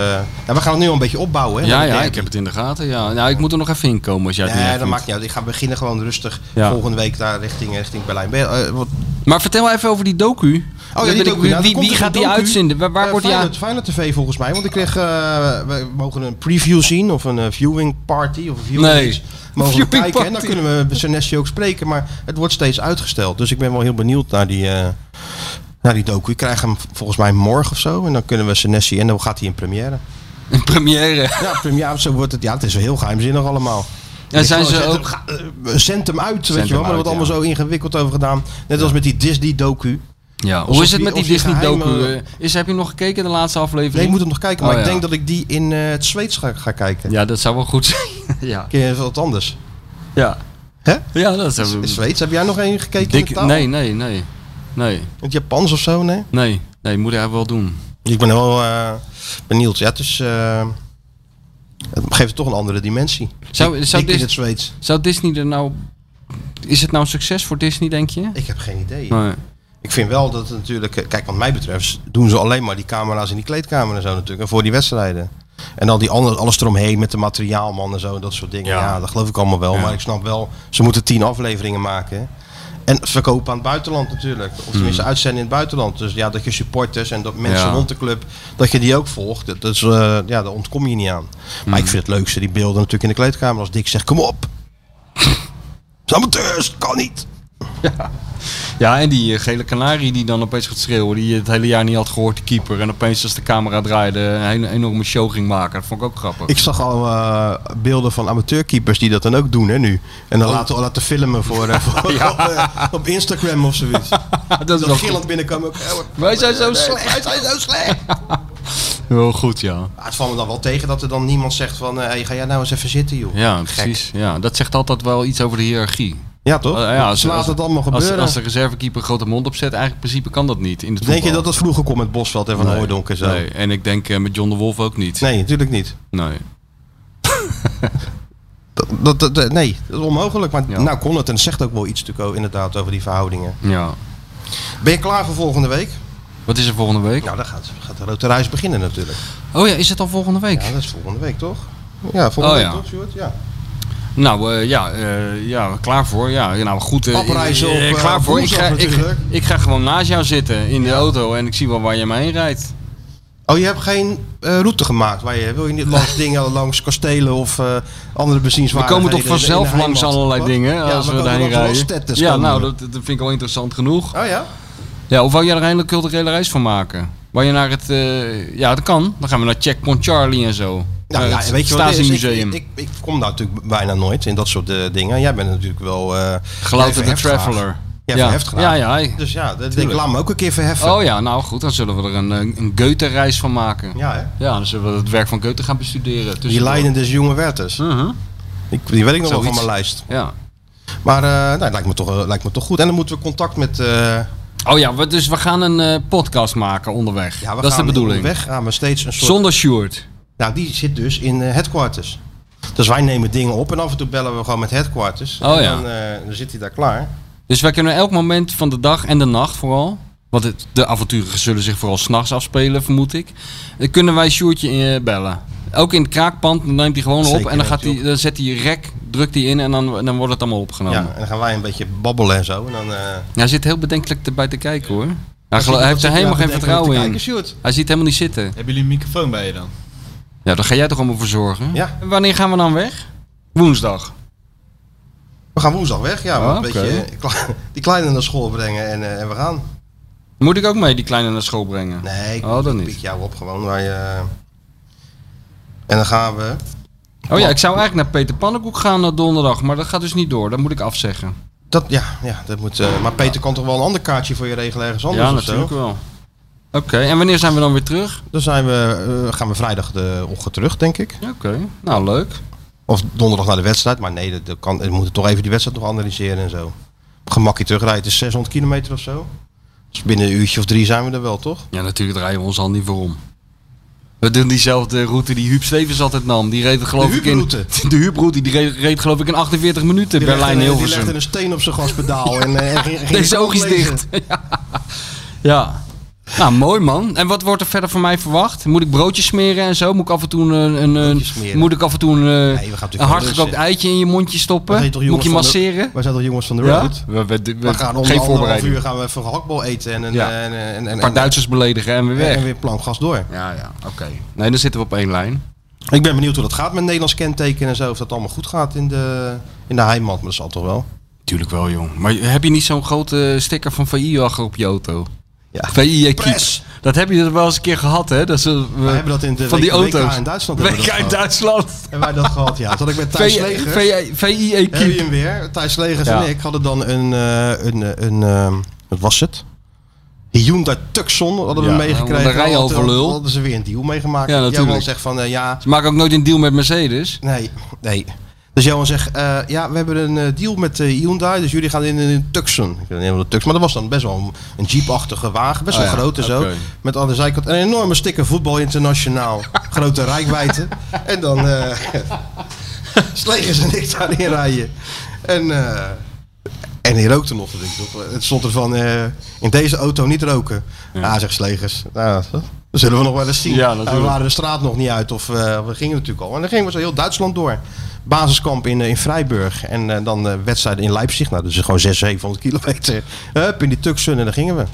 B: ja, we gaan het nu al een beetje opbouwen. Hè,
C: Ja,
B: met de
C: ja,
B: derby.
C: ik heb het in de gaten. Ja. Nou, ik moet er nog even in komen als jij het niet
B: Nee,
C: erg
B: dat
C: vindt.
B: maakt niet uit. Ik ga beginnen gewoon rustig
C: Ja.
B: volgende week daar richting, richting Berlijn. Ben je- eh, wat-
C: Maar vertel even over die docu.
B: Oh
C: Dan
B: ja,
C: ben
B: die
C: ik-
B: docu. Nou, er
C: wie
B: komt
C: wie
B: dus
C: gaat
B: een
C: die
B: docu.
C: uitzenden? Waar, waar
B: Eh,
C: wordt die aan?
B: Feyenoord, Feyenoord TV volgens mij. Want ik kreeg, eh, we mogen een preview zien of een eh, viewing party of een viewing
C: Nee.
B: iets. Mogen we
C: Viewing
B: kijken en dan
C: party.
B: kunnen we met Senesi ook spreken. Maar het wordt steeds uitgesteld. Dus ik ben wel heel benieuwd naar die, eh, naar die docu. Ik krijg hem volgens mij morgen of zo. En dan kunnen we Senesi en dan gaat hij in première.
C: Een première.
B: Ja, première, zo wordt het. Ja, het is heel geheimzinnig allemaal.
C: En zijn ze
B: Zet hem-
C: ook...
B: ga- eh, Zend hem uit, weet
C: hem
B: je wel. Maar er
C: uit,
B: wordt allemaal
C: ja.
B: zo ingewikkeld over gedaan. Net als met die Disney-docu.
C: Ja, hoe
B: Alsof
C: is het
B: die-
C: met die
B: of die
C: Disney-docu?
B: geheime-
C: eh? Is, heb je nog gekeken de laatste aflevering?
B: Nee, ik moet hem nog kijken. Maar
C: Oh,
B: ik
C: ja.
B: denk dat ik die in eh, het Zweeds ga, ga kijken.
C: Ja, dat zou wel goed zijn. ja.
B: Keer wat anders.
C: ja.
B: Hè?
C: Ja, dat is...
B: In Zweeds, heb jij nog één gekeken in de
C: Hm. Dik,
B: taal?
C: nee, nee, nee. Nee,
B: In het Japans of zo, nee?
C: nee. Nee, moet hij wel doen.
B: Ik ben wel eh, benieuwd. Ja, het is... eh, het geeft toch een andere dimensie.
C: Zou, zou,
B: ik in
C: Dis-
B: het Zweeds.
C: zou Disney er nou... Is het nou een succes voor Disney, denk je?
B: Ik heb geen idee.
C: Nee.
B: Ik vind wel dat het natuurlijk... eh, Kijk, wat mij betreft doen ze alleen maar die camera's in die kleedkamer en zo natuurlijk. En voor die wedstrijden. En dan die andere, alles eromheen met de materiaalman en zo. Dat soort dingen. Ja,
C: Ja.
B: dat geloof ik allemaal wel. Maar ik snap wel, ze moeten tien afleveringen maken. En verkopen aan het buitenland natuurlijk. Of tenminste uitzenden in het buitenland. Dus ja, dat je supporters en dat mensen
C: Hmm. Ja.
B: rond de club, dat je die ook volgt. Dat, dat is, eh, ja, daar ontkom je niet aan. Maar
C: Hmm.
B: ik vind het leukste, die beelden natuurlijk in de kleedkamer. Als Dick zegt, kom op. Het is Amateurs, kan niet.
C: Ja, en die eh, gele kanarie die dan opeens gaat schreeuwen, die je het hele jaar niet had gehoord, die keeper. En opeens als de camera draaide, een enorme show ging maken. Dat vond ik ook grappig.
B: Ik zag al eh, beelden van amateurkeepers die dat dan ook doen hè, nu. En
C: Oh.
B: dan laten, laten filmen voor, eh, voor- op, eh, op Instagram of zoiets. Dus
C: dat is
B: Dan
C: wel
B: gillend
C: goed.
B: binnenkomen. Ook, eh,
C: Wij zijn zo slecht.
B: Wij zijn zo slecht.
C: Heel goed, ja.
B: Ah, het valt me dan wel tegen dat er dan niemand zegt van... eh, hey, ga jij nou eens even zitten, joh.
C: Ja,
B: Gek.
C: precies. Ja, dat zegt altijd wel iets over de hiërarchie.
B: Ja, toch?
C: Eh,
B: ja,
C: ja, als-
B: Ze laten
C: als-
B: het allemaal
C: Als,
B: gebeuren.
C: als de reservekeeper een grote mond opzet, eigenlijk in principe kan dat niet. In het
B: Denk je
C: voetbal.
B: dat dat vroeger kon met Bosveld en Van
C: Nee.
B: Hooijdonk en zo?
C: Nee, en ik denk eh, met John de Wolf ook niet.
B: Nee, natuurlijk niet.
C: Nee.
B: Dat, dat, dat- nee, dat is onmogelijk. Maar
C: Ja.
B: nou kon het en het zegt ook wel iets natuurlijk ook inderdaad over die verhoudingen.
C: Ja.
B: Ben je klaar voor volgende week?
C: Wat is er volgende week?
B: Nou, dan gaat, gaat de Rote Reis beginnen natuurlijk.
C: Oh ja, is het al volgende week?
B: Ja, dat is volgende week toch? Ja, volgende
C: Oh,
B: week
C: ja.
B: toch, Sjoerd? Ja.
C: Nou eh, ja, eh, ja, klaar voor. Ja, nou goed. eh,
B: Afreizen op,
C: eh,
B: eh,
C: klaar voor. Ik
B: woensdag
C: ga, ik,
B: natuurlijk.
C: ik ga gewoon naast jou zitten in de auto en ik zie wel waar je me heen rijdt.
B: Oh, je hebt geen eh, route gemaakt. Waar je, wil je niet langs dingen, langs kastelen of eh, andere
C: We
B: bezienswaardigheden?
C: komen toch
B: in de- in de
C: vanzelf
B: heimat?
C: langs allerlei
B: Wat?
C: dingen
B: Ja,
C: als we
B: komen
C: daarheen
B: langs
C: rijden.
B: Rosstettes
C: Ja,
B: komen
C: nou
B: we.
C: dat, dat vind ik wel interessant genoeg.
B: Oh ja?
C: Ja, of wou jij er eindelijk culturele reis van maken? Waar je naar het... eh, ja, dat kan. Dan gaan we naar Checkpoint Charlie en zo.
B: Nou,
C: Eh,
B: ja,
C: het
B: weet je wat het is?
C: Stasi-museum.
B: Ik, ik, ik kom daar natuurlijk bijna nooit in dat soort eh, dingen. Jij bent natuurlijk wel... eh
C: Geluid
B: jij
C: de
B: verheft graag.
C: Traveler.
B: Jij
C: ja.
B: verheft graag.
C: ja, ja. hij-
B: Dus ja, dat denk ik,
C: Tuurlijk.
B: laat me ook een keer verheffen.
C: Oh ja, nou goed. Dan zullen we er een, eh, een Goethe-reis van maken.
B: Ja, hè?
C: Ja, Dus dan zullen we het werk van Goethe gaan bestuderen.
B: Die
C: tussendoor.
B: lijnen des jonge Werthers.
C: Mhm.
B: Ik- Die weet ik nog wel van
C: Zoiets.
B: mijn lijst.
C: Ja.
B: Maar eh nou, het lijkt, me toch, eh, lijkt me toch goed. En dan moeten we contact met... eh,
C: Oh ja, we- dus we gaan een eh, podcast maken onderweg.
B: Ja, we
C: dat is de
B: gaan
C: bedoeling.
B: Weg gaan we steeds een soort.
C: Zonder Sjoerd.
B: Nou, die zit dus in eh, headquarters. Dus wij nemen dingen op en af en toe bellen we gewoon met headquarters.
C: Oh,
B: en
C: ja.
B: dan, eh, dan zit hij daar klaar.
C: Dus wij kunnen elk moment van de dag en de nacht vooral. Want het, de avonturen zullen zich vooral s'nachts afspelen, vermoed ik. eh, kunnen wij Sjoerdje eh, bellen. Ook in het kraakpand dan neemt hij gewoon
B: Zeker
C: op. En dan, gaat
B: neemt hij
C: hij, dan zet hij rek, drukt hij in en dan, dan wordt het allemaal
B: Ja,
C: opgenomen.
B: en dan gaan wij een beetje babbelen en zo. En dan, eh,
C: Hij zit heel bedenkelijk erbij te kijken hoor. Hij,
B: dan
C: gelo- hij heeft
B: zit
C: er helemaal
B: daar
C: geen
B: bedenkelijk te
C: vertrouwen in.
B: kijken. Sjoerd.
C: Hij ziet helemaal niet zitten.
D: Hebben jullie een microfoon bij je dan?
C: Ja, daar ga jij toch allemaal voor zorgen?
B: Ja.
C: En wanneer gaan we dan weg? Woensdag.
B: We gaan woensdag weg. Ja, we
C: Ah,
B: een
C: oké.
B: beetje eh, kla- die kleine naar school brengen en, eh, en we gaan.
C: Moet ik ook mee die kleine naar school brengen?
B: Nee, ik,
C: Oh, dan
B: ik
C: niet.
B: pik jou op gewoon. Wij, eh, en dan gaan we...
C: Oh ja, ik zou eigenlijk naar Peter Pannenkoek gaan eh, donderdag, maar dat gaat dus niet door. Dat moet ik afzeggen.
B: Dat, ja, ja, dat moet, eh, maar Peter kan toch wel een ander kaartje voor je regelen ergens anders
C: Ja,
B: of zo?
C: natuurlijk wel. Oké, en wanneer zijn we dan weer terug?
B: Dan zijn we, eh, gaan we vrijdag de ochtend terug, denk ik.
C: Ja, Oké, nou leuk.
B: Of donderdag naar de wedstrijd. Maar nee, dat, dat kan, we moeten toch even die wedstrijd nog analyseren en zo. Op Gemakkie terugrijden. Het is 600 kilometer of zo. Dus binnen een uurtje of drie zijn we er wel, toch?
C: Ja, natuurlijk draaien we ons al niet voor om. We doen diezelfde route die Huub Stevens altijd nam. Die reed geloof
B: De
C: ik in...
B: Huubroute.
C: De Huubroute. Die reed, reed geloof ik in 48 minuten
B: Die legde een- Die legde
C: Berlijn-Hilversum.
B: een steen op zijn gaspedaal. en, eh, en ging, ging
C: Deze oog is
B: lezen.
C: dicht. ja. Nou, mooi man. En wat wordt er verder van mij verwacht? Moet ik broodjes smeren en zo? Moet ik af en toe een, een,
B: Broodjes smeren.
C: een, moet ik af en toe een, eh,
B: we gaan natuurlijk
C: een
B: wel
C: hardgekookt
B: lunchen.
C: eitje in je mondje
B: Wij zijn
C: stoppen?
B: toch
C: Moet
B: jongens
C: je
B: van de-
C: masseren?
B: Wij zijn toch jongens van de
C: Ja?
B: road?
C: We, we, we-
B: We gaan om de
C: geen
B: anderhalf
C: voorbereiding.
B: uur gaan we even gehaktbal eten en een,
C: Ja.
B: en, en, en,
C: Een
B: en-
C: paar Duitsers beledigen en weer
B: en, en
C: weg.
B: weer plankgas door.
C: Ja, ja, oké. Nee, dan zitten we op één lijn.
B: Ik ben benieuwd hoe dat gaat met Nederlands kenteken en zo. Of dat allemaal goed gaat in de, in de heimat. Maar dat zal toch wel.
C: Tuurlijk wel, jong. Maar heb je niet zo'n grote sticker van VI achter op je auto?
B: Ja.
C: VI keep.
B: Press.
C: Dat heb je er wel eens een keer gehad, hè? Dat ze, we,
B: hebben dat in de
C: van die
B: W- WK
C: auto's.
B: in Duitsland hebben we
C: WK
B: dat
C: in
B: gehad.
C: Duitsland. E-,
B: Hebben wij dat gehad? Ja, dat had ik met Thijs Leger.
C: VIE
B: Heb je
C: Keep.
B: hem weer? Thijs Legers
C: Ja.
B: en ik hadden dan een, eh, een, eh, een ehm, wat was het? Hyundai Tucson hadden we
C: Ja,
B: meegekregen.
C: dan rij je al
B: Hadden-
C: voor lul.
B: Hadden ze weer een deal meegemaakt.
C: Ja,
B: Ja, natuurlijk.
C: natuurlijk.
B: zegt van, eh, ja,
C: Ze maken ook nooit een deal met Mercedes.
B: nee, nee. Dus Johan zegt, eh, ja, we hebben een eh, deal met eh, Hyundai, dus jullie gaan in een Tucson. Ik weet niet helemaal de Tucson, maar dat was dan best wel een, een jeepachtige wagen, best wel
C: Oh ja,
B: groot en zo.
C: oké.
B: Met aan de zijkant een enorme sticker voetbal internationaal, grote rijkwijde. En dan eh, slegen ze niks daarin rijden. En, eh, en die rookte nog. dus ik dacht, Het stond ervan, eh, in deze auto niet roken. Ja, zegt Slegers. Nou, dat zullen we nog wel eens zien.
C: Ja,
B: En we
C: natuurlijk.
B: waren de straat nog niet uit. Of eh, we gingen natuurlijk al. En dan gingen we zo heel Duitsland door. Basiskamp in, eh, in Freiburg. En eh, dan eh, wedstrijden in Leipzig. Nou, dat is gewoon 600, 700 kilometer. Hup, in die Tucson. En daar gingen we.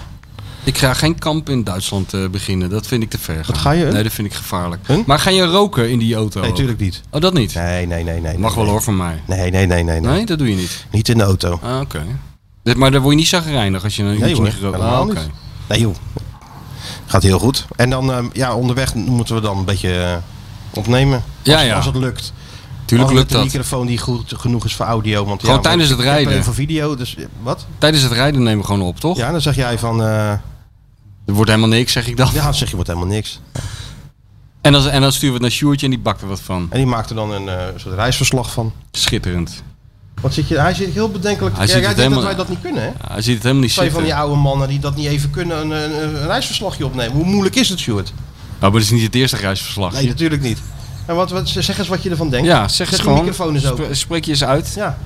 C: Ik ga geen kamp in Duitsland eh, beginnen. Dat vind ik te ver. gaan.
B: ga je, hè?
C: Nee, dat vind ik gevaarlijk.
B: Huh?
C: Maar ga je roken in die auto?
B: Nee,
C: ook?
B: natuurlijk niet.
C: Oh, dat niet?
B: Nee, nee, nee, nee.
C: Mag
B: nee,
C: wel
B: nee.
C: hoor, van mij.
B: Nee, nee, nee, nee. nee.
C: Nee, dat doe je niet.
B: Niet in de auto.
C: Ah, oké. Dit- Maar daar word je niet zagrijnig als je een
B: Nee
C: uurtje
B: hoor,
C: niet gerookt
B: helemaal
C: Ah, oké.
B: niet. Nee joh. Gaat heel goed. En dan ehm, ja, onderweg moeten we dan een beetje eh, opnemen. Als,
C: Ja, ja.
B: als het lukt.
C: Tuurlijk
B: Als
C: lukt
B: met een
C: dat.
B: microfoon die goed genoeg is voor audio. Want,
C: Gewoon
B: ja, want
C: tijdens het
B: ik heb
C: rijden.
B: alleen Voor video, dus eh, wat?
C: Tijdens het rijden nemen we gewoon op, toch?
B: Ja, dan zeg jij van... eh,
C: Er wordt helemaal niks, zeg ik dan.
B: ja, dan zeg je wordt helemaal niks.
C: En, dan en dan sturen we het naar Sjoertje en die bakt er wat van.
B: En die maakt er dan een eh, soort reisverslag van.
C: Schitterend.
B: Wat zit je, hij zit heel bedenkelijk te
C: Hij
B: kijken.
C: zit
B: Hij
C: het
B: denkt dat wij
C: helemaal-
B: dat niet kunnen, hè?
C: Ja, hij ziet het helemaal niet
B: Twee van
C: zitten.
B: die
C: Nou,
B: oude mannen die dat niet even kunnen een, een, een reisverslagje opnemen. Hoe moeilijk is het, Stuart?
C: Nou, maar dat is niet het eerste reisverslag.
B: Nee, natuurlijk niet. En wat, wat, zeg eens wat je ervan denkt.
C: ja, zeg
B: Zet
C: eens
B: die
C: gewoon.
B: microfoon eens open.
C: Spre- Spreek je eens uit.
B: Ja.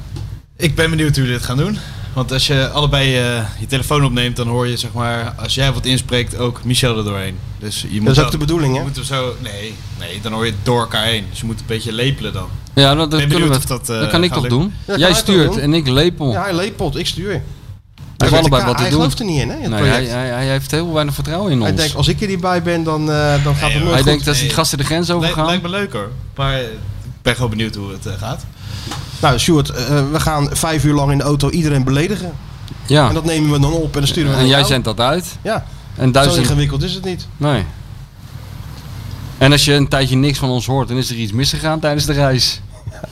D: Ik ben benieuwd hoe jullie dit gaan doen. Want als je allebei eh, je telefoon opneemt, dan hoor je zeg maar, als jij wat inspreekt, ook Michel er doorheen. Dus je moet
B: Dat is ook de bedoeling,
D: je
B: hè?
D: moet hem zo, nee, nee, dan hoor je het door elkaar heen. Dus je moet een beetje lepelen dan.
C: Ja, nou, dat, dat
D: ben
C: kunnen we.
D: benieuwd of dat, eh,
C: dat kan ik
D: gaat
C: toch
D: lukken.
C: doen?
B: kan
C: Jij
B: hij toch
C: stuurt
B: doen?
C: en ik lepel.
B: Ja, hij lepelt, ik stuur.
C: we
B: Hij, weet
C: allebei
B: de
C: wat
B: ka-
C: te
B: hij
C: doen.
B: gelooft er niet in, hè? in Het
C: nee,
B: project.
C: hij, hij, hij heeft heel weinig vertrouwen in ons.
B: hij denkt, als ik er niet bij ben, dan, eh, dan gaat het
D: Nee,
B: nooit
C: Hij
B: goed.
C: denkt dat die
D: Nee.
C: gasten de grens
D: Lijkt,
C: overgaan.
D: lijkt me leuk hoor. Maar eh, ik ben gewoon benieuwd hoe het eh, gaat.
B: Nou, Stuart, eh, we gaan vijf uur lang in de auto iedereen beledigen.
C: Ja.
B: En dat nemen we dan op en dan sturen we
C: Ah. En jij
B: zijn
C: zendt dat uit.
B: Ja,
C: En
B: zo
C: duizend.
B: ingewikkeld is het niet.
C: Nee. En als je een tijdje niks van ons hoort, dan is er iets misgegaan tijdens de reis.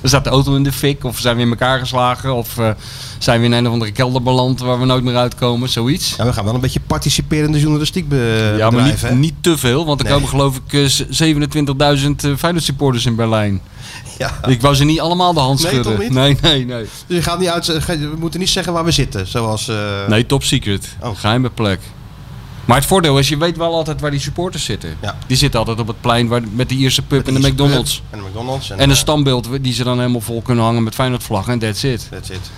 C: Dan staat de auto in de fik, of zijn we in elkaar geslagen, of eh, zijn we in een of andere kelder beland waar we nooit meer uitkomen, zoiets.
B: Ja, we gaan wel een beetje participerende journalistiek be
C: Ja, maar
B: bedrijven,
C: niet,
B: hè?
C: niet te veel, want er
B: Nee.
C: komen geloof ik eh, 27.000 eh, Feyenoord supporters in Berlijn.
B: Ja.
C: Ik wou ze niet allemaal de hand
B: Nee,
C: schudden.
B: toch niet?
C: nee, nee, nee.
B: Dus je gaat niet uit, ge- we moeten niet zeggen waar we zitten. Zoals, eh,
C: Nee, top secret.
B: Oh.
C: Geheime plek. Maar het voordeel is, je weet wel altijd waar die supporters zitten.
B: Ja.
C: Die zitten altijd op het plein waar, met de Ierse pub en de
B: iets-
C: McDonald's.
B: En de McDonald's. En,
C: En een
B: eh,
C: standbeeld die ze dan helemaal vol kunnen hangen met Feyenoord vlaggen en that's it.
B: that's it.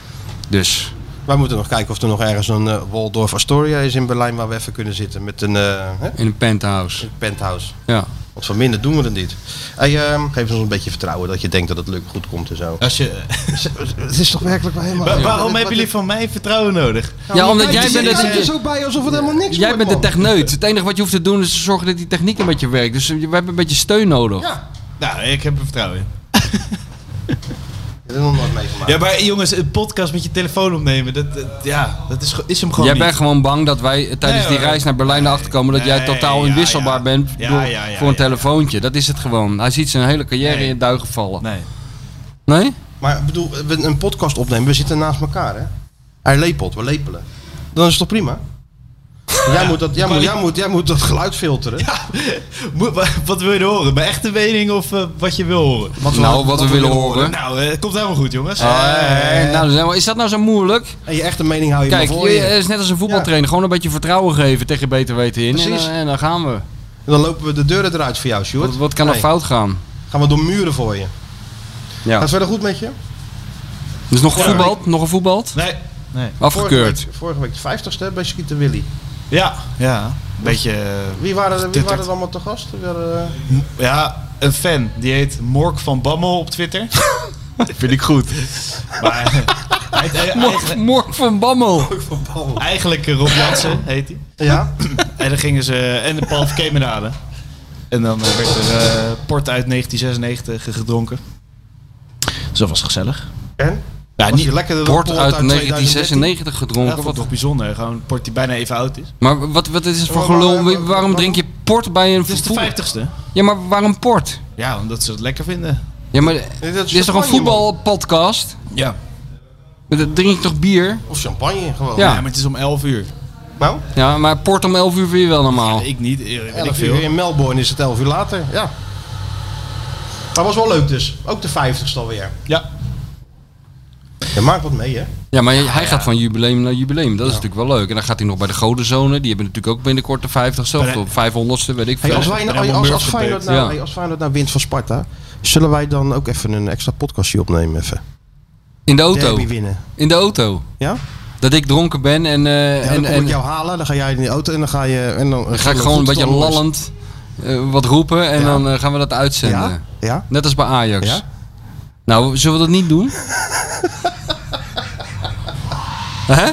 C: Dus
B: Wij moeten nog kijken of er nog ergens een eh, Waldorf Astoria is in Berlijn waar we even kunnen zitten met een eh, hè,
C: in een penthouse.
B: penthouse.
C: Ja.
B: Want van minder doen we het niet. Hey, ehm, geef ons een beetje vertrouwen dat je denkt dat het lukt, goed komt en
C: Eh,
B: zo.
D: Als je,
B: Het is toch werkelijk wel helemaal...
D: Wa- waarom hebben jullie van mij vertrouwen nodig?
C: Ja, omdat jij
B: bent
C: bent,
B: er
C: het,
B: zo bij alsof het helemaal niks
C: eh, jij
B: wordt,
C: bent de
B: man.
C: techneut. Het enige wat je hoeft te doen is zorgen dat die techniek een beetje werkt. Dus we hebben een beetje steun nodig. Ja,
D: Nou, ik heb er vertrouwen in.
B: Ik heb er nog nooit meegemaakt.
D: Ja, maar eh, jongens, een podcast met je telefoon opnemen, dat, dat- ja, dat is, ge- is hem gewoon
C: jij
D: niet.
C: bent gewoon bang dat wij eh, tijdens
D: Nee,
C: die
D: hoor.
C: reis naar Berlijn erachter komen dat jij
D: Nee,
C: totaal
D: ja,
C: inwisselbaar
D: ja.
C: bent
D: Ja,
C: door-
D: ja, ja,
C: voor een
D: ja.
C: telefoontje. Dat is het gewoon. Hij ziet zijn hele carrière
D: Nee.
C: in het duigen vallen.
D: Nee.
C: Nee?
B: Maar ik bedoel, we een podcast opnemen, we zitten naast elkaar, hè? Hij lepelt, we lepelen. Dan is het toch prima? Jij, moet dat, jij, moet, jij, moet, jij moet dat geluid filteren.
D: Moet- wa- Wat wil je horen? Mijn echte mening of eh, wat je wil horen?
C: nou, wat, we willen horen.
D: Nou, eh, het komt helemaal goed, jongens.
C: Eh, nou, dan zijn we- is dat nou zo moeilijk?
B: En je echte mening hou je
C: Kijk,
B: maar voor
C: je,
B: je.
C: het is net als een voetbaltrainer. Gewoon een beetje vertrouwen geven tegen beter weten in. En,
B: Precies.
C: dan- en dan gaan we.
B: En Dan lopen we de deuren eruit voor jou, Sjoerd.
C: Wat, wat kan er
B: Nee,
C: fout gaan?
B: Gaan we door muren voor je.
C: Ja.
B: Gaat het verder goed met je?
C: Dus nog voetbal? Nog een voetbal?
D: Nee. nee.
C: Afgekeurd.
B: Vorige week, vorige week de 50ste bij Schieten Willy.
D: Ja, ja. Een beetje... eh,
B: Wie waren er, wie
D: Tuttert.
B: waren er allemaal te gast? We hadden, eh,
D: m- ja, een fan. Die heet Mork van Bammel op Twitter. Vind ik goed. Maar, eh, hij heet, eh,
C: Mork,
D: eigenlijk,
C: Mork van Bammel.
D: eigenlijk eh, Rob Jansen heet hij.
B: Ja?
D: En dan gingen ze... En de Paul Kemenade. En dan eh, werd er eh, port uit 1996 gedronken. Dus dat was gezellig.
B: En?
D: Ja,
B: Was
D: niet,
B: je lekkerder dan
C: Wordt
B: Port
C: uit
B: 2013?
C: 1996
D: Ja,
C: gedronken.
D: vond
C: Wat,
D: ik toch bijzonder. Gewoon een port die bijna even oud is.
C: maar wat, wat is het voor
B: Maar waarom-
C: gelul? Wie- Waarom
B: waarom-
C: drink je port bij een
D: Het is Dus de
C: voetbal-
D: vijftigste. Ah.
C: Ja, maar waarom port?
D: Ja, omdat ze het lekker vinden.
C: Ja, maar
B: is
C: dit is toch een
B: champagne,
C: voetbalpodcast?
D: Ja.
C: Dan Drink je toch bier?
B: Of champagne gewoon.
C: Ja.
D: Ja, maar het is om 11 uur.
B: Nou,
C: Ja, maar port om 11 uur vind je wel normaal.
D: Ik niet, eh, weet ik
B: 11 uur
D: veel.
B: in Melbourne is het 11 uur later. Ja. Maar was wel leuk dus. Ook de 50ste alweer.
D: Ja.
B: Je maakt wat mee, hè?
C: Ja, maar
B: Nou
C: hij gaat van jubileum naar jubileum. Dat is natuurlijk wel leuk. En dan gaat hij nog bij de Godenzone. Die hebben natuurlijk ook binnenkort de 50ste of
H: Maar-
C: de 500ste, weet ik
B: Hey,
C: veel.
B: als, wij,
H: ben
B: nou-
H: helemaal
B: als, als,
H: murf
B: Feyenoord
H: gebeten.
B: nou,
C: Ja.
B: hey, als Feyenoord nou wint van Sparta, zullen wij dan ook even een extra podcastje opnemen? Even.
C: In de auto.
B: Derby winnen.
C: In de auto.
B: Ja?
C: Dat ik dronken ben en, eh,
B: Ja,
C: en,
B: dan kom ik
C: en
B: jou halen, dan ga jij in de auto en dan ga je... En dan,
C: dan ga ik gewoon een beetje lallend eh, wat roepen. En
B: Ja.
C: dan eh, gaan we dat uitzenden.
B: Ja? Ja?
C: Net als bij Ajax.
B: Ja?
C: Nou, zullen we dat niet doen? Hè?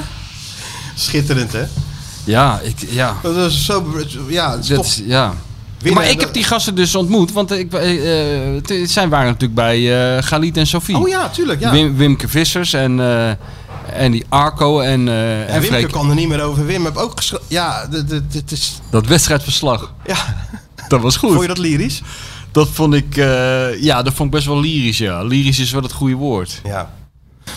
B: Schitterend, hè?
C: Ja, ik, ja.
B: Dat is zo... Ja, het is
C: Dat,
B: toch-
C: is- ja.
B: winnen-
C: maar ik heb die gasten dus ontmoet, want ik, eh, eh, t- zij waren natuurlijk bij eh Galit en Sophie.
B: Oh ja, tuurlijk, ja.
C: Wim, Wimke Vissers en, eh, en die Arco en, eh
B: Ja,
C: en
B: Wimke
C: Freek.
B: kan er niet meer over. Wim heb ook geschreven. Ja, d- d- dit is.
C: Dat wedstrijdverslag,
B: Ja,
C: dat was goed.
B: vond je dat lyrisch?
C: Dat vond ik, eh, ja, dat vond ik best wel lyrisch, ja. Lyrisch is wel het goede woord.
B: Ja.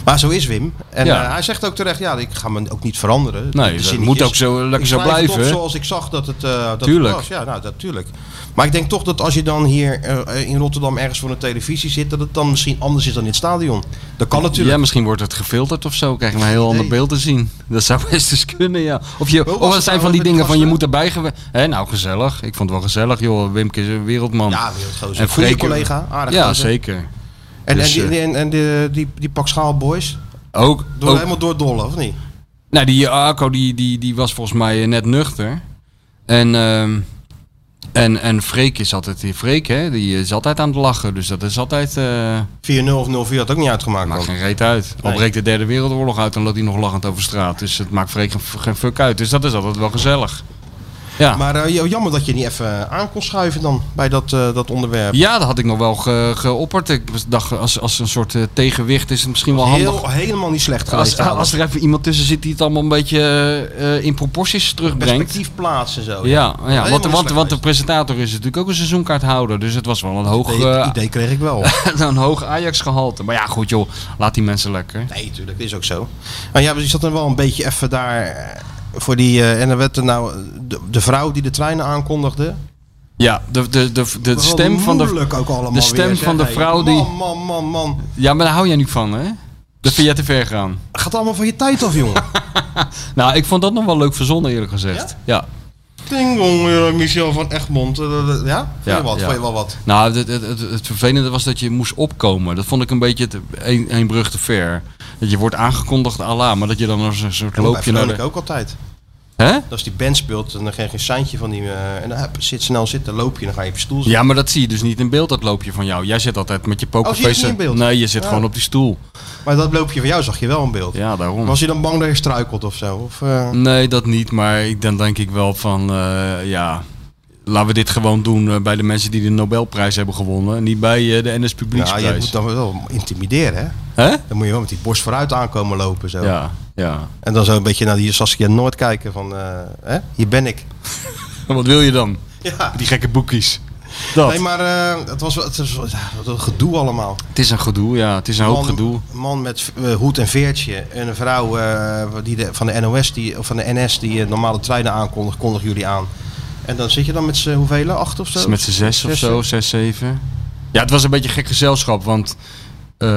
B: Maar zo is Wim. En
C: Ja.
B: eh, hij zegt ook terecht: ja, ik ga me ook niet veranderen. De
C: Nee, dat
B: zinnetjes.
C: moet ook zo lekker
B: Ik
C: zo
B: blijf
C: blijven.
B: Toch zoals ik zag dat het, eh, dat het
C: Tuurlijk.
B: was. Ja, nou, natuurlijk. Maar ik denk toch dat als je dan hier eh, in Rotterdam ergens voor een televisie zit, dat het dan misschien anders is dan in het stadion. Dat kan natuurlijk.
C: Ja, misschien wordt het gefilterd of zo. Krijg je een heel ander beeld te zien. Dat zou best eens kunnen, ja. Of, je,
B: was
C: of
B: het
C: het zijn
B: nou
C: van die
B: met
C: dingen
B: die
C: van
B: gasten?
C: je moet erbij geweest. Hé, nou, gezellig. Ik vond het wel gezellig, joh. Wimke is een wereldman.
B: Ja, wereldgozer. Goede
C: Freek- eh,
B: collega, aardig
C: Ja,
B: gozer.
C: zeker.
B: En,
C: Dus,
B: en, die, en, en die, die, die pak schaal boys,
C: Ook,
B: door,
C: ook
B: helemaal doordollen, of niet?
C: Nou, die Arco die, die, die was volgens mij eh, net nuchter. En, ehm, en, en Freek is altijd... die Freek, hè, die is altijd aan het lachen. Dus dat is altijd... eh
B: 4-0 of 0-4 had ook niet uitgemaakt.
C: maakt
B: man.
C: geen reet uit. Al
B: Nee.
C: breekt de derde wereldoorlog uit... dan loopt hij nog lachend over straat. Dus het maakt Freek geen, geen fuck uit. Dus dat is altijd wel gezellig. Ja.
B: Maar eh, joh, jammer dat je niet even aan kon schuiven dan bij dat, eh, dat onderwerp.
C: ja, dat had ik nog wel ge- geopperd. Ik dacht, als, als een soort eh, tegenwicht is het misschien wel handig.
B: Heel, helemaal niet slecht
C: Als,
B: geweest. trouwens.
C: als er even iemand tussen zit die het allemaal een beetje eh, in proporties terugbrengt.
B: perspectief plaatsen zo.
C: Ja, ja
B: helemaal
C: want,
B: niet
C: want,
B: slecht
C: want de
B: geweest.
C: presentator is natuurlijk ook een seizoenkaarthouder. Dus het was wel een hoog,
B: Nee, het
C: eh,
B: idee kreeg ik wel.
C: een hoog Ajax-gehalte. Maar ja, goed joh, laat die mensen lekker.
B: Nee, natuurlijk, is ook zo. Maar ja, maar je zat dan wel een beetje even daar eh, voor die. eh, en dan werd er nou eh, de, de vrouw die de treinen aankondigde.
C: Ja, de, de, de, de
B: Wat
C: stem van de...
B: moeilijk ook allemaal
C: de stem
B: weer, zeg.
C: van de
B: Hey,
C: vrouw die-
B: Man, man, man, man.
C: Ja, maar daar hou jij niet van, hè? Dat vind jij te ver gaan.
B: Gaat allemaal van je tijd af, jongen.
C: Nou, ik vond dat nog wel leuk verzonnen, eerlijk gezegd. Ja.
B: Ding dong, eh, Michel van Egmond. eh, eh, eh, Ja? Vond
C: Ja,
B: je wat?
C: ja.
B: Vond je wel wat?
C: Nou, het, het, het, het vervelende was dat je moest opkomen. Dat vond ik een beetje te- een, een brug te ver. Dat je wordt aangekondigd, Allah, maar dat je dan als een soort
B: Loop
C: loopje
B: je
C: naar de...
B: ook altijd.
C: Hè?
B: Als die band speelt en dan krijg je een seintje van die... eh, en dan hup, zit snel zitten, loop je, dan ga je op je stoel zitten.
C: Ja, maar dat zie je dus niet in beeld, dat loopje van jou. Jij zit altijd met je pokerface.
B: Oh, zie je het niet in beeld?
C: Nee, je zit
B: Ja.
C: gewoon op die stoel.
B: Maar dat loopje van jou zag je wel in beeld.
C: Ja, Mm. daarom.
B: Was je dan bang dat je struikelt of zo? Of, eh,
C: Nee, dat niet. Maar ik, dan denk ik wel van, eh, ja, laten we dit gewoon doen eh, bij de mensen die de Nobelprijs hebben gewonnen. Niet bij eh, de NS
B: nou, je
C: Publieksprijs.
B: moet dan wel intimideren, hè?
C: Hè?
B: Dan moet je wel met die borst vooruit aankomen lopen zo.
C: Ja, ja.
B: En dan zo een beetje naar die Saskia Noord kijken van... eh, hè? Hier ben ik.
C: En wat wil je dan?
B: Ja.
C: Die gekke boekies. Dat.
B: Nee, maar eh, het was wel... Het was, wel- ja, wat een gedoe allemaal.
C: Het is een gedoe, ja. Het is een hoop
B: man,
C: gedoe.
B: man met eh, hoed en veertje. En een vrouw eh, die de, van de NOS die, of van de NS die eh, normale treinen aankondigt, kondigen jullie aan. En dan zit je dan met z'n hoeveel? Acht of zo?
C: Met z'n zes of zo, zes, zeven. Ja, het was een beetje een gek gezelschap, want eh,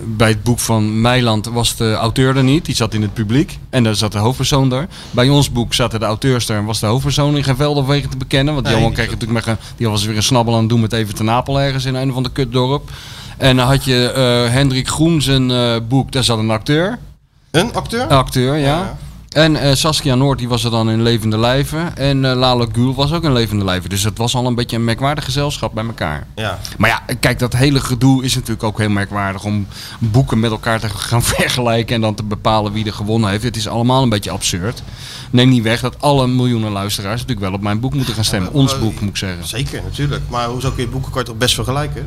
C: bij het boek van Meiland was de auteur er niet. Die zat in het publiek en daar zat de hoofdpersoon er. Bij ons boek zaten de auteurs er en was de hoofdpersoon in geen velden wegen te bekennen. Want die
B: Nee,
C: Johan
B: die
C: kreeg natuurlijk met een- die was weer een snabbel aan het doen met even te Napel ergens in een of ander kutdorp. En dan had je eh, Hendrik Groen zijn eh, boek, daar zat een acteur.
B: Een acteur?
C: Een acteur, ja.
B: Ja.
C: En eh, Saskia Noord die was er dan in levende lijven. En eh Lalo Gül was ook in levende lijven. Dus het was al een beetje een merkwaardig gezelschap bij elkaar.
B: Ja.
C: Maar ja, eh, kijk, dat hele gedoe is natuurlijk ook heel merkwaardig om boeken met elkaar te gaan vergelijken en dan te bepalen wie er gewonnen heeft. Het is allemaal een beetje absurd. Neem niet weg dat alle miljoenen luisteraars natuurlijk wel op mijn boek moeten gaan stemmen.
B: maar-
C: Ons boek moet ik zeggen.
B: Zeker, natuurlijk. Maar hoezo kun je boeken kan je toch best vergelijken?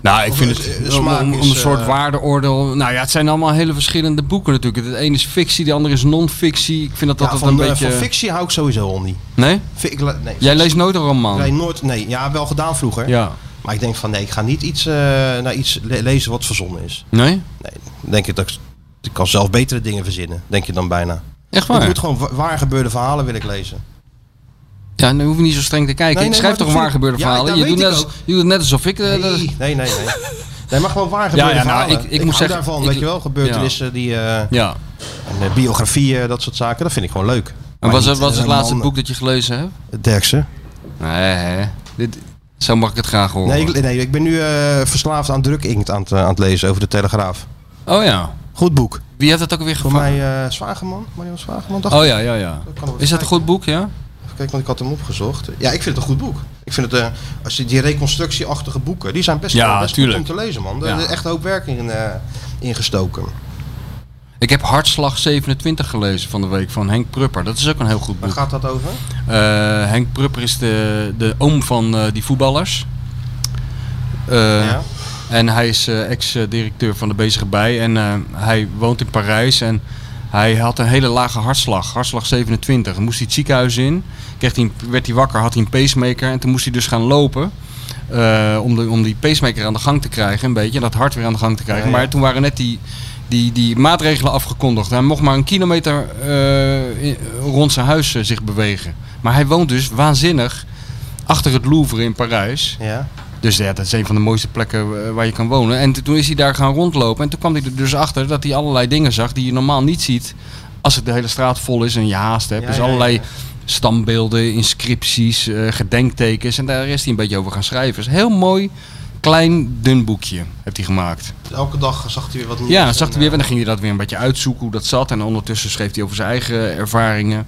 C: Nou, ik
B: Of
C: vind
B: het,
C: het
B: eh,
C: om,
B: smaak
C: om- om
B: is,
C: een soort
B: eh,
C: waardeoordeel. Nou ja, het zijn allemaal hele verschillende boeken natuurlijk. Het ene is fictie, de andere is non-fictie. Ik vind dat
B: ja,
C: dat
B: van,
C: een
B: eh,
C: beetje.
B: van fictie hou ik sowieso al niet.
C: Nee?
B: Fi- ik le- nee,
C: Jij
B: fictie-
C: leest nooit een roman.
B: Ik lees nooit, nee, ja, wel gedaan vroeger.
C: Ja.
B: Maar ik denk van nee, ik ga niet iets, eh, naar iets le- lezen wat verzonnen is.
C: Nee?
B: Nee, dan denk ik dat ik, ik kan zelf betere dingen verzinnen, denk je dan bijna.
C: Echt
B: Ik
C: waar?
B: moet gewoon wa- waar gebeurde verhalen wil ik lezen.
C: Ja, dan hoef je niet zo streng te kijken.
B: Nee,
C: ik
B: nee,
C: schrijf
B: maar
C: toch een
B: dat
C: waar gebeurde
B: vind ik- ja,
C: verhalen.
B: dat
C: je, doet
B: weet
C: net
B: ik
C: als, je doet net alsof ik... eh, dat-
B: Nee, nee, nee. Nee, maar gewoon waar
C: Ja,
B: gebeurde
C: ja, nou,
B: verhalen.
C: ik- ik moet
B: hou
C: zeggen,
B: daarvan,
C: ik-
B: weet je wel. Gebeurtenissen die... eh,
C: Ja.
B: en, eh, biografieën, dat soort zaken. Dat vind ik gewoon leuk.
C: En
B: Maar
C: was,
B: niet,
C: was
B: eh,
C: het laatste
B: man-
C: boek dat je gelezen hebt?
B: Derksen.
C: Nee, hè. Dit, zo mag ik het graag horen.
B: Nee, ik, nee, ik ben nu eh, verslaafd aan drukinkt aan het, eh, aan het lezen over de Telegraaf.
C: Oh ja.
B: Goed boek.
C: Wie heeft dat ook weer
B: Voor
C: gevangen?
B: mij eh Zwageman, Marion Zwageman. Dacht ik.
C: Oh ja, ja, ja.
B: Dat kan wel
C: Is dat een
B: kijken.
C: goed boek, ja?
B: Even kijken, want ik had hem opgezocht. Ja, ik vind het een goed boek. Ik vind het, eh, als je die reconstructieachtige boeken, die zijn best,
C: Ja,
B: best goed
C: tuurlijk.
B: om te lezen, man. Er
C: Ja.
B: er is echt een hoop werk in, eh, in gestoken.
C: Ik heb Hartslag 27 gelezen van de week van Henk Prupper. Dat is ook een heel goed
B: Waar
C: boek.
B: gaat dat over?
C: Eh, Henk Prupper is de, de oom van eh, die voetballers. Eh,
B: ja.
C: En hij is eh, ex-directeur van de Bezige Bij. En eh, hij woont in Parijs. En hij had een hele lage hartslag. Hartslag 27. Dan moest hij het ziekenhuis in. Kreeg hij, een- werd hij wakker, had hij een pacemaker. En toen moest hij dus gaan lopen. eh, om, de, om die pacemaker aan de gang te krijgen. Een beetje. En dat hart weer aan de gang te krijgen.
B: Ja, ja.
C: Maar toen waren net die, die, die maatregelen afgekondigd. Hij mocht maar een kilometer eh, in- rond zijn huis eh, zich bewegen. Maar hij woont dus waanzinnig achter het Louvre in Parijs.
B: Ja.
C: Dus ja, dat is een van de mooiste plekken eh, waar je kan wonen. En t- toen is hij daar gaan rondlopen. En toen kwam hij er dus achter dat hij allerlei dingen zag die je normaal niet ziet. Als het de hele straat vol is en je haast hebt.
B: Ja,
C: dus
B: ja,
C: allerlei
B: ja.
C: stambeelden, inscripties, eh, gedenktekens. En daar is hij een beetje over gaan schrijven. Dus heel mooi, klein, dun boekje heeft hij gemaakt.
B: Elke dag zag hij weer wat nieuws.
C: Ja,
B: en,
C: dan zag hij weer. En
B: eh,
C: dan ging hij dat weer een beetje uitzoeken hoe dat zat. En ondertussen schreef hij over zijn eigen ervaringen.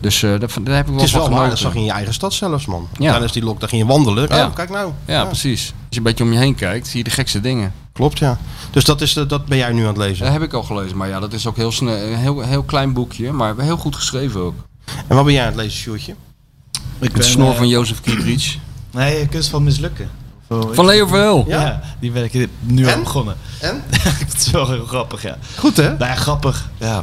C: Dus eh, dat, daar heb ik wel
B: Het is
C: van
B: wel waar, dat zag
C: genoten.
B: je in je eigen stad zelfs, man.
C: Ja.
B: Tijdens die lockdown ging je wandelen.
C: Ja.
B: Oh, kijk nou.
C: Ja, precies. Als je een beetje om je heen kijkt, zie je de gekste dingen.
B: Klopt, ja. Dus dat, is, de- dat ben jij nu aan het lezen.
C: Dat heb ik al gelezen, maar ja, dat is ook heel snel, een heel, heel klein boekje, maar heel goed geschreven ook.
B: En wat ben jij aan het lezen, Sjoerdje?
D: Ik
C: Het snor
B: eh,
C: van Jozef Kiedrich.
D: Nee, kunst van mislukken. Of-
C: Van Leo Verheul.
D: Ja, die ben ik nu
B: En?
D: al begonnen.
B: En?
D: Het is wel heel grappig, ja.
B: Goed, hè?
D: Nou ja, grappig. Ja.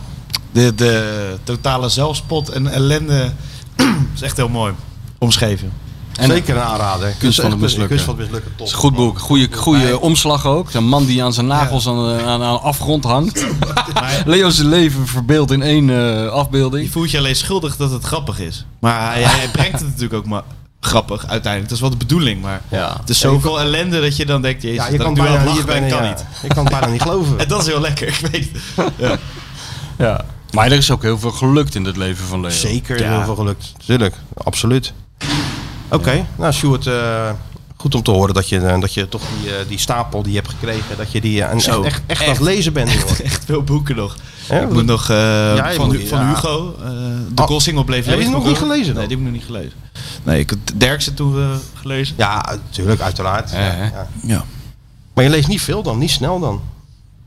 D: De, de totale zelfspot en ellende is echt heel mooi omschreven.
C: En-
B: Zeker een aanrader.
C: Kunst van het
B: Echt,
C: mislukken.
B: Kunst van het mislukken, top.
C: is een goed boek, goede, goede omslag ook. Een man die aan zijn nagels aan, aan, aan afgrond hangt. Leo's leven verbeeld in één eh,
D: Je
C: afbeelding.
D: voelt je alleen schuldig dat het grappig is. Maar hij, hij brengt het natuurlijk ook maar grappig uiteindelijk. Dat is wel de bedoeling, maar
C: Ja.
D: het is zoveel ellende dat je dan denkt, jezus,
B: Ja, je kan
D: dat ik nu
B: bijna,
D: aan het
B: je
D: lachen ben,
B: bijna,
D: kan
B: ja.
D: niet.
B: Ik kan het bijna niet geloven.
D: En dat is heel lekker, ik weet het. Ja.
C: Ja. Maar er is ook heel veel gelukt in het leven van Leo.
B: Zeker heel veel gelukt. Tuurlijk, absoluut. Oké, nou Sjoerd, eh, goed om te horen dat je, eh, dat je toch die, eh, die stapel die je hebt gekregen, dat je die eh, en echt,
D: Zo,
B: echt, echt aan het lezen bent. joh.
D: Echt veel boeken nog.
B: Hè,
D: ik
B: wat-
D: moet nog eh,
B: je
D: van,
B: moet-
D: Hu- van
B: ja.
D: Hugo, eh, de
B: Oh,
D: Koolsingel bleef
B: heb je
D: lezen.
B: die nog
D: van
B: niet
D: Kool-
B: gelezen dan?
D: Nee, die heb ik nog niet gelezen. Nee, ik heb Derksen toen eh, gelezen.
B: Ja, tuurlijk, uiteraard.
C: Ja, hè?
B: Ja.
D: Ja.
B: Maar je leest niet veel dan, niet snel dan.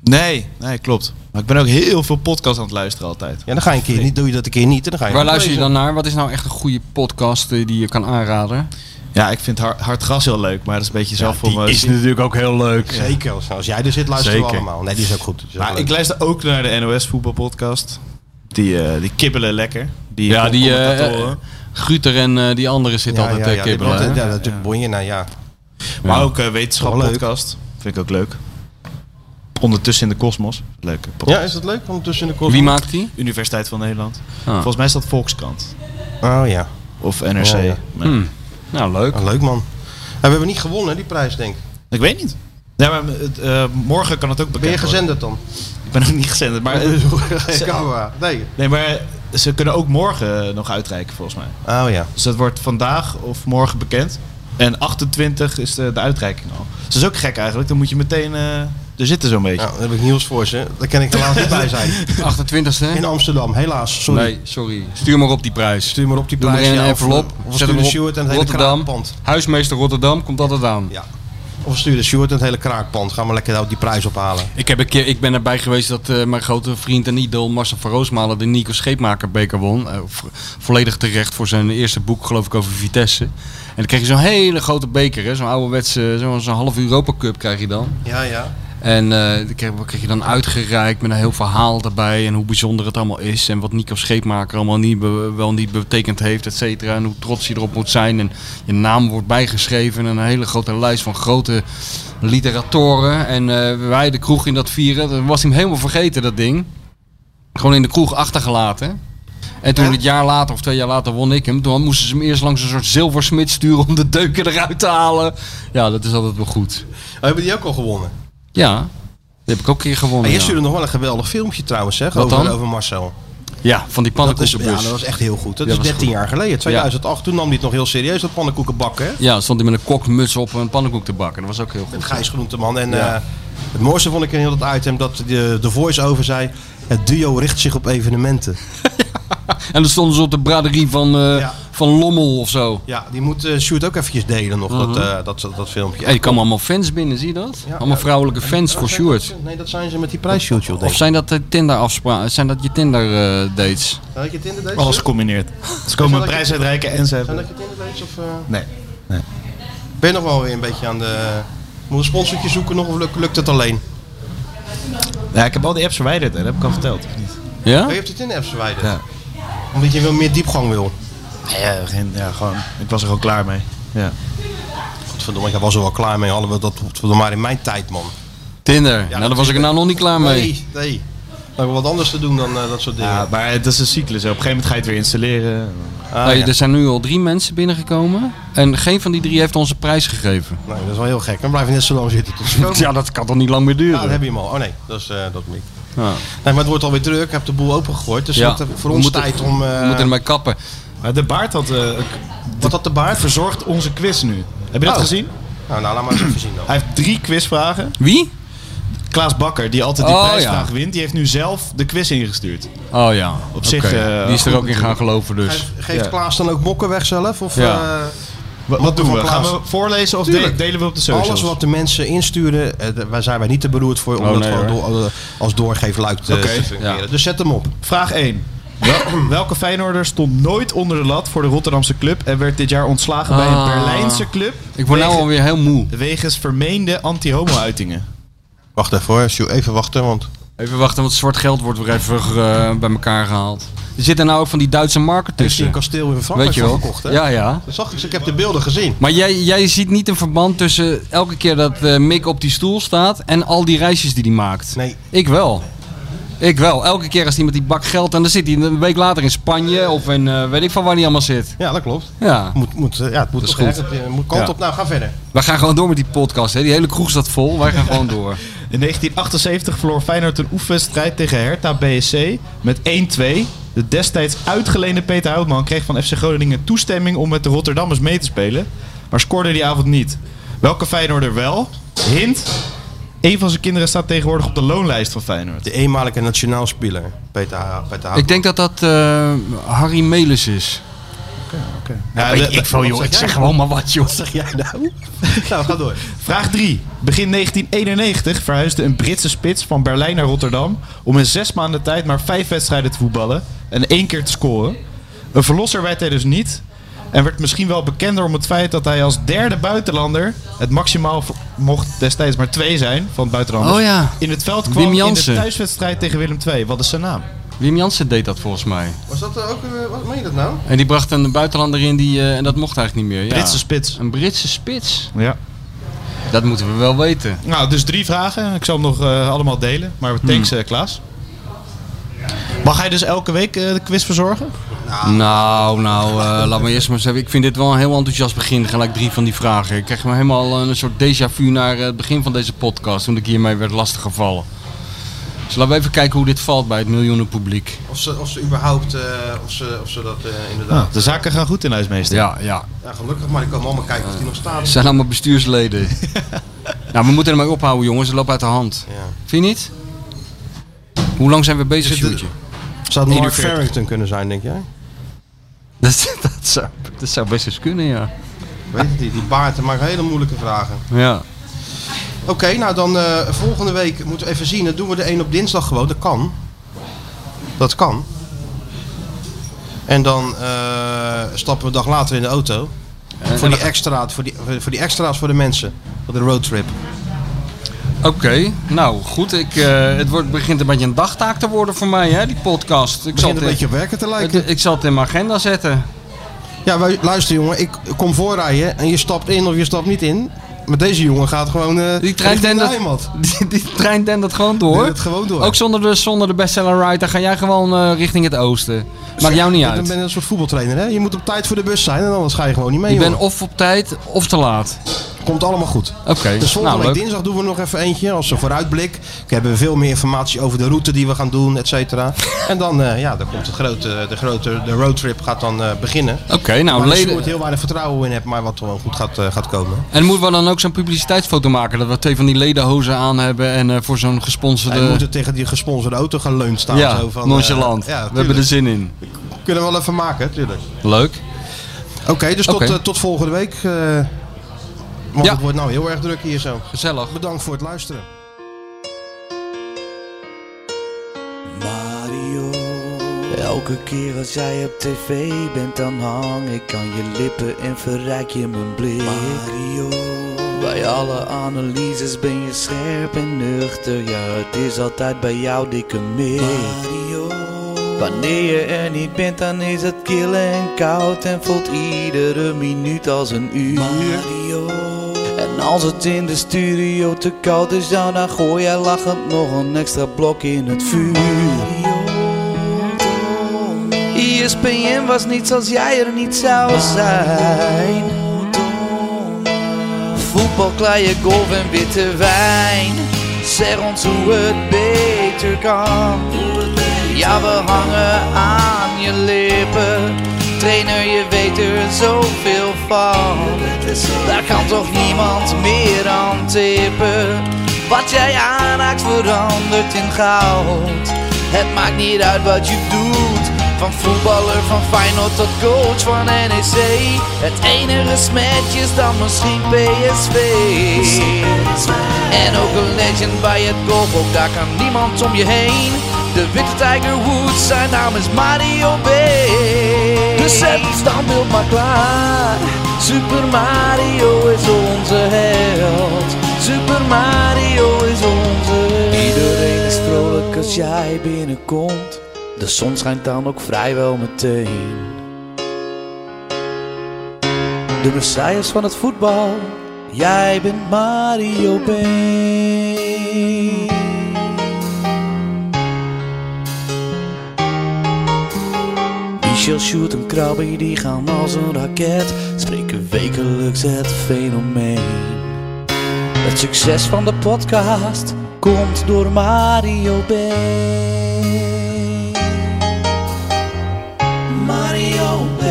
D: Nee, nee, klopt. Maar ik ben ook heel veel podcasts aan het luisteren altijd.
B: Ja, dan ga je een keer niet, doe je dat een keer niet en dan ga je
C: Waar
B: gewoon
C: luister je dan
B: lezen.
C: naar? Wat is nou echt een goede podcast eh, die je kan aanraden?
D: Ja, ik vind Hard, hard Gras heel leuk, maar dat is een beetje zelf eh, voor
C: natuurlijk ook heel leuk.
B: Zeker, als, als jij er zit, luisteren we
C: Zeker.
B: allemaal. Nee, die is ook goed. Die is ook
D: Maar
B: leuk.
D: ik luister ook naar de NOS voetbalpodcast. Die, eh, die kibbelen lekker. Die
C: Ja, die eh
D: commentatoren.
C: Gruter en eh, die andere zit
B: ja,
C: altijd
B: ja,
C: eh,
B: ja, die
C: kibbelen.
B: brandt-
C: hè?
B: Ja, natuurlijk bon je naar, nou ja.
D: maar
C: ja.
D: ook eh wetenschappodcast. Vind ik ook leuk. Ondertussen in de kosmos. Leuke
B: Ja,
D: podcast.
B: is dat leuk om tussen de kort...
C: Wie maakt die?
D: Universiteit van Nederland.
C: Ah.
D: Volgens mij is dat Volkskrant.
B: Oh ja,
D: Of NRC.
B: Oh, Ja, ja.
D: Maar-
C: Hmm. Nou, leuk.
B: Ah, leuk man. En we hebben niet gewonnen, die prijs denk ik.
D: Ik weet niet. Ja, maar het, eh, morgen kan het ook
B: Ben
D: bekend
B: je gezenderd dan?
D: worden. Ik ben nog niet gezenderd. Maar,
B: Geen camera. Nee.
D: nee, maar ze kunnen ook morgen eh, nog uitreiken volgens mij.
B: Oh ja.
D: Dus dat wordt vandaag of morgen bekend. En 28 is de, de uitreiking al. Dus dat is ook gek eigenlijk. Dan moet je meteen eh er zitten zo'n beetje.
B: Nou, daar heb ik nieuws voor ze. Daar kan ik helaas niet bij zijn.
C: 28e?
B: In Amsterdam, helaas. Sorry.
C: Nee, sorry. Stuur maar op die prijs.
B: Stuur maar op die
C: Doe maar
B: prijs.
C: in
B: ja,
C: een
B: of- eh,
C: envelop.
B: Of stuur
C: Zet hem
B: de
C: op.
B: Sjoerd en het hele
C: Rotterdam.
B: kraakpand.
C: Huismeester Rotterdam, komt altijd aan.
B: Ja. Of stuur de Sjoerd en het hele kraakpand. Gaan we lekker daar die prijs ophalen.
C: Ik, heb een keer, ik ben erbij geweest dat eh, mijn grote vriend en idool Marcel van Roosmalen de Nico Scheepmaker beker won. Eh, vo- volledig terecht voor zijn eerste boek, geloof ik, over Vitesse. En dan kreeg je zo'n hele grote beker, hè, zo'n ouderwetse, zo'n zo'n half Europa Cup krijg je dan.
B: Ja, ja.
C: En eh die kreeg, kreeg je dan uitgereikt met een heel verhaal daarbij. En hoe bijzonder het allemaal is. En wat Nico Scheepmaker allemaal niet be- wel niet betekend heeft, et cetera. En hoe trots je erop moet zijn. En je naam wordt bijgeschreven. En een hele grote lijst van grote literatoren. En eh, wij de kroeg in dat vieren. Dan was hij hem helemaal vergeten, dat ding. Gewoon in de kroeg achtergelaten. En toen het jaar later of twee jaar later won ik hem. Toen moesten ze hem eerst langs een soort zilversmid sturen om de deuken eruit te halen. Ja, dat is altijd wel goed.
B: Oh, hebben die ook al gewonnen?
C: Ja, die heb ik ook een keer gewonnen.
B: En je
C: ja.
B: stuurde nog wel een geweldig filmpje trouwens, hè?
C: Wat
B: Over,
C: dan?
B: over Marcel.
C: Ja, van die
B: is, ja,
C: pannenkoekenbus.
B: dat was echt heel goed. Dat
C: Ja,
B: is
C: was
B: 13 jaar geleden, 2008. Toen nam hij het nog heel serieus, dat pannenkoekenbak, hè?
C: Ja, stond hij met een kokmuts op een pannenkoek te bakken. Dat was ook heel goed.
B: Met Gijs Groenteman. En
C: Ja.
B: eh, het mooiste vond ik in heel dat item dat de, de voice-over zei... Het duo richt zich op evenementen.
C: En dan stonden ze op de braderie van, eh,
B: Ja.
C: van Lommel of zo.
B: Ja, die moet eh Sjoerd ook eventjes delen nog,
H: Mhm.
B: dat, eh, dat, dat, dat filmpje.
C: Hé, die kwamen allemaal fans binnen, zie je dat?
B: Ja,
C: allemaal
B: ja. Oh,
C: vrouwelijke fans voor Sjoerd.
B: Nee, dat zijn ze met die prijs, Sjoerd, joh, denk
C: Of
B: ik.
C: zijn dat de Tinder afspraken? Zijn dat je Tinder eh, dates?
B: Zijn dat je Tinder dates?
H: Alles
B: Sjoerd?
H: gecombineerd. Ze komen een prijs uitreiken en ze
B: Zijn
H: hebben...
B: dat je Tinder dates of... eh,
H: Nee.
B: Ben je nog wel weer een beetje aan de... eh, Moet een sponsortje zoeken nog of lukt, lukt het alleen?
H: Ja, ik heb al die apps verwijderd, hè. dat heb ik al verteld. of niet?
C: Ja?
B: Oh, je hebt het in de apps verwijderd?
H: Ja.
B: Omdat je wel meer diepgang wil.
H: Ja, geen, ja, gewoon, ik was er gewoon klaar mee. Ja.
B: Godverdomme, ik was er wel klaar mee. Hadden we dat godverdomme, maar in mijn tijd, man.
C: Tinder. nou, daar was ik er nou nog niet klaar mee.
B: Nee, nee. Dan hebben we wat anders te doen dan eh, dat soort dingen.
H: Ja, maar het is een cyclus. Hè. Op een gegeven moment ga je het weer installeren.
B: Ah,
C: Hey,
B: ja.
C: Er zijn nu al drie mensen binnengekomen. En geen van die drie heeft ons een prijs gegeven.
B: Nee, dat is wel heel gek. Dan blijf je net zo lang zitten tot ze komen. Ja,
C: dat kan toch niet lang meer
B: dan heb je hem al. Oh nee, dat is eh, dat niet. Nee, maar het wordt alweer druk. Ik heb de boel opengegooid. Dus
C: Ja.
B: het, eh, voor
C: We
B: ons
C: moeten-
B: tijd om... eh,
C: We moeten ermee kappen.
H: Maar de baard had, eh,
B: Wat had de baard?
H: verzorgt onze quiz nu. Heb je dat
B: Oh.
H: gezien?
B: Nou, nou, laat maar eens even zien dan.
H: Hij heeft drie quizvragen.
C: Wie?
H: Klaas Bakker, die altijd die
C: Oh,
H: prijsvraag
C: ja.
H: wint, die heeft nu zelf de quiz ingestuurd.
C: Oh ja. Oké.
H: zich, eh,
C: die is er
H: goed
C: ook in gaan geloven dus.
B: Geeft- Geeft
H: Ja.
B: Klaas dan ook mokken weg zelf? Of,
C: Ja.
B: eh,
H: Wat,
B: Moppen
H: doen
B: van
H: we? Gaan
B: Klaas.
H: we voorlezen of
B: Tuurlijk.
H: de- delen we op de socials?
B: Alles wat de mensen insturen, eh, d- waar zijn wij niet te beroerd voor om
C: Oh,
B: dat
C: nee,
B: gewoon door- eh, als doorgeefluik te,
H: Oké,
B: te fungeren.
C: ja.
B: Dus zet hem op.
H: Vraag 1. welke Feyenoorder stond nooit onder de lat voor de Rotterdamse club en werd dit jaar ontslagen bij een
C: Ah.
H: Berlijnse club
C: Ik word nou
H: wegen-
C: alweer heel moe.
H: wegens vermeende anti-homo-uitingen?
B: Wacht even hoor, Sjoe, even wachten, want...
C: Even wachten, want zwart geld wordt weer even eh, bij elkaar gehaald. Er zitten nou ook van die Duitse markt
B: Heeft hij
C: tussen.
B: een kasteel in Frankrijk
C: Weet je wel?
B: gekocht, hè?
C: Ja, ja.
B: Dat zag ik, ik heb de beelden gezien.
C: Maar jij, jij ziet niet een verband tussen elke keer dat eh, Mick op die stoel staat en al die reisjes die hij maakt.
B: Nee.
C: Ik wel. Ik wel. Elke keer als hij met die bak geld en dan zit hij een week later in Spanje of in eh, weet ik van waar hij allemaal zit.
B: Ja, dat klopt.
C: Ja.
B: Moet, moet, eh, ja, het moet
C: Dat is
B: toch
C: goed.
B: ergens, eh, moet kant
C: Ja.
B: op. Nou, ga verder.
C: Wij gaan gewoon door met die podcast. Hè. Die hele kroeg staat vol. Wij gaan gewoon door.
H: In 1978 verloor Feyenoord een oefenwedstrijd tegen Hertha BSC met 1-2. De destijds uitgeleende Peter Houtman kreeg van FC Groningen toestemming om met de Rotterdammers mee te spelen, maar scoorde die avond niet. Welke Feyenoorder wel? Hint, een van zijn kinderen staat tegenwoordig op de loonlijst van Feyenoord.
B: De eenmalige nationaal speler, Peter, Ha- Peter Houtman.
C: Ik denk dat dat eh, Harry Melis is.
H: Ja, de- de-
C: veel joh. Ik zeg gewoon maar wat joh.
B: Zeg jij nou? nou, ga door.
H: Vraag 3. Begin 1991 verhuisde een Britse spits van Berlijn naar Rotterdam om in zes maanden tijd maar vijf wedstrijden te voetballen en één keer te scoren. Een verlosser werd hij dus niet en werd misschien wel bekender om het feit dat hij als derde buitenlander, het maximaal v- mocht destijds maar twee zijn van buitenlanders,
C: Oh ja.
H: in het veld
C: Wim
H: kwam in de
C: Jansen.
H: thuiswedstrijd tegen Willem II. Wat is zijn naam?
C: Wim Jansen deed dat volgens mij.
B: Was dat eh, ook... eh, wat meen je dat nou?
C: En die bracht een buitenlander in die, eh, en dat mocht eigenlijk niet meer. Ja.
H: Britse spits.
C: Een Britse spits.
H: Ja.
C: Dat moeten we wel weten.
H: Nou, dus drie vragen. Ik zal hem nog eh, allemaal delen, maar thanks
C: Hmm.
H: eh, Klaas. Mag hij dus elke week eh, de quiz verzorgen?
C: Nou, nou, eh, laat me eerst maar eens even. Ik vind dit wel een heel enthousiast begin. Gelijk drie van die vragen. Ik krijg me helemaal een soort déjà vu naar eh, het begin van deze podcast. Toen ik hiermee werd lastiggevallen. Dus laten we even kijken hoe dit valt bij het miljoenen publiek.
B: Of ze, of ze überhaupt... eh, of, ze, of ze dat eh, inderdaad...
H: Ah, de zaken gaan goed in huismeester.
C: Ja, ja.
B: Ja, gelukkig, maar ik kan allemaal kijken of die nog
C: Ze
B: staat.
C: zijn allemaal bestuursleden. nou, we moeten ermee ophouden, jongens. Het loopt uit de hand.
B: Ja.
C: Vind je niet? Hoe lang zijn we bezig,
B: Is het-
C: Sjoerdje?
B: Zou het Mark
H: 41.
B: Farrington kunnen zijn, denk jij?
C: Dat, dat, zou, dat zou best eens kunnen, ja.
B: Weet het niet, die baard, dat maakt hele moeilijke vragen.
C: Ja.
B: Oké, nou dan eh, volgende week moeten we even zien. Dan doen we de een op dinsdag gewoon. Dat kan. Dat kan. En dan eh, stappen we een dag later in de auto.
C: En-
B: Voor
C: en
B: die, extra's, voor, die, voor die extra's voor de mensen. Voor de roadtrip.
C: Oké, nou goed. Ik, eh, het wordt, begint een beetje een dagtaak te worden voor mij, hè, die podcast. Ik
B: Ik zal
C: zal,
B: een
C: het-
B: beetje op werken te lijken.
C: het- ik zal het in mijn agenda zetten.
B: Ja, wij- luister jongen. Ik kom voorrijden en je stapt in of je stapt niet in. Maar deze jongen gaat gewoon eh
C: Die trein
B: richting
C: dendert,
B: Nijmad.
C: die, die trein dendert gewoon door.
B: Doe het gewoon door.
C: Ook zonder de, zonder de bestseller writer ga jij gewoon eh, richting het oosten. Maakt jou niet
B: Je
C: uit.
B: bent een soort voetbaltrainer hè. Je moet op tijd voor de bus zijn en anders ga je gewoon niet mee
C: Je bent
B: jongen.
C: of op tijd of te laat.
B: Komt allemaal goed.
C: Oké,
B: Dus volgende
C: nou
B: week
C: leuk.
B: dinsdag doen we nog even eentje als een vooruitblik. Ik hebben we veel meer informatie over de route die we gaan doen, et cetera. En dan, eh, ja, dan komt de grote, de grote de roadtrip gaat dan eh, beginnen.
C: Oké, nou
B: Waar ik Sjoerd
C: leden.
B: heel weinig vertrouwen in heb, maar wat gewoon goed gaat, eh, gaat komen.
C: En moeten we dan ook zo'n publiciteitsfoto maken? Dat we twee van die ledenhozen aan hebben en eh, voor zo'n gesponsorde...
B: Hij moet er tegen die gesponsorde auto gaan leund staan.
C: ja,
B: zo van, eh,
C: nonchalant.
B: ja,
C: we hebben dus- er zin in.
B: Kunnen we wel even maken, natuurlijk.
C: Leuk.
B: Oké, dus
C: Oké.
B: Tot, eh, tot volgende week. eh, want
C: Ja.
B: het wordt nou heel erg druk hier zo.
C: Gezellig.
B: Bedankt voor het luisteren.
A: Mario, elke keer als jij op tv bent, dan hang ik aan je lippen en verrijk je mijn blik. Mario, bij alle analyses ben je scherp en nuchter, ja, het is altijd bij jou dikke mik. Mario, wanneer je er niet bent, dan is het kil en koud en voelt iedere minuut als een uur. Mario. En als het in de studio te koud is, ja, dan gooi jij lachend nog een extra blok in het vuur. E ESPN was niets als jij er niet zou zijn. Voetbal, kleien, golf en witte wijn. Zeg ons hoe het beter kan. Ja, we hangen aan je lippen. Trainer, je weet er zoveel van. Daar kan toch niemand meer aan tippen. Wat jij aanraakt verandert in goud. Het maakt niet uit wat je doet. Van voetballer, van Feyenoord tot coach van NEC. Het enige smetje is dan misschien PSV. En ook een legend bij het golf, ook daar kan niemand om je heen. De witte Tiger Woods, zijn naam is Mario B. Dus zet het standbeeld maar klaar. Super Mario is onze held. Super Mario is onze held. Iedereen is vrolijk als jij binnenkomt. De zon schijnt dan ook vrijwel meteen. De messias van het voetbal, jij bent Mario Been. Michel Sjoerd en Krabbe die gaan als een raket Spreken wekelijks het fenomeen Het succes van de podcast komt door Mario B Mario B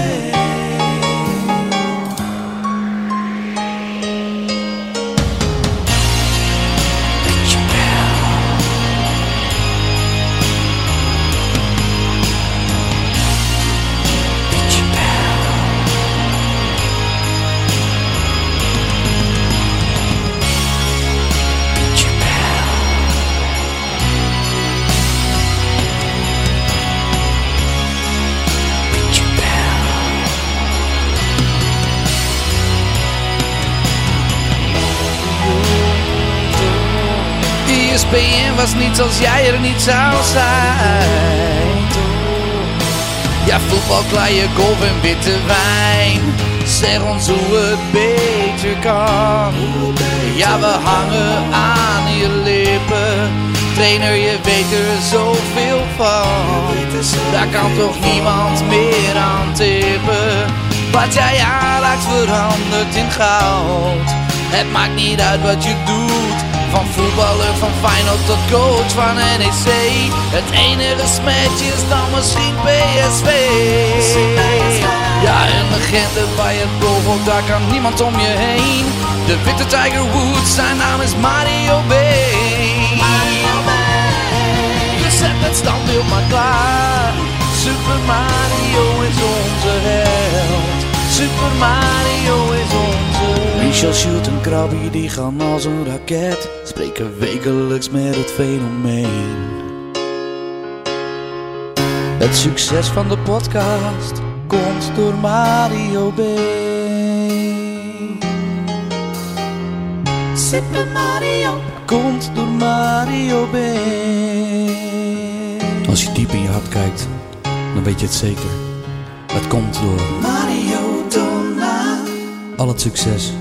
A: ESPN was niets als jij er niet zou zijn. Ja, voetbal, klaaien, golf en witte wijn. Zeg ons hoe het beter kan. Ja, we hangen aan je lippen. Trainer, je weet er zoveel van. Daar kan toch niemand meer aan tippen. Wat jij aanraakt verandert in goud. Het maakt niet uit wat je doet. Van voetballer, van Feyenoord tot coach van NEC. Het enige smetje is dan misschien PSV. Ja, een legende bij het golf, ook daar kan niemand om je heen. De witte Tiger Woods, zijn naam is Mario B. Dus zet het standbeeld maar klaar. Super Mario is onze held. Super Mario is onze held. Michel Sjoerd en Krabby die gaan als een raket. Spreken wekelijks met het fenomeen. Het succes van de podcast komt door Mario B. Super Mario komt door Mario B. Als je diep in je hart kijkt, dan weet je het zeker. Het komt door Mario Donna. Al het succes,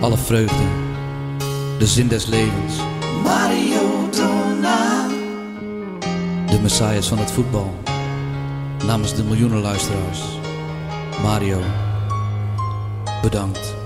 A: alle vreugde, de zin des levens. Mario Donna. De messias van het voetbal. Namens de miljoenen luisteraars. Mario, bedankt.